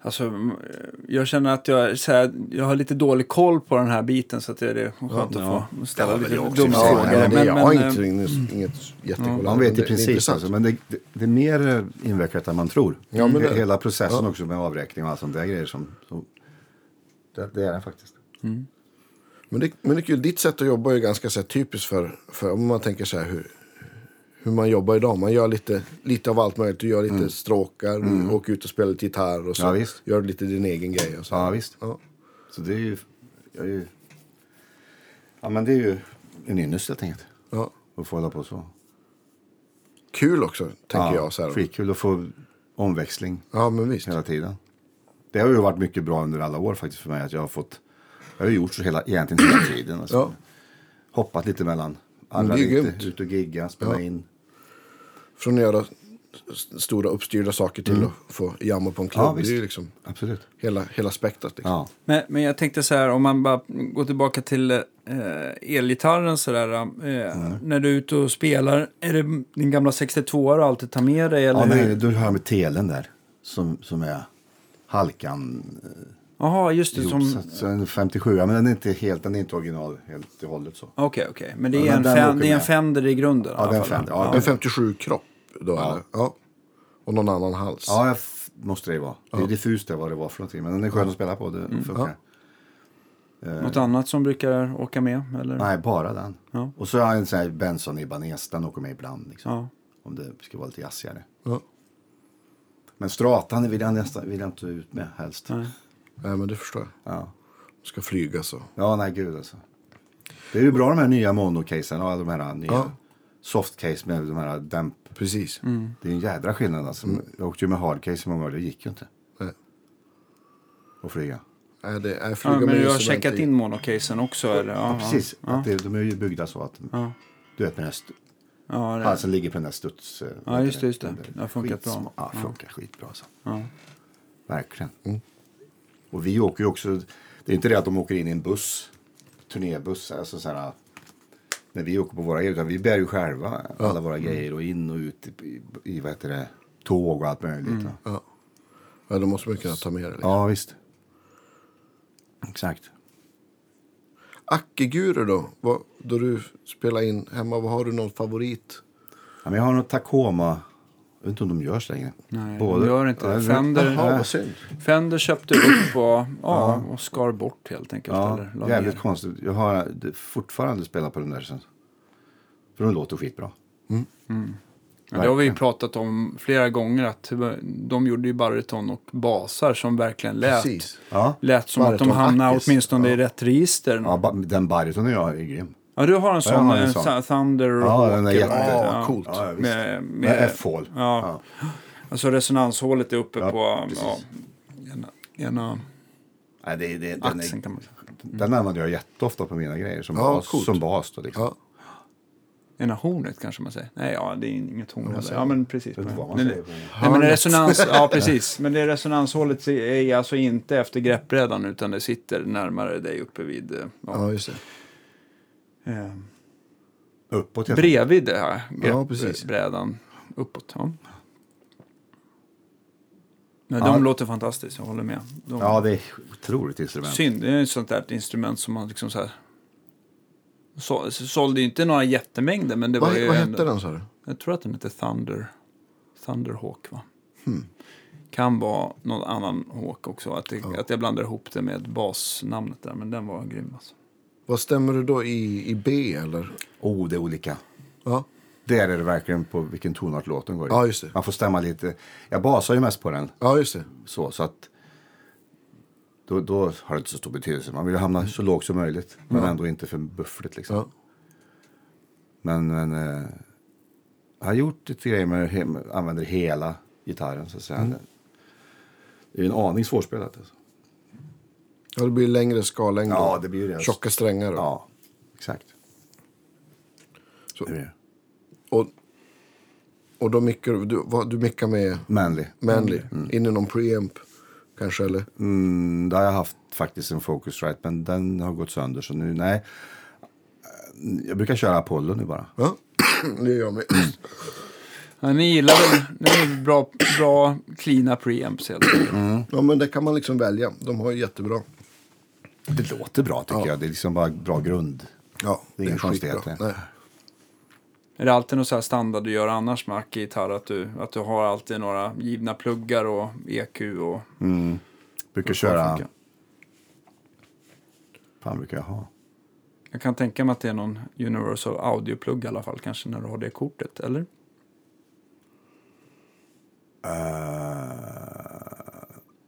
Speaker 1: Alltså, m- jag känner att jag, så här, jag har lite dålig koll på den här biten så att det är skönt
Speaker 2: Ja.
Speaker 1: att få ställa
Speaker 2: Ja, men
Speaker 1: lite
Speaker 2: jag
Speaker 1: dumma
Speaker 2: också. Ja,
Speaker 1: frågor.
Speaker 2: nej,
Speaker 3: det,
Speaker 1: men,
Speaker 3: jag har
Speaker 1: men,
Speaker 3: inget,
Speaker 1: eh,
Speaker 3: inget, inget jättekoll.
Speaker 2: Man
Speaker 3: men
Speaker 2: vet i
Speaker 3: det- det är
Speaker 2: princip,
Speaker 3: intressant.
Speaker 2: alltså, men det, det, det är mer eh, invecklat än man tror.
Speaker 3: Ja, men det-
Speaker 2: Hela processen också med avräkning och allt sånt där grejer. Som, som, det, det är den faktiskt.
Speaker 3: Men, det, men det är kul, ditt sätt att jobba är ju ganska så här, typiskt för, för om man tänker så här hur, hur man jobbar idag. Man gör lite, lite av allt möjligt. Du gör lite stråkar, du åker ut och spelar lite gitarr och så
Speaker 2: Mm. Ja, visst.
Speaker 3: gör du lite din egen grej. Och så.
Speaker 2: Ja, visst.
Speaker 3: Ja.
Speaker 2: Så det är ju... Jag är ju ja, men det är ju en ynnest helt enkelt.
Speaker 3: Ja.
Speaker 2: Att få hålla på så.
Speaker 3: Kul också, tänker
Speaker 2: ja,
Speaker 3: jag. Så här.
Speaker 2: Skitkul att få omväxling
Speaker 3: Ja, men visst.
Speaker 2: hela tiden. Det har ju varit mycket bra under alla år faktiskt för mig. Att jag har fått... Jag har ju gjort så hela, egentligen hela tiden. Alltså.
Speaker 3: Ja.
Speaker 2: Hoppat lite mellan. Alla
Speaker 3: det är grymt.
Speaker 2: lite, ut och gigga, spela
Speaker 3: Ja.
Speaker 2: in.
Speaker 3: Från att göra s- stora uppstyrda saker till att få jamma på en klubb.
Speaker 2: Mm. Ja,
Speaker 3: det
Speaker 2: visst.
Speaker 3: är ju liksom
Speaker 2: Absolut.
Speaker 3: hela, hela spektrat. Liksom.
Speaker 2: Ja.
Speaker 1: men, men jag tänkte så här, om man bara går tillbaka till eh, elgitarren så där. Eh,
Speaker 2: Mm.
Speaker 1: När du är ute och spelar, är det din gamla 62 du alltid tar med dig? Eller
Speaker 2: ja
Speaker 1: hur?
Speaker 2: nej, då har jag med telen där. Som, som är halkan. eh,
Speaker 1: Jaha, just det.
Speaker 2: ihop.
Speaker 1: Som...
Speaker 2: Så, så en 57, men den är inte helt, den är inte original helt och hållet så.
Speaker 1: Okej, okej. Men det
Speaker 2: Ja,
Speaker 1: är,
Speaker 2: men
Speaker 1: en,
Speaker 2: den
Speaker 1: fem,
Speaker 2: åker
Speaker 1: det är en
Speaker 2: med.
Speaker 1: Fender i grunden. i
Speaker 2: Ja,
Speaker 1: alla
Speaker 2: det är en
Speaker 1: fall.
Speaker 2: Fender. Ja,
Speaker 3: En 57-kropp då eller? Ja. Och någon annan hals.
Speaker 2: Ja, jag f- måste det vara. Det är diffust det vad det var för någonting. Men den är skön att spela på. Det
Speaker 1: Mm.
Speaker 2: funkar.
Speaker 1: Något annat som brukar åka med? Eller?
Speaker 2: Nej, bara den.
Speaker 1: Ja.
Speaker 2: Och så har jag en sån här Benson Ibanez. Den åker med ibland. Liksom.
Speaker 1: Ja.
Speaker 2: Om det ska vara lite jazzigare.
Speaker 3: Ja.
Speaker 2: Men Stratan vill jag nästan vill jag inte ut med helst.
Speaker 1: Nej.
Speaker 3: Nej, men det förstår jag.
Speaker 2: Ja.
Speaker 3: Ska flyga så.
Speaker 2: ja, nej gud alltså. Det är ju bra de här nya monocasen. Ja, de här nya
Speaker 3: Ja.
Speaker 2: softcase med de här dämp.
Speaker 3: Precis.
Speaker 2: Det är en jädra skillnad alltså.
Speaker 1: Mm.
Speaker 2: Jag åkte ju med hardcase i många år. Det gick ju inte
Speaker 3: Nej.
Speaker 2: att flyga.
Speaker 3: Nej, det är flyga
Speaker 1: Ja, men
Speaker 3: med
Speaker 1: du har
Speaker 3: instrument
Speaker 1: checkat
Speaker 3: i.
Speaker 1: in monocasen också? Eller? Ja,
Speaker 2: Ja, precis.
Speaker 1: Ja,
Speaker 2: Att det, de är ju byggda så att
Speaker 1: ja,
Speaker 2: du vet med den här st-
Speaker 1: ja, det-
Speaker 2: halsen ligger på den där studs... eh,
Speaker 1: Ja, just det, just det.
Speaker 2: den där
Speaker 1: Det har funkat bra.
Speaker 2: skitsma- Ja, funkar skitbra alltså.
Speaker 1: ja.
Speaker 2: Verkligen. Mm. Och vi åker ju också... Det är inte det att de åker in i en buss, turnébuss, alltså så här, när vi åker på våra grejer, utan vi bär ju själva alla våra
Speaker 1: Mm.
Speaker 2: grejer och in och ut i, i, i vad heter det, tåg och allt möjligt.
Speaker 1: Mm.
Speaker 2: va.
Speaker 3: Ja. ja, då måste man ju kunna ta med det. Liksom.
Speaker 2: Ja, visst. Exakt.
Speaker 3: Ackeguru då? Vad, då du spelar in hemma, vad har du någon favorit?
Speaker 2: Ja, men jag har något Tacoma. Jag vet inte om de görs längre.
Speaker 1: Nej, de gör inte det. Fender-
Speaker 2: Jaha,
Speaker 1: Nej.
Speaker 2: vad synd.
Speaker 1: Fender köpte upp och, ja, och skar bort helt enkelt.
Speaker 2: Ja,
Speaker 1: eller, la
Speaker 2: jävligt
Speaker 1: ner.
Speaker 2: konstigt. Jag har det- fortfarande spelat på den där sen. För de låter skitbra.
Speaker 1: Ja, det har vi ju pratat om flera gånger att de gjorde ju bariton och basar som verkligen lät,
Speaker 3: Precis.
Speaker 2: Ja,
Speaker 1: lät som att de
Speaker 3: Bariton,
Speaker 1: hamnade
Speaker 3: ackis.
Speaker 1: åtminstone i rätt register.
Speaker 2: ja
Speaker 1: Ja.
Speaker 2: ba- den baritonen jag har är grym.
Speaker 1: du har en sån,
Speaker 2: har en
Speaker 1: eh,
Speaker 2: sån.
Speaker 1: Th- Thunder
Speaker 2: Ja,
Speaker 1: Hawk
Speaker 2: den är
Speaker 1: eller
Speaker 2: jätte-
Speaker 1: vad det heter.
Speaker 3: Ja, coolt.
Speaker 2: Ja, ja, visst. Med,
Speaker 1: Med, med,
Speaker 2: F-hål.
Speaker 1: ja, alltså resonanshålet är uppe
Speaker 2: Ja,
Speaker 1: på
Speaker 2: precis.
Speaker 1: ja, ena, ena
Speaker 2: Nej, det, det, den,
Speaker 1: axeln
Speaker 2: är,
Speaker 1: kan man säga.
Speaker 2: den använder jag jätteofta på mina grejer som
Speaker 3: Mm. Ja,
Speaker 2: bas.
Speaker 3: coolt.
Speaker 2: Som bas då, liksom.
Speaker 3: Ja.
Speaker 1: Ena hornet kanske man säger. Nej, ja, det är inget horn. heller.
Speaker 2: säger-
Speaker 1: Ja, men precis.
Speaker 2: vet inte vad man
Speaker 1: Nej,
Speaker 2: säger på
Speaker 1: nej,
Speaker 3: det.
Speaker 1: men
Speaker 3: Hörnet.
Speaker 1: resonans, ja, precis. Men det resonanshålet är alltså inte efter greppbrädan utan det sitter närmare dig uppe vid... eh, Ja,
Speaker 3: Ja, just det.
Speaker 1: eh,
Speaker 2: Uppåt. helt enkelt.
Speaker 1: bredvid det här
Speaker 3: Ja, precis.
Speaker 1: greppbrädan uppåt. Ja. Men
Speaker 2: Ja.
Speaker 1: de låter fantastiskt, jag håller med. De,
Speaker 2: Ja, det är otroligt instrument.
Speaker 1: Synd, det är ett sånt där instrument som man liksom så här... Så, sålde ju inte några jättemängder men det var
Speaker 3: Vad,
Speaker 1: ju
Speaker 3: vad
Speaker 1: ändå-
Speaker 3: hette den sa du?
Speaker 1: Jag tror att den heter Thunder. Thunderhawk va? Kan vara någon annan hawk också. Att, det, att jag blandar ihop det med basnamnet där. Men den var grym alltså.
Speaker 3: Vad stämmer du då i, i B eller?
Speaker 2: Oh, det är olika.
Speaker 3: Ja.
Speaker 2: Där är det verkligen på vilken tonart låten går i.
Speaker 3: Ja, just det.
Speaker 2: Man får stämma lite. Jag basar ju mest på den.
Speaker 3: ja, just det.
Speaker 2: så, så att då, då har det inte så stor betydelse. Man vill ju hamna så lågt som möjligt, men ändå inte för buffligt. Liksom.
Speaker 3: Ja.
Speaker 2: Men, men eh, jag har gjort lite grejer med hem, använder hela gitarren. Så att säga. Mm. Det är ju en aning svårspelat. Alltså.
Speaker 3: ja, det blir längre skallängder.
Speaker 2: Ja, det blir ju det.
Speaker 3: Tjocka strängar. då.
Speaker 2: Ja, exakt.
Speaker 3: Så-
Speaker 2: Det blir det.
Speaker 3: Och, och då mickar du, du, vad, du mickar med
Speaker 2: Manly.
Speaker 3: Manly. In i någon preamp kanske eller?
Speaker 2: Mm, det har jag haft faktiskt en Focusrite, men den har gått sönder. Så nu, nej. Eh, Jag brukar köra Apollo nu bara.
Speaker 3: Ja, det gör jag med.
Speaker 1: Ja, ni gillar väl ni är väl bra, bra cleana preamps helt enkelt.
Speaker 3: Ja, men det kan man liksom välja. De har ju jättebra.
Speaker 2: Det låter bra tycker jag. Det är liksom bara bra grund.
Speaker 3: Ja,
Speaker 2: Det är inga konstigheter.
Speaker 3: skitbra. Nej.
Speaker 1: Är det alltid någon så här standard du gör annars med ackgitarr? Att du, att du har alltid några givna pluggar och EQ och...
Speaker 2: Brukar köra... fan brukar jag ha?
Speaker 1: Jag kan tänka mig att det är någon Universal Audio-plugg i alla fall kanske när du har det kortet, eller?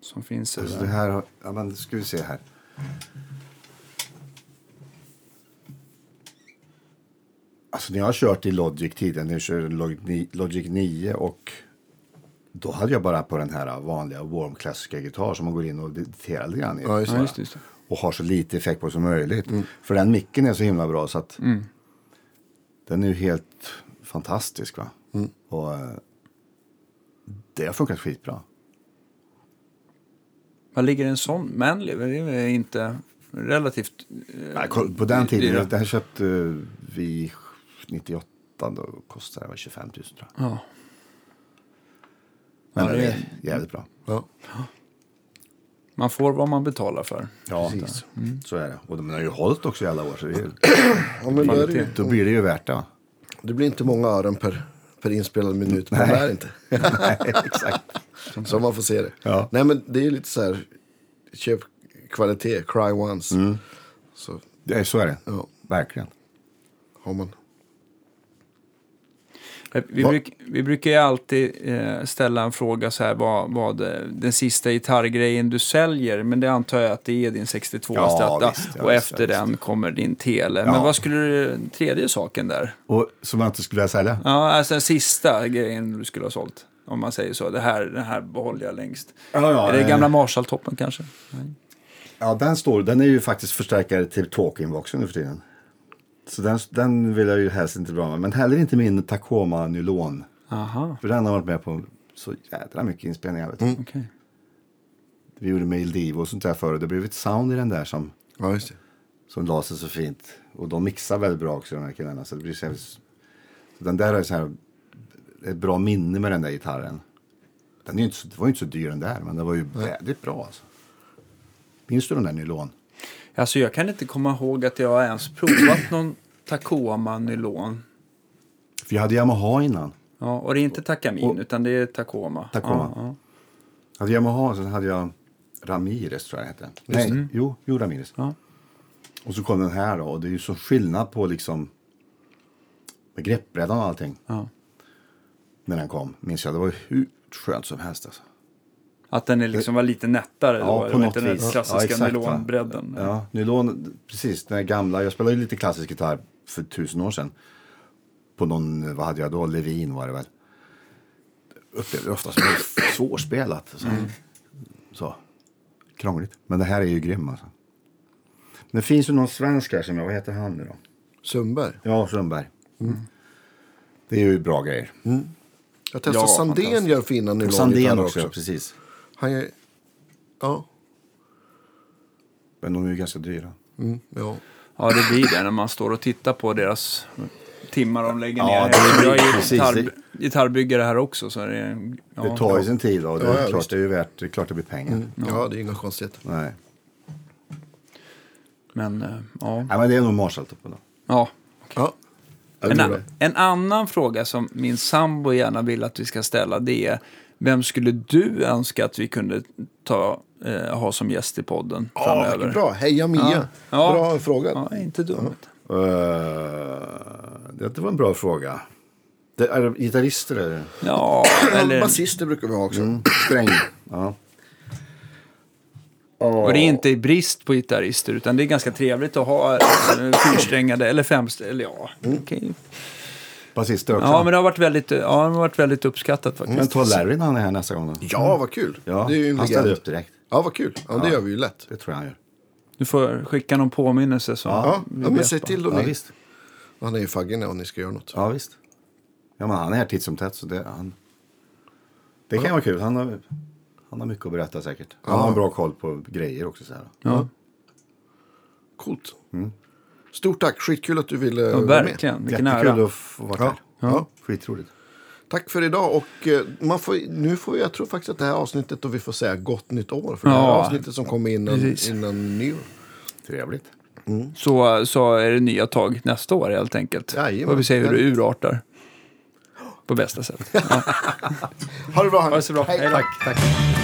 Speaker 1: Som finns i
Speaker 2: Så
Speaker 1: det.
Speaker 2: Eh, alltså, det här... har- Ja, men ska vi se här. Alltså när jag har kört i Logic tidigare, när jag körde Log- ni- Logic 9 och då hade jag bara på den här vanliga warm klassiska gitarr som man går in och diterar lite grann i.
Speaker 3: Ja, just
Speaker 1: Ja, just det, just det.
Speaker 2: och har så lite effekt på som möjligt. För den micken är så himla bra så att den är ju helt fantastisk. Va? Och eh, det har funkat skitbra.
Speaker 1: Vad ligger en sån manly? Det är väl inte relativt... eh,
Speaker 2: Nej, koll, på den tiden,
Speaker 1: dyra.
Speaker 2: det här köpte vi 98 då kostade det väl 25 000 tror jag.
Speaker 1: Ja.
Speaker 2: Men
Speaker 1: Ja,
Speaker 2: den
Speaker 1: det-
Speaker 2: är jävligt bra.
Speaker 3: Ja.
Speaker 1: Man får vad man betalar för.
Speaker 2: Ja, precis. Mm. Så är det. Och de har ju hållit också i alla år. Så det, är-
Speaker 3: Ja, men då, är det, ju,
Speaker 2: då blir det ju värt det.
Speaker 3: det blir inte många ören per, per inspelad minut. Men det är inte.
Speaker 2: Nej, exakt.
Speaker 3: Så man får se det.
Speaker 2: Ja.
Speaker 3: Nej, men det är ju lite så här. Köp kvalitet, cry once.
Speaker 2: Mm.
Speaker 3: Så
Speaker 2: Det är, så är det.
Speaker 3: Ja.
Speaker 2: Verkligen.
Speaker 3: har man.
Speaker 1: Eh, Vi,
Speaker 3: Va-
Speaker 1: bruk, vi brukar ju alltid eh, ställa en fråga så här, vad, vad eh, den sista gitarrgrejen du säljer, men det antar jag att det är din 62
Speaker 2: Ja,
Speaker 1: Strata
Speaker 2: visst, ja,
Speaker 1: och
Speaker 2: visst,
Speaker 1: efter
Speaker 2: ja,
Speaker 1: den kommer din Tele.
Speaker 2: Ja.
Speaker 1: Men vad skulle du, tredje saken där?
Speaker 2: Och som jag inte skulle vilja sälja.
Speaker 1: Ja, alltså den sista grejen du skulle ha sålt, om man säger så. Det här, den här behåller jag längst.
Speaker 2: Ja, ja,
Speaker 1: är det
Speaker 2: eh,
Speaker 1: gamla Marshalltoppen kanske? Nej.
Speaker 2: Ja, den, står, den är ju faktiskt förstärkare till talkingboxen nu för tiden. Så den, den vill jag ju helst inte bli av med. Men heller inte min Tacoma nylon.
Speaker 1: Aha,
Speaker 2: För den har varit med på så jädra mycket inspelningar. Vet du.
Speaker 1: okej.
Speaker 2: Vi gjorde Mail Divo och sånt där förr. och Det blev ett sound i den där som,
Speaker 3: Ja, just det.
Speaker 2: som la sig så fint. Och de mixar väldigt bra också de här killarna. Så det blir så jävligt... så Den där har ju så här, ett bra minne med den där gitarren. Den är ju inte, så- det var ju inte så dyr den där men den var ju väldigt bra alltså. Minns du den där nylon?
Speaker 1: Alltså jag kan inte komma ihåg att jag har ens provat någon Tacoma nylon.
Speaker 2: För jag hade Yamaha innan.
Speaker 1: Ja, och det är inte Takamin
Speaker 2: Och-
Speaker 1: utan det är Tacoma.
Speaker 2: Tacoma.
Speaker 1: Ja, ja.
Speaker 2: Jag hade Alltså, Yamaha sen hade jag Ramirez tror jag hette. Nej, jo, jo, Ramirez.
Speaker 1: Ja.
Speaker 2: Och så kom den här då och det är ju så skillnad på liksom med greppbrädan och allting
Speaker 1: Ja.
Speaker 2: när den kom. Minns jag, det var ju hur skönt som helst alltså.
Speaker 1: Att den är liksom var lite nättare
Speaker 2: Ja,
Speaker 1: då,
Speaker 2: på
Speaker 1: det var
Speaker 2: något
Speaker 1: inte den
Speaker 2: vis.
Speaker 1: här
Speaker 2: Ja,
Speaker 1: klassiska
Speaker 2: exakt, va?
Speaker 1: nylonbredden.
Speaker 2: Ja, nylon, precis, den här gamla. Jag spelade ju lite klassisk gitarr för tusen år sedan. På någon, vad hade jag då, Levin var det väl. Upplevde det ofta som väldigt svårspelat. Så. så. Krångligt. Men det här är ju grym alltså. Men det finns ju någon svensk här som jag, vad heter han nu då?
Speaker 3: Sundberg.
Speaker 2: Ja, Sundberg.
Speaker 3: Mm.
Speaker 2: Det är ju bra grejer.
Speaker 3: Jag testar
Speaker 1: Ja,
Speaker 3: Sandén
Speaker 1: fantastiskt.
Speaker 3: gör fina nylongitarrer
Speaker 2: Sandén också,
Speaker 3: också.
Speaker 2: precis.
Speaker 3: Han är... Ja.
Speaker 2: Men de är ju ganska dyra.
Speaker 3: Mm, ja.
Speaker 1: Ja, det blir det när man står och tittar på deras timmar de lägger
Speaker 2: Ja,
Speaker 1: ner.
Speaker 2: det
Speaker 1: här.
Speaker 2: blir-
Speaker 1: jag är ju
Speaker 2: precis,
Speaker 1: gitarr,
Speaker 2: det-
Speaker 1: gitarrbyggare här också. Så det, är- ja,
Speaker 2: det tar ju sin tid och det
Speaker 3: Ja,
Speaker 2: är,
Speaker 3: ja,
Speaker 2: klart,
Speaker 3: visst. Mm.
Speaker 2: det är ju värt, det är klart det blir pengar.
Speaker 3: ja, det är inga konstigheter.
Speaker 2: Nej.
Speaker 1: Men, eh, ja.
Speaker 2: Nej, men det är nog Marshalltoppen då.
Speaker 1: ja.
Speaker 3: Ja.
Speaker 2: Jag
Speaker 1: En,
Speaker 2: tror
Speaker 1: a-
Speaker 2: det.
Speaker 1: en annan fråga som min sambo gärna vill att vi ska ställa det är vem skulle du önska att vi kunde ta, eh, ha som gäst i podden
Speaker 3: Ja,
Speaker 1: framöver?
Speaker 3: vilken bra. Heja Mia.
Speaker 1: Ja.
Speaker 3: Bra fråga.
Speaker 1: Ja, inte dumt.
Speaker 2: Eh, det var en bra fråga. Det är det gitarrister eller?
Speaker 1: Ja, eller...
Speaker 3: Basister brukar vi ha också.
Speaker 2: Sträng. Ja.
Speaker 1: Och det är inte i brist på gitarrister, utan det är ganska trevligt att ha eh, fyrsträngade eller femsträngade. Eller ja, okej.
Speaker 2: Basister också.
Speaker 1: ja, men
Speaker 2: men,
Speaker 1: det har varit väldigt, eh, ja, det har varit väldigt uppskattat faktiskt.
Speaker 2: Mm. ta Larry när han är här nästa gång då.
Speaker 3: Ja, vad kul.
Speaker 2: Ja,
Speaker 3: det är ju en
Speaker 2: han ställer
Speaker 3: legend.
Speaker 2: upp direkt.
Speaker 3: Ja, vad kul. Ja, det gör vi ju lätt.
Speaker 2: Det tror jag han gör.
Speaker 1: Du får skicka någon påminnelse. Så
Speaker 3: Ja,
Speaker 1: vi
Speaker 3: ja men
Speaker 1: vet
Speaker 3: säg
Speaker 1: bara.
Speaker 3: till då
Speaker 2: Ja,
Speaker 3: ni.
Speaker 2: visst.
Speaker 3: Han är ju faggen om ni ska göra något.
Speaker 2: Ja, visst. Ja, men han är här titt som tätt så det, han... det kan ju vara kul. Han har, han har mycket att berätta säkert. Han har en bra koll på grejer också. Så här.
Speaker 1: Ja,
Speaker 3: Coolt.
Speaker 2: Mm.
Speaker 3: Stort tack. Skitkul att du ville
Speaker 1: ja,
Speaker 3: vara med.
Speaker 1: verkligen. Vilken
Speaker 2: Jättekul
Speaker 1: ära.
Speaker 2: att få vara
Speaker 3: Ja.
Speaker 2: här.
Speaker 3: Ja.
Speaker 2: Skitroligt.
Speaker 3: Tack för idag. Och eh, man får, nu får jag tror faktiskt att det här avsnittet och vi får säga gott nytt år. För det här
Speaker 1: Ja.
Speaker 3: avsnittet som kommer innan,
Speaker 1: Precis.
Speaker 3: innan nyår.
Speaker 2: Trevligt.
Speaker 1: Så, så är det nya tag nästa år helt enkelt.
Speaker 3: Jajamän.
Speaker 1: Och vi ser hur det urartar. På bästa sätt. Ja.
Speaker 3: Ha det bra.
Speaker 1: Ha det så bra. Hej då.
Speaker 3: Tack. tack.